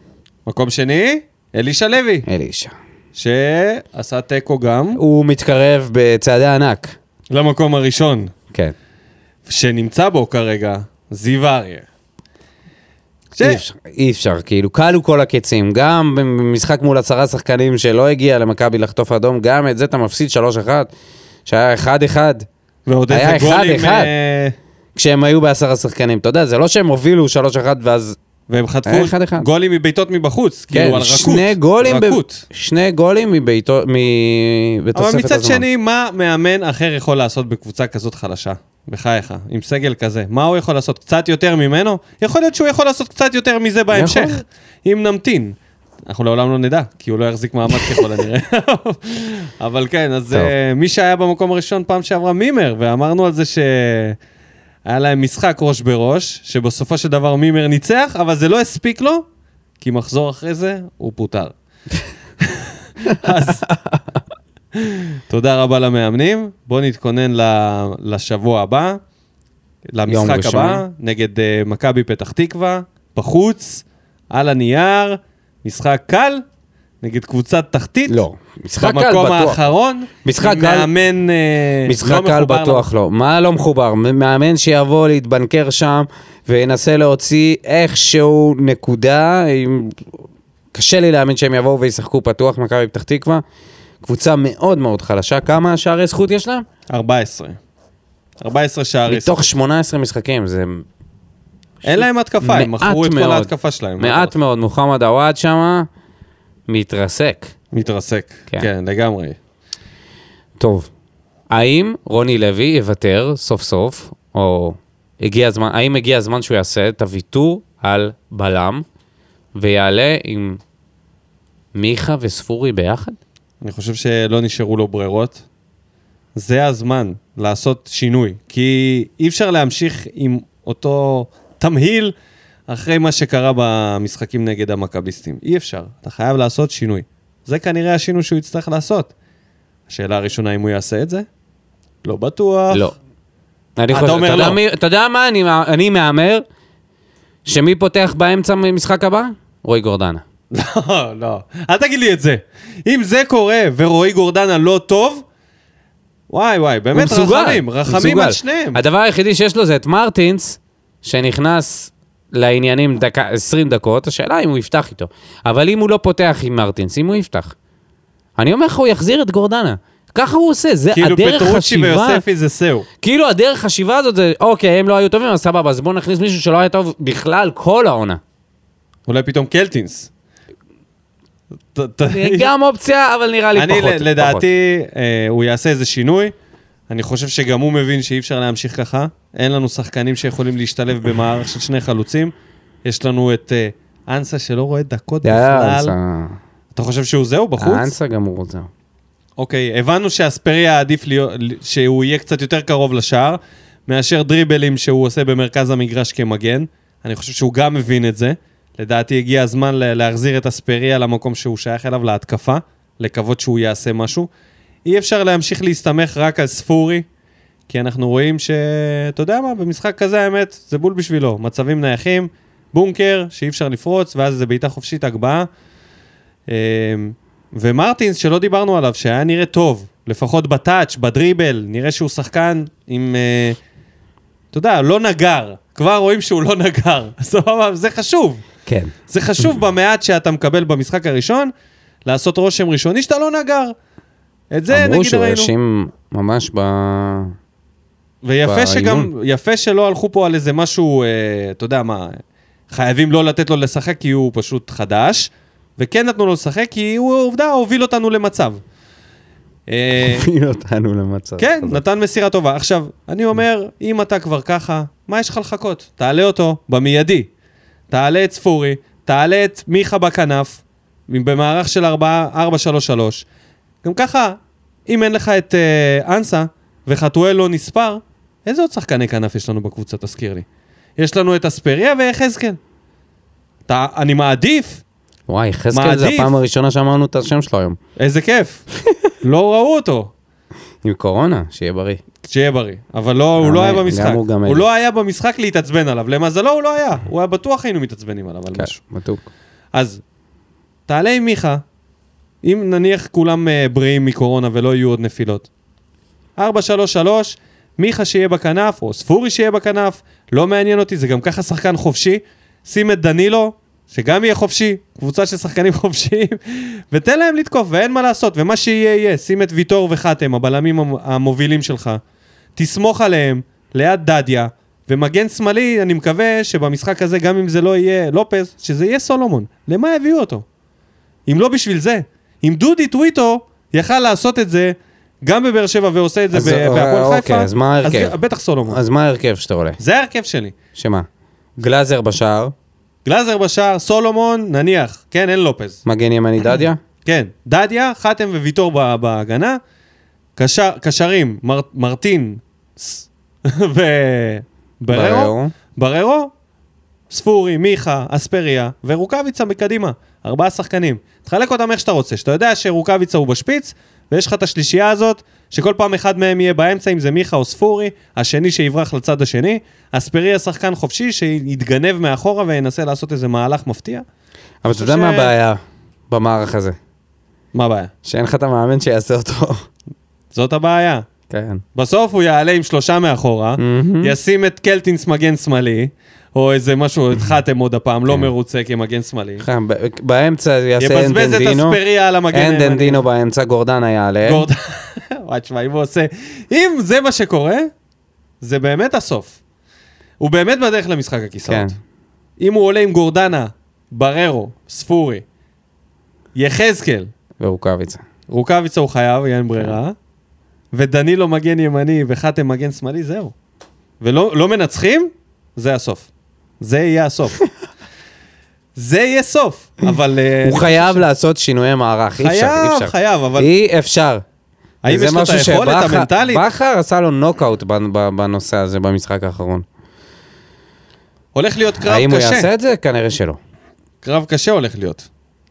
A: מקום שני, אלישע לוי,
B: אלישע.
A: שעשה תיקו גם
B: הוא מתקרב בצעדי ענק.
A: למקום הראשון
B: כן.
A: שנמצא בו כרגע, זיו אריה. ש-
B: אי אפשר, אי אפשר, כאילו, כלו כל הקצים. גם במשחק מול עשרה שחקנים שלא הגיע למכבי לחטוף אדום, גם את זה אתה מפסיד 3-1, שהיה 1-1,
A: ועוד
B: היה
A: איזה
B: אחד,
A: גולים,
B: אחד.
A: אה,
B: כשהם היו בעשרה שחקנים. אתה יודע, זה לא שהם הובילו 3-1 ואז...
A: והם
B: היה
A: חטפו
B: אה, אחד, אחד. כן,
A: גולים מבעיטות מבחוץ, כאילו על רכות.
B: שני גולים,
A: רכות.
B: ב... שני גולים מביתו, מבית
A: אבל
B: הזמן.
A: מצד שני, מה מאמן אחר יכול לעשות בקבוצה כזאת חלשה? בחייך, עם סגל כזה. מה הוא יכול לעשות? קצת יותר ממנו? יכול להיות שהוא יכול לעשות קצת יותר מזה בהמשך,
B: להיות.
A: אם נמתין. אנחנו לעולם לא נדע, כי הוא לא יחזיק מעמד ככל הנראה. אבל כן, אז
B: טוב.
A: אה, מי שהיה במקום הראשון פעם שעברה מימר, ואמרנו על זה ש... היה להם משחק ראש בראש, שבסופו של דבר מימר ניצח, אבל זה לא הספיק לו, כי מחזור אחרי זה הוא פוטר. אז תודה רבה למאמנים, בואו נתכונן ל- לשבוע הבא, למשחק
B: ראשון.
A: הבא, נגד אה, מכבי פתח תקווה, בחוץ, על הנייר, משחק קל, נגד קבוצת תחתית.
B: לא, משחק קל
A: במקום
B: בטוח.
A: האחרון,
B: משחק קל-
A: מאמן אה,
B: משחק
A: לא
B: קל
A: מחובר
B: בטוח לא. מה לא מחובר? מאמן שיבוא להתבנקר שם וינסה להוציא איכשהו נקודה. עם- קשה לי להאמין שהם יבואו וישחקו פתוח, מכבי פתח תקווה. קבוצה מאוד מאוד חלשה. כמה שערי זכות יש להם?
A: 14. 14 שערי.
B: מתוך 18 משחקים, זה
A: אין להם התקפה, הם
B: מעט
A: מכרו את כל
B: מאוד.
A: ההתקפה שלהם. מה
B: מעט
A: אתה
B: מאוד. מוחמד עוואד שמה מתרסק.
A: רוצה? מתרסק,
B: כן.
A: כן, לגמרי.
B: טוב. האם רוני לוי יוותר סוף סוף, או הגיע הזמן, האם הגיע הזמן שהוא יעשה את הוויתור על בלם ויעלה עם מיכה וספורי ביחד?
A: אני חושב שלא נשארו לו ברירות. זה הזמן לעשות שינוי, כי אי אפשר להמשיך עם אותו תמהיל אחרי מה שקרה במשחקים נגד המכביסטים. אי אפשר, אתה חייב לעשות שינוי. זה כנראה השינוי שהוא יצטרך לעשות. השאלה הראשונה, אם הוא יעשה את זה? לא בטוח.
B: לא. אני
A: אתה
B: חושב,
A: אומר
B: אתה יודע
A: לא.
B: מי- אתה יודע מה, אני מה- אני מהמר שמי פותח באמצע המשחק הבא? רועי גורדנה.
A: לא, לא. אל תגיד לי את זה. אם זה קורה ורועי גורדנה לא טוב, וואי וואי,
B: הוא
A: באמת
B: מסוגל.
A: רחמים,
B: הוא
A: רחמים
B: מסוגל.
A: על שניהם.
B: הדבר היחידי שיש לו זה את מרטינס, שנכנס לעניינים דקה, 20 דקות, השאלה אם הוא יפתח איתו. אבל אם הוא לא פותח עם מרטינס, אם הוא יפתח. אני אומר לך, הוא יחזיר את גורדנה. ככה הוא עושה, זה
A: כאילו
B: הדרך
A: פטרוצ'י
B: חשיבה.
A: ויוספי זה סאו.
B: כאילו הדרך חשיבה הזאת זה, אוקיי, הם לא היו טובים, אז סבבה, אז בואו נכניס מישהו שלא היה טוב בכלל כל העונה.
A: אולי פתאום קלטינס. ת- ת-
B: זה גם אופציה, אבל נראה לי
A: אני
B: פחות.
A: ל- לדעתי, אה, הוא יעשה איזה שינוי. אני חושב שגם הוא מבין שאי אפשר להמשיך ככה. אין לנו שחקנים שיכולים להשתלב במערך של שני חלוצים. יש לנו את אה, אנסה שלא רואה דקות
B: פחות. יאללה,
A: בכלל.
B: אז, אה,
A: אתה חושב שהוא זהו בחוץ?
B: האנסה גם הוא רוצה.
A: אוקיי, הבנו שאספריה עדיף להיות, שהוא יהיה קצת יותר קרוב לשער, מאשר דריבלים שהוא עושה במרכז המגרש כמגן. אני חושב שהוא גם מבין את זה. לדעתי הגיע הזמן ל- להחזיר את אספריה למקום שהוא שייך אליו, להתקפה, לקוות שהוא יעשה משהו. אי אפשר להמשיך להסתמך רק על ספורי, כי אנחנו רואים ש... אתה יודע מה, במשחק כזה האמת, זה בול בשבילו. מצבים נייחים, בונקר שאי אפשר לפרוץ, ואז זה בעיטה חופשית, הגבהה. אמ, ומרטינס, שלא דיברנו עליו, שהיה נראה טוב, לפחות בטאץ', בדריבל, נראה שהוא שחקן עם... אה, אתה יודע, לא נגר. כבר רואים שהוא לא נגר. סבבה, זה חשוב.
B: כן.
A: זה חשוב במעט שאתה מקבל במשחק הראשון, לעשות רושם ראשוני שאתה לא נגר. את זה
B: אמרו
A: נגיד
B: שהוא
A: ראינו.
B: האשים ממש ב...
A: ויפה שגם,
B: באימון.
A: יפה שלא הלכו פה על איזה משהו, אה, אתה יודע מה, חייבים לא לתת לו לשחק כי הוא פשוט חדש, וכן נתנו לו לשחק כי הוא עובדה, הוביל אותנו למצב. אה,
B: הוביל אותנו למצב.
A: כן,
B: הזה.
A: נתן מסירה טובה. עכשיו, אני אומר, אם אתה כבר ככה, מה יש לך לחכות? תעלה אותו במיידי. תעלה את ספורי, תעלה את מיכה בכנף, במערך של 4-3-3. גם ככה, אם אין לך את אה, אנסה וחתואל לא נספר, איזה עוד שחקני כנף יש לנו בקבוצה, תזכיר לי? יש לנו את אספריה ויחזקאל. אתה- אני מעדיף,
B: וואי, חזקאל זה
A: מעדיף.
B: הפעם הראשונה שאמרנו את השם שלו היום.
A: איזה כיף. לא ראו אותו.
B: עם קורונה, שיהיה בריא.
A: שיהיה בריא. אבל לא, הוא
B: גם
A: לא היה
B: גם
A: במשחק.
B: הוא, גם
A: הוא
B: אלה.
A: לא היה במשחק להתעצבן עליו. למזלו הוא לא היה. הוא היה בטוח היינו מתעצבנים עליו על
B: כן,
A: משהו.
B: מתוק.
A: אז תעלה עם מיכה, אם נניח כולם אה, בריאים מקורונה ולא יהיו עוד נפילות. 4-3-3, מיכה שיהיה בכנף, או ספורי שיהיה בכנף, לא מעניין אותי, זה גם ככה שחקן חופשי. שים את דנילו, שגם יהיה חופשי, קבוצה של שחקנים חופשיים, ותן להם לתקוף, ואין מה לעשות, ומה שיהיה יהיה. שים את ויטור וחתם, הבלמים המ- המובילים שלך. תסמוך עליהם, ליד דדיה, ומגן שמאלי, אני מקווה שבמשחק הזה, גם אם זה לא יהיה לופז, שזה יהיה סולומון. למה הביאו אותו? אם לא בשביל זה. אם דודי טוויטו יכל לעשות את זה גם בבאר שבע ועושה את זה
B: אז,
A: ב-
B: אה,
A: בהפועל
B: אוקיי,
A: חיפה,
B: אז מה ההרכב?
A: אז בטח סולומון.
B: אז מה ההרכב שאתה עולה?
A: זה ההרכב שלי.
B: שמה? גלאזר בשער,
A: גלאזר בשער, סולומון, נניח, כן, אין לופז.
B: מגן ימני דדיה,
A: כן, דדיה, חתם וויטור ב- בהגנה, קשר, קשרים, מר, מרטין ס- ובררו,
B: בררו,
A: בררו, ספורי, מיכה, אספריה ורוקאביצה מקדימה, ארבעה שחקנים. תחלק אותם איך שאתה רוצה, שאתה יודע שרוקאביצה הוא בשפיץ, ויש לך את השלישייה הזאת, שכל פעם אחד מהם יהיה באמצע, אם זה מיכה או ספורי, השני שיברח לצד השני, אספריה שחקן חופשי שיתגנב מאחורה וינסה לעשות איזה מהלך מפתיע.
B: אבל אתה יודע
A: חושב
B: מה
A: ש-
B: הבעיה במערך הזה?
A: מה הבעיה?
B: שאין לך את המאמן שיעשה אותו.
A: זאת הבעיה.
B: כן.
A: בסוף הוא יעלה עם שלושה מאחורה,
B: מהמם.
A: ישים את קלטינס מגן שמאלי, או איזה משהו, את חתם עוד הפעם,
B: כן.
A: לא מרוצה כמגן שמאלי.
B: ככה, ב- באמצע יעשה
A: יבזבז את
B: אנדנדינו,
A: אספריה על המגן הימני.
B: אנדנדינו באמצע, גורדנה יעלה.
A: גורד... וואי, תשמע, אם הוא עושה... אם זה מה שקורה, זה באמת הסוף. הוא באמת בדרך למשחק הכיסאות.
B: כן.
A: אם הוא עולה עם גורדנה, בררו, ספורי, יחזקאל,
B: ורוקאביצה.
A: כן, רוקאביצה הוא חייב,
B: כן.
A: אין ברירה. ודנילו מגן ימני וחתם מגן שמאלי, זהו. ולא לא מנצחים, זה הסוף. זה יהיה הסוף. זה יהיה סוף, אבל... אה,
B: הוא חייב לעשות שינויי מערך, אי אפשר, אי
A: חייב,
B: אפשר.
A: חייב, אבל
B: אי אפשר.
A: האם
B: וזה
A: יש לו את
B: משהו
A: היכולת
B: שבכר-
A: המנטלית?
B: בכר עשה לו נוקאוט בנ- ב- בנושא הזה במשחק האחרון.
A: הולך להיות קרב
B: האם הוא
A: קשה.
B: יעשה את זה? כנראה שלא.
A: קרב קשה הולך להיות.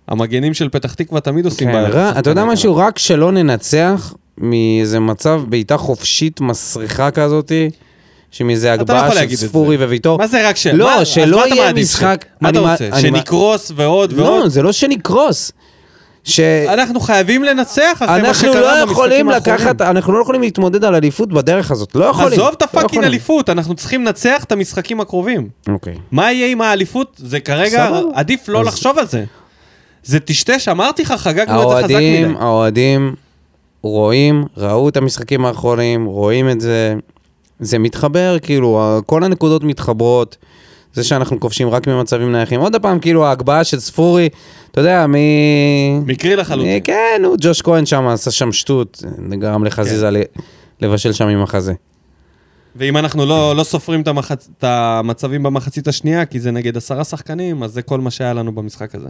A: המגנים של פתח תקווה תמיד עושים
B: כן,
A: בעיות.
B: רע- אתה יודע משהו? רק שלא ננצח מאיזה מצב בעיטה חופשית מסריחה כזאתי, שמאיזה
A: אתה לא יכול
B: הגבהה
A: להגיד
B: של
A: את זה.
B: ספורי וויטור.
A: מה זה רק ש...
B: לא,
A: מה- אז
B: שלא
A: מה אתה
B: יהיה
A: מעדיף?
B: משחק-
A: מה אתה
B: אני מע-
A: רוצה?
B: אני מע-
A: שנקרוס ועוד
B: לא,
A: ועוד?
B: זה לא שנקרוס. ש...
A: אנחנו חייבים לנצח אחרי מה
B: אנחנו
A: שקרה
B: לא
A: במשחקים
B: יכולים
A: האחרונים.
B: לקחת, אנחנו לא יכולים להתמודד על אליפות בדרך הזאת, לא יכולים.
A: עזוב את
B: לא
A: הפאקינג
B: יכולים.
A: אליפות, אנחנו צריכים לנצח את המשחקים הקרובים.
B: אוקיי.
A: מה יהיה עם האליפות? זה כרגע,
B: סבבה.
A: עדיף לא
B: אז-
A: לחשוב על זה. זה טשטש, אמרתי לך, חגגנו את זה לא חזק מדי.
B: האוהדים, האוהדים רואים, ראו את המשחקים האחרונים, רואים את זה, זה מתחבר, כאילו, ה- כל הנקודות מתחברות, זה שאנחנו כובשים רק ממצבים נייחים. עוד פעם, כאילו, ההגבהה של ספורי, אתה יודע, מ...
A: מקרי
B: אה,
A: לחלוטין.
B: כן, הוא ג'וש כהן שם עשה שם שטות, גרם
A: כן.
B: לחזיזה ל- לבשל שם עם החזה.
A: ואם אנחנו לא לא סופרים את המחצ- את המצבים במחצית השנייה, כי זה נגד עשרה שחקנים, אז זה כל מה שהיה לנו במשחק הזה.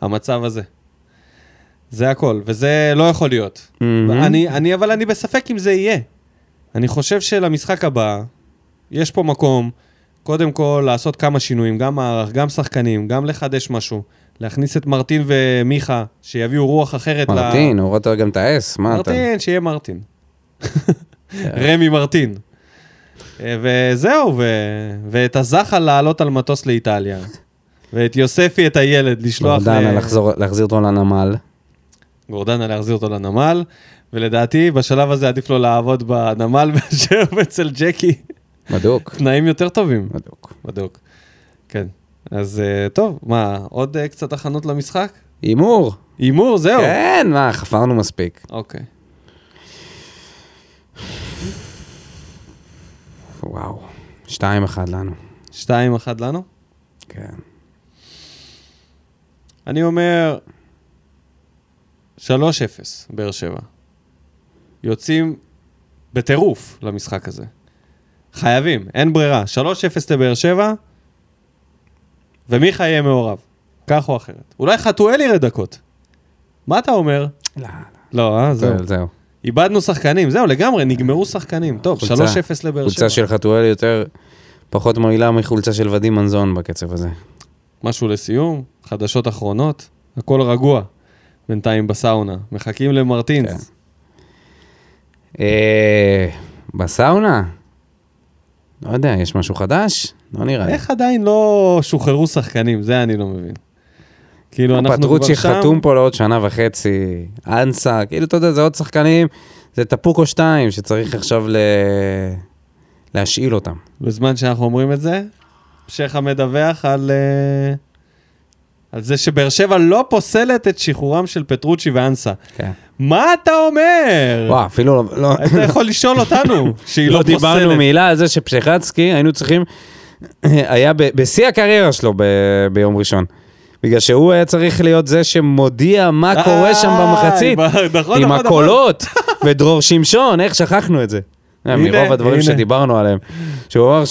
A: המצב הזה. זה הכל, וזה לא יכול להיות.
B: Mm-hmm.
A: אני, אני, אבל אני בספק אם זה יהיה. אני חושב שלמשחק הבא, יש פה מקום, קודם כל, לעשות כמה שינויים, גם מערך, גם שחקנים, גם לחדש משהו. להכניס את מרטין ומיכה, שיביאו רוח אחרת ל...
B: מרטין, הורדת גם את האס, מה אתה...
A: מרטין, שיהיה מרטין. רמי מרטין. אה, וזהו, ו... ואת הזחל לעלות על מטוס לאיטליה. ואת יוספי, את הילד, לשלוח...
B: גורדנה,
A: ל-
B: לחזור- להחזיר אותו לנמל.
A: גורדנה להחזיר אותו לנמל, ולדעתי בשלב הזה עדיף לו לעבוד בנמל מאשר אצל ג'קי.
B: בדוק.
A: תנאים יותר טובים.
B: בדוק.
A: בדיוק. כן. אז אה, טוב, מה, עוד אה, קצת הכנות למשחק?
B: הימור.
A: הימור, זהו.
B: כן, מה, חפרנו מספיק.
A: אוקיי.
B: וואו. 2-1 לנו.
A: 2-1 לנו?
B: כן.
A: אני אומר, 3-0, באר שבע. יוצאים בטירוף למשחק הזה. חייבים, אין ברירה. 3-0 לבאר שבע, ומיכה יהיה מעורב. כך או אחרת. אולי חתואל יראה דקות. מה אתה אומר?
B: לא,
A: לא, אה, זהו.
B: זהו, זהו.
A: איבדנו שחקנים, זהו, לגמרי, נגמרו שחקנים. טוב, 3-0
B: חולצה.
A: לבאר שבע.
B: חולצה של חתואל יותר, פחות מועילה מחולצה של ודים מנזון בקצב הזה.
A: משהו לסיום, חדשות אחרונות, הכל רגוע. בינתיים בסאונה, מחכים
B: כן.
A: למרטינס.
B: אה... בסאונה? לא יודע, יש משהו חדש? לא נראה לי.
A: איך עדיין לא שוחררו שחקנים? זה אני לא מבין. כאילו, אנחנו כבר שם...
B: פטרוצ'י חתום פה לעוד שנה וחצי, אנסה, כאילו, אתה יודע, זה עוד שחקנים, זה טפוק או שתיים שצריך עכשיו ל... להשאיל אותם.
A: בזמן שאנחנו אומרים את זה, שכה מדווח על... אה, על זה שבאר שבע לא פוסלת את שחרורם של פטרוצ'י ואנסה.
B: כן.
A: מה אתה אומר?
B: וואו, אפילו לא... לא...
A: היית יכול לשאול אותנו שהיא לא
B: לא
A: פוסלת.
B: דיברנו מילה על זה שפשחצקי, היינו צריכים, היה ב- בשיא הקריירה שלו ב, ביום ראשון. בגלל שהוא היה צריך להיות זה שמודיע מה קורה שם במחצית,
A: אה, נכון, נכון,
B: עם
A: נכון.
B: הקולות, ודרור שמשון, איך שכחנו את זה? אה, מרוב הדברים
A: הנה.
B: שדיברנו עליהם. שהוא אמר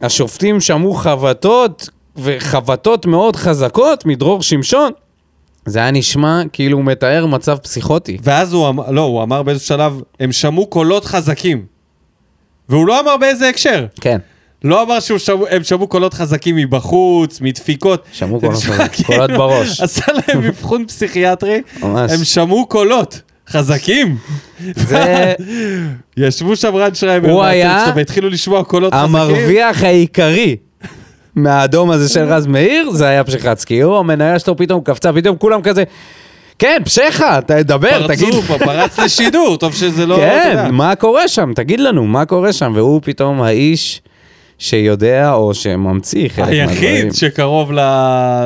B: שהשופטים שמעו חבטות, וחבטות מאוד חזקות מדרור שמשון. זה היה נשמע כאילו הוא מתאר מצב פסיכוטי.
A: ואז הוא אמר, לא, הוא אמר באיזשהו שלב, הם שמעו קולות חזקים. והוא לא אמר באיזה הקשר.
B: כן.
A: לא אמר שהם שמעו, שמעו קולות חזקים מבחוץ, מדפיקות.
B: שמעו
A: זה
B: קולות
A: נשמע
B: חזקים,
A: כאילו
B: קולות בראש.
A: עשה להם אבחון פסיכיאטרי,
B: ממש.
A: הם שמעו קולות חזקים.
B: זה...
A: ישבו שם רן שרייבר,
B: הוא
A: והצוות
B: היה
A: שלו, והתחילו לשמוע קולות חזקים.
B: המרוויח העיקרי מהאדום הזה של רז מאיר, זה היה פשחצקי. הוא, המניה שלו פתאום קפצה, פתאום כולם כזה, כן, פשחה, ת- דבר, תגיד.
A: פרצו, פה, פרץ לשידור, טוב שזה לא... אתה יודע.
B: כן, מה קורה שם? תגיד לנו, מה קורה שם? והוא פתאום האיש שיודע או שממציא חלק מהדברים.
A: היחיד שקרוב ל-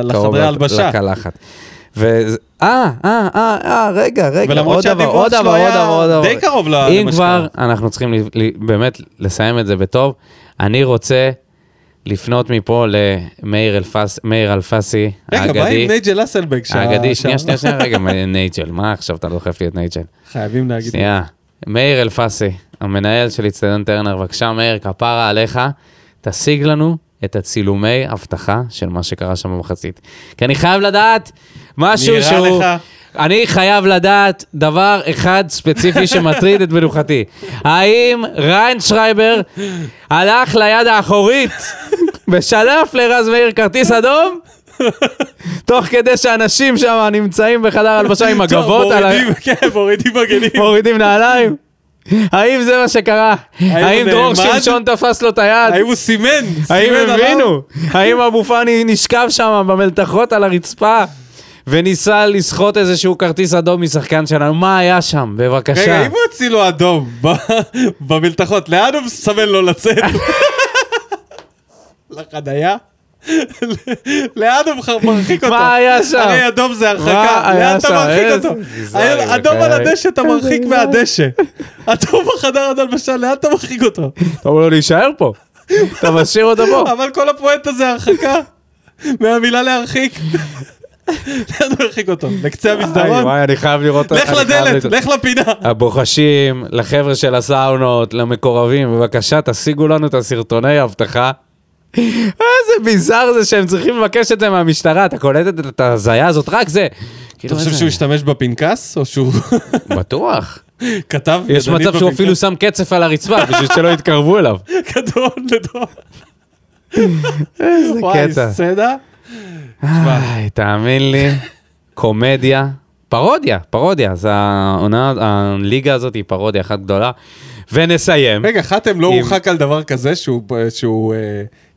B: כן, קרוב
A: לחדרי
B: לק-
A: ההלבשה.
B: לקלחת. וזה- אה, אה, אה, אה, רגע, רגע,
A: ולמרות
B: עוד דבר,
A: שהדיווח
B: עוד
A: שלו
B: דבר,
A: היה
B: עוד דבר, עוד דבר.
A: די קרוב ל-
B: אם
A: למה
B: כבר,
A: שקרה.
B: אנחנו צריכים ל- ל- באמת לסיים את זה בטוב. אני רוצה לפנות מפה למאיר אלפס- מאיר אלפסי
A: רגע, מה עם
B: האגדי.
A: נייג'ל אסלבק? שה-
B: האגדי, שנייה,
A: שה-
B: שנייה, שנייה, רגע, מה, נייג'ל, מה עכשיו אתה דוחף לי את נייג'ל?
A: חייבים להגיד.
B: שנייה. מאיר אלפסי, המנהל של אצטדיון טרנר, בבקשה, מאיר, כפרה עליך, תשיג לנו את הצילומי אבטחה של מה שקרה שם במחצית. כי אני חייב לדעת משהו
A: נראה
B: שהוא...
A: לך?
B: אני חייב לדעת דבר אחד ספציפי שמטריד את מנוחתי. האם ריין שרייבר הלך ליד האחורית ושלף לרז מאיר כרטיס אדום? תוך כדי שאנשים שם נמצאים בחדר הלבשה עם
A: טוב,
B: הגבות על ה...
A: מורידים, כן, מורידים מגנים.
B: מורידים נעליים? האם זה מה שקרה? האם
A: הוא
B: דרור
A: נעמד?
B: שמשון תפס לו את היד?
A: האם הוא סימן?
B: האם
A: סימן עליו?
B: הבינו? האם אבו פאני נשכב שם במלתחות על הרצפה? וניסה לסחוט איזשהו כרטיס אדום משחקן שלנו? מה היה שם? בבקשה.
A: רגע, אם הוא הוציא לו אדום ב- במלתחות, לאן הוא מסמן לו לצאת? לחניה? לאן הוא מח- מרחיק אותו?
B: מה היה שם?
A: הרי אדום זה
B: מה
A: הרחקה,
B: היה
A: לאן אתה
B: שם?
A: מרחיק
B: איזה
A: אותו?
B: גזען,
A: היה- אדום על
B: בחיי.
A: הדשא, אתה מרחיק מהדשא. אדום בחדר הדלבשה, לאן אתה מרחיק אותו?
B: אתה אומר לו לא להישאר פה. אתה משאיר אותו פה.
A: אבל כל הפואנטה זה הרחקה. מהמילה להרחיק. לאן הוא מרחיק אותו? לקצה
B: וואי,
A: המסדרון?
B: וואי, אני חייב לראות...
A: לך
B: אני חייב
A: לדלת,
B: לראות.
A: לך לפינה.
B: הבוחשים, לחבר'ה של הסאונות, למקורבים, בבקשה, תשיגו לנו את הסרטוני האבטחה. איזה ביזאר זה שהם צריכים לבקש את זה מהמשטרה, אתה קולט את את ההזיה הזאת, רק זה.
A: אתה
B: כאילו,
A: חושב
B: איזה-
A: שהוא השתמש בפנקס, או שהוא
B: בטוח.
A: כתב
B: יש
A: ידנית
B: מצב שהוא
A: בפנקס?
B: אפילו שם קצף על הרצפה, בשביל שלא יתקרבו אליו.
A: כדור לדור.
B: איזה
A: וואי, סצנה.
B: איי, תאמין לי, קומדיה, פרודיה, פרודיה, זה העונה, הליגה הזאת היא פרודיה אחת גדולה. ונסיים.
A: רגע, חתם לא
B: אם-
A: הורחק על דבר כזה שהוא- שהוא אה,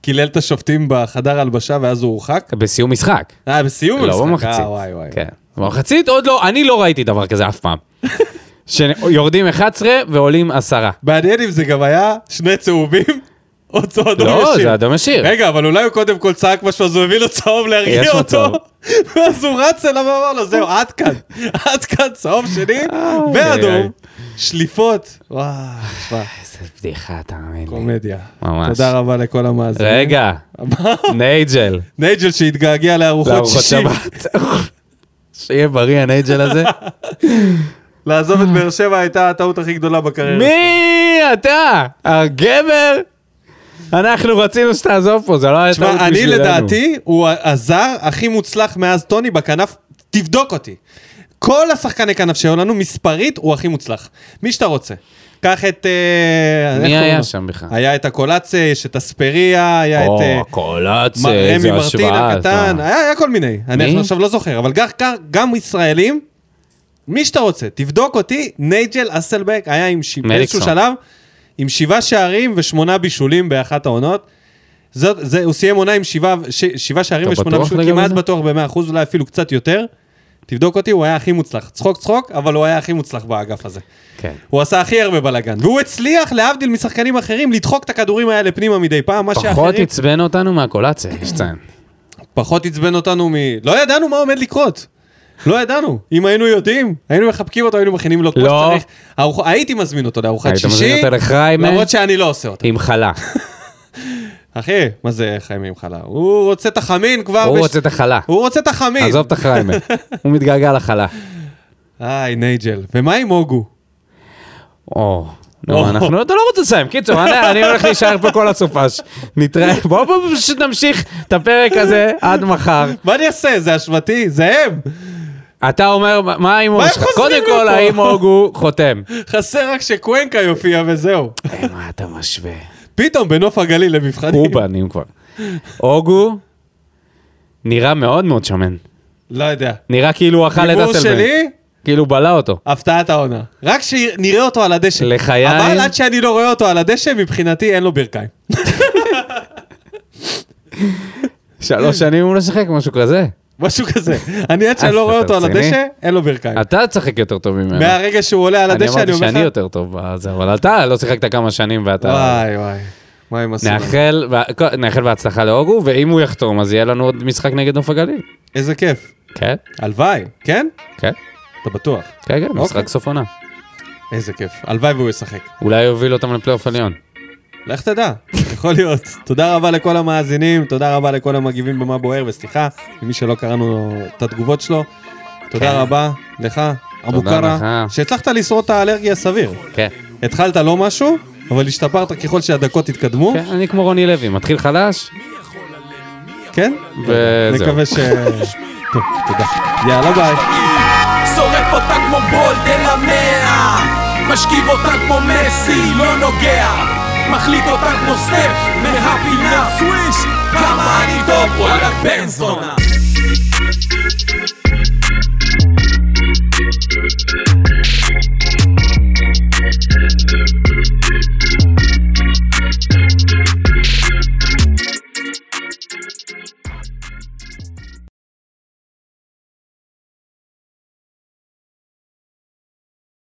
A: קילל את השופטים בחדר הלבשה ואז הוא הורחק?
B: בסיום משחק.
A: אה, בסיום
B: לא במחצית.
A: אה, וואי, וואי.
B: כן. במחצית עוד לא, אני לא ראיתי דבר כזה אף פעם. שיורדים 11 ועולים 10.
A: מעניין אם זה גם היה שני צהובים, או צהוב אדום ישיר.
B: לא, זה אדום ישיר.
A: רגע, אבל אולי הוא קודם כל צעק משהו, אז הוא הביא לו צהוב להרגיע
B: יש
A: אותו,
B: מצב.
A: ואז הוא רץ אליו ואמר לו, זהו, עד כאן, עד כאן, צהוב שני,
B: אה,
A: ואדום,
B: איי.
A: שליפות. וואו, תשמע,
B: איזה בדיחה, תאמין לי.
A: קומדיה.
B: ממש.
A: תודה רבה לכל המאזינים.
B: רגע, נייג'ל.
A: נייג'ל שהתגעגע לארוחות
B: לארוחות
A: שישי,
B: שבת. שיהיה בריא הנייג'ל הזה.
A: לעזוב את באר שבע הייתה הטעות הכי גדולה בקריירה.
B: מי אתה? הגבר? אנחנו רצינו שתעזוב פה, זה לא היה טעות
A: תשמע, אני
B: בשבילנו.
A: לדעתי, הוא הזר הכי מוצלח מאז טוני בכנף, תבדוק אותי. כל השחקני כנף שהיו לנו, מספרית, הוא הכי מוצלח. מי שאתה רוצה. קח את... אה, איך
B: מי
A: קוראים
B: היה
A: לו?
B: שם בכלל?
A: היה את הקולאצה, יש את אספריה, היה את... אה,
B: או, קולאצה,
A: מ- רמי
B: איזה
A: מרטין
B: השוואה.
A: הקטן,
B: אתה-
A: היה היה כל מיני. אני
B: מי?
A: עכשיו לא זוכר, אבל גם- גם- גם ישראלים, מי שאתה רוצה, תבדוק אותי, נייג'ל אסלבק היה עם ש- באיזשהו
B: מליקסון.
A: שלב, עם שבעה שערים ושמונה בישולים באחת העונות. זאת, זה, הוא סיים עונה עם שבעה, ש, שבעה שערים
B: אתה
A: ושמונה
B: בטוח
A: בישולים,
B: לגבי
A: כמעט
B: זה?
A: בטוח ב-100%, אולי אפילו קצת יותר. תבדוק אותי, הוא היה הכי מוצלח. צחוק צחוק, אבל הוא היה הכי מוצלח באגף הזה.
B: כן.
A: הוא עשה הכי הרבה בלאגן, והוא הצליח, להבדיל משחקנים אחרים, לדחוק את הכדורים האלה פנימה מדי פעם, מה
B: פחות
A: שאחרים...
B: עצבן אותנו מהקולאצה, יש ציין.
A: פחות עצבן אותנו מ... לא ידענו מה עומד לקרות. לא ידענו. אם היינו יודעים, היינו מחבקים אותו, היינו מכינים לו כמו
B: לא.
A: שצריך. ארוח... הייתי מזמין אותו לארוחת
B: היית
A: שישי,
B: מזמין אותו לחיימה?
A: למרות שאני לא עושה אותה.
B: עם חלה.
A: אחי, מה זה חיימים חלה? הוא רוצה את החמין כבר...
B: הוא רוצה את החלה.
A: הוא רוצה את החמין.
B: עזוב את החיימה. הוא מתגעגע לחלה.
A: היי, נייג'ל. ומה עם הוגו?
B: או.
A: או.
B: נו, אנחנו, אתה לא רוצה לסיים, קיצור, אני- אני הולך להישאר פה כל הסופש. נתראה, בואו בואו פשוט נמשיך את הפרק הזה עד מחר.
A: מה אני אעשה? זה אשמתי? זה הם.
B: אתה אומר, מה- מה ההימור
A: הם
B: שלך?
A: חוזרים
B: קודם כל,
A: לפה?
B: האם הוגו חותם? "אה,
A: חסר רק שקוונקה יופיע וזהו.
B: מה אתה משווה?
A: פתאום בנוף הגליל למבחנים.
B: אובנים כבר. הוגו נראה מאוד מאוד שמן.
A: לא יודע.
B: נראה כאילו הוא אכל את
A: הימור
B: אסלבנק.
A: שלי?
B: כאילו הוא בלע אותו.
A: הפתעת העונה. רק שנראה אותו על הדשא.
B: לחיי.
A: אבל עד שאני לא רואה אותו על הדשא, מבחינתי אין לו ברכיים.
B: שלוש שנים הוא לא שיחק, משהו כזה.
A: משהו כזה. אני עד שאני
B: אז
A: לא
B: אתה
A: רואה אותו על
B: רציני?
A: הדשא, אין לו ברכיים.
B: אתה תשחק יותר טוב ממנו.
A: מהרגע שהוא עולה על
B: אני
A: הדשא, אני
B: אמרתי שאני
A: אומר לך...
B: יותר טוב בזה, אבל אתה לא שיחקת כמה שנים ואתה...
A: וואי וואי. מה הם עשו? לנו?
B: נאחל ו- נאחל בהצלחה להוגו, ואם הוא יחתום אז יהיה לנו עוד משחק נגד נוף הגליל.
A: איזה כיף.
B: כן,
A: הלוואי, כן?
B: כן,
A: אתה בטוח.
B: כן, כן,
A: אוקיי.
B: משחק סוף עונה.
A: איזה כיף. הלוואי והוא ישחק.
B: אולי יוביל אותם לפלייאוף עליון.
A: לך תדע, יכול להיות. תודה רבה לכל המאזינים, תודה רבה לכל המגיבים במה בוער, וסליחה, למי שלא קראנו לו את התגובות שלו. תודה רבה לך, אבו
B: כן. תודה
A: קארה,
B: לך.
A: שהצלחת לשרוד את האלרגיה סביר.
B: כן.
A: התחלת לא משהו, אבל השתפרת ככל שהדקות התקדמו,
B: כן, אני כמו רוני לוי, מתחיל חלש,
A: כן?
B: וזהו.
A: נקווה ש... טוב, תודה. יאללה ביי.
C: שורף אותה כמו בולד אל המאה משכיב אותה כמו מסי, לא נוגע מחליט אותה כמו סטף, מהפינה סוויש כמה אני טוב, וואלה בן זונה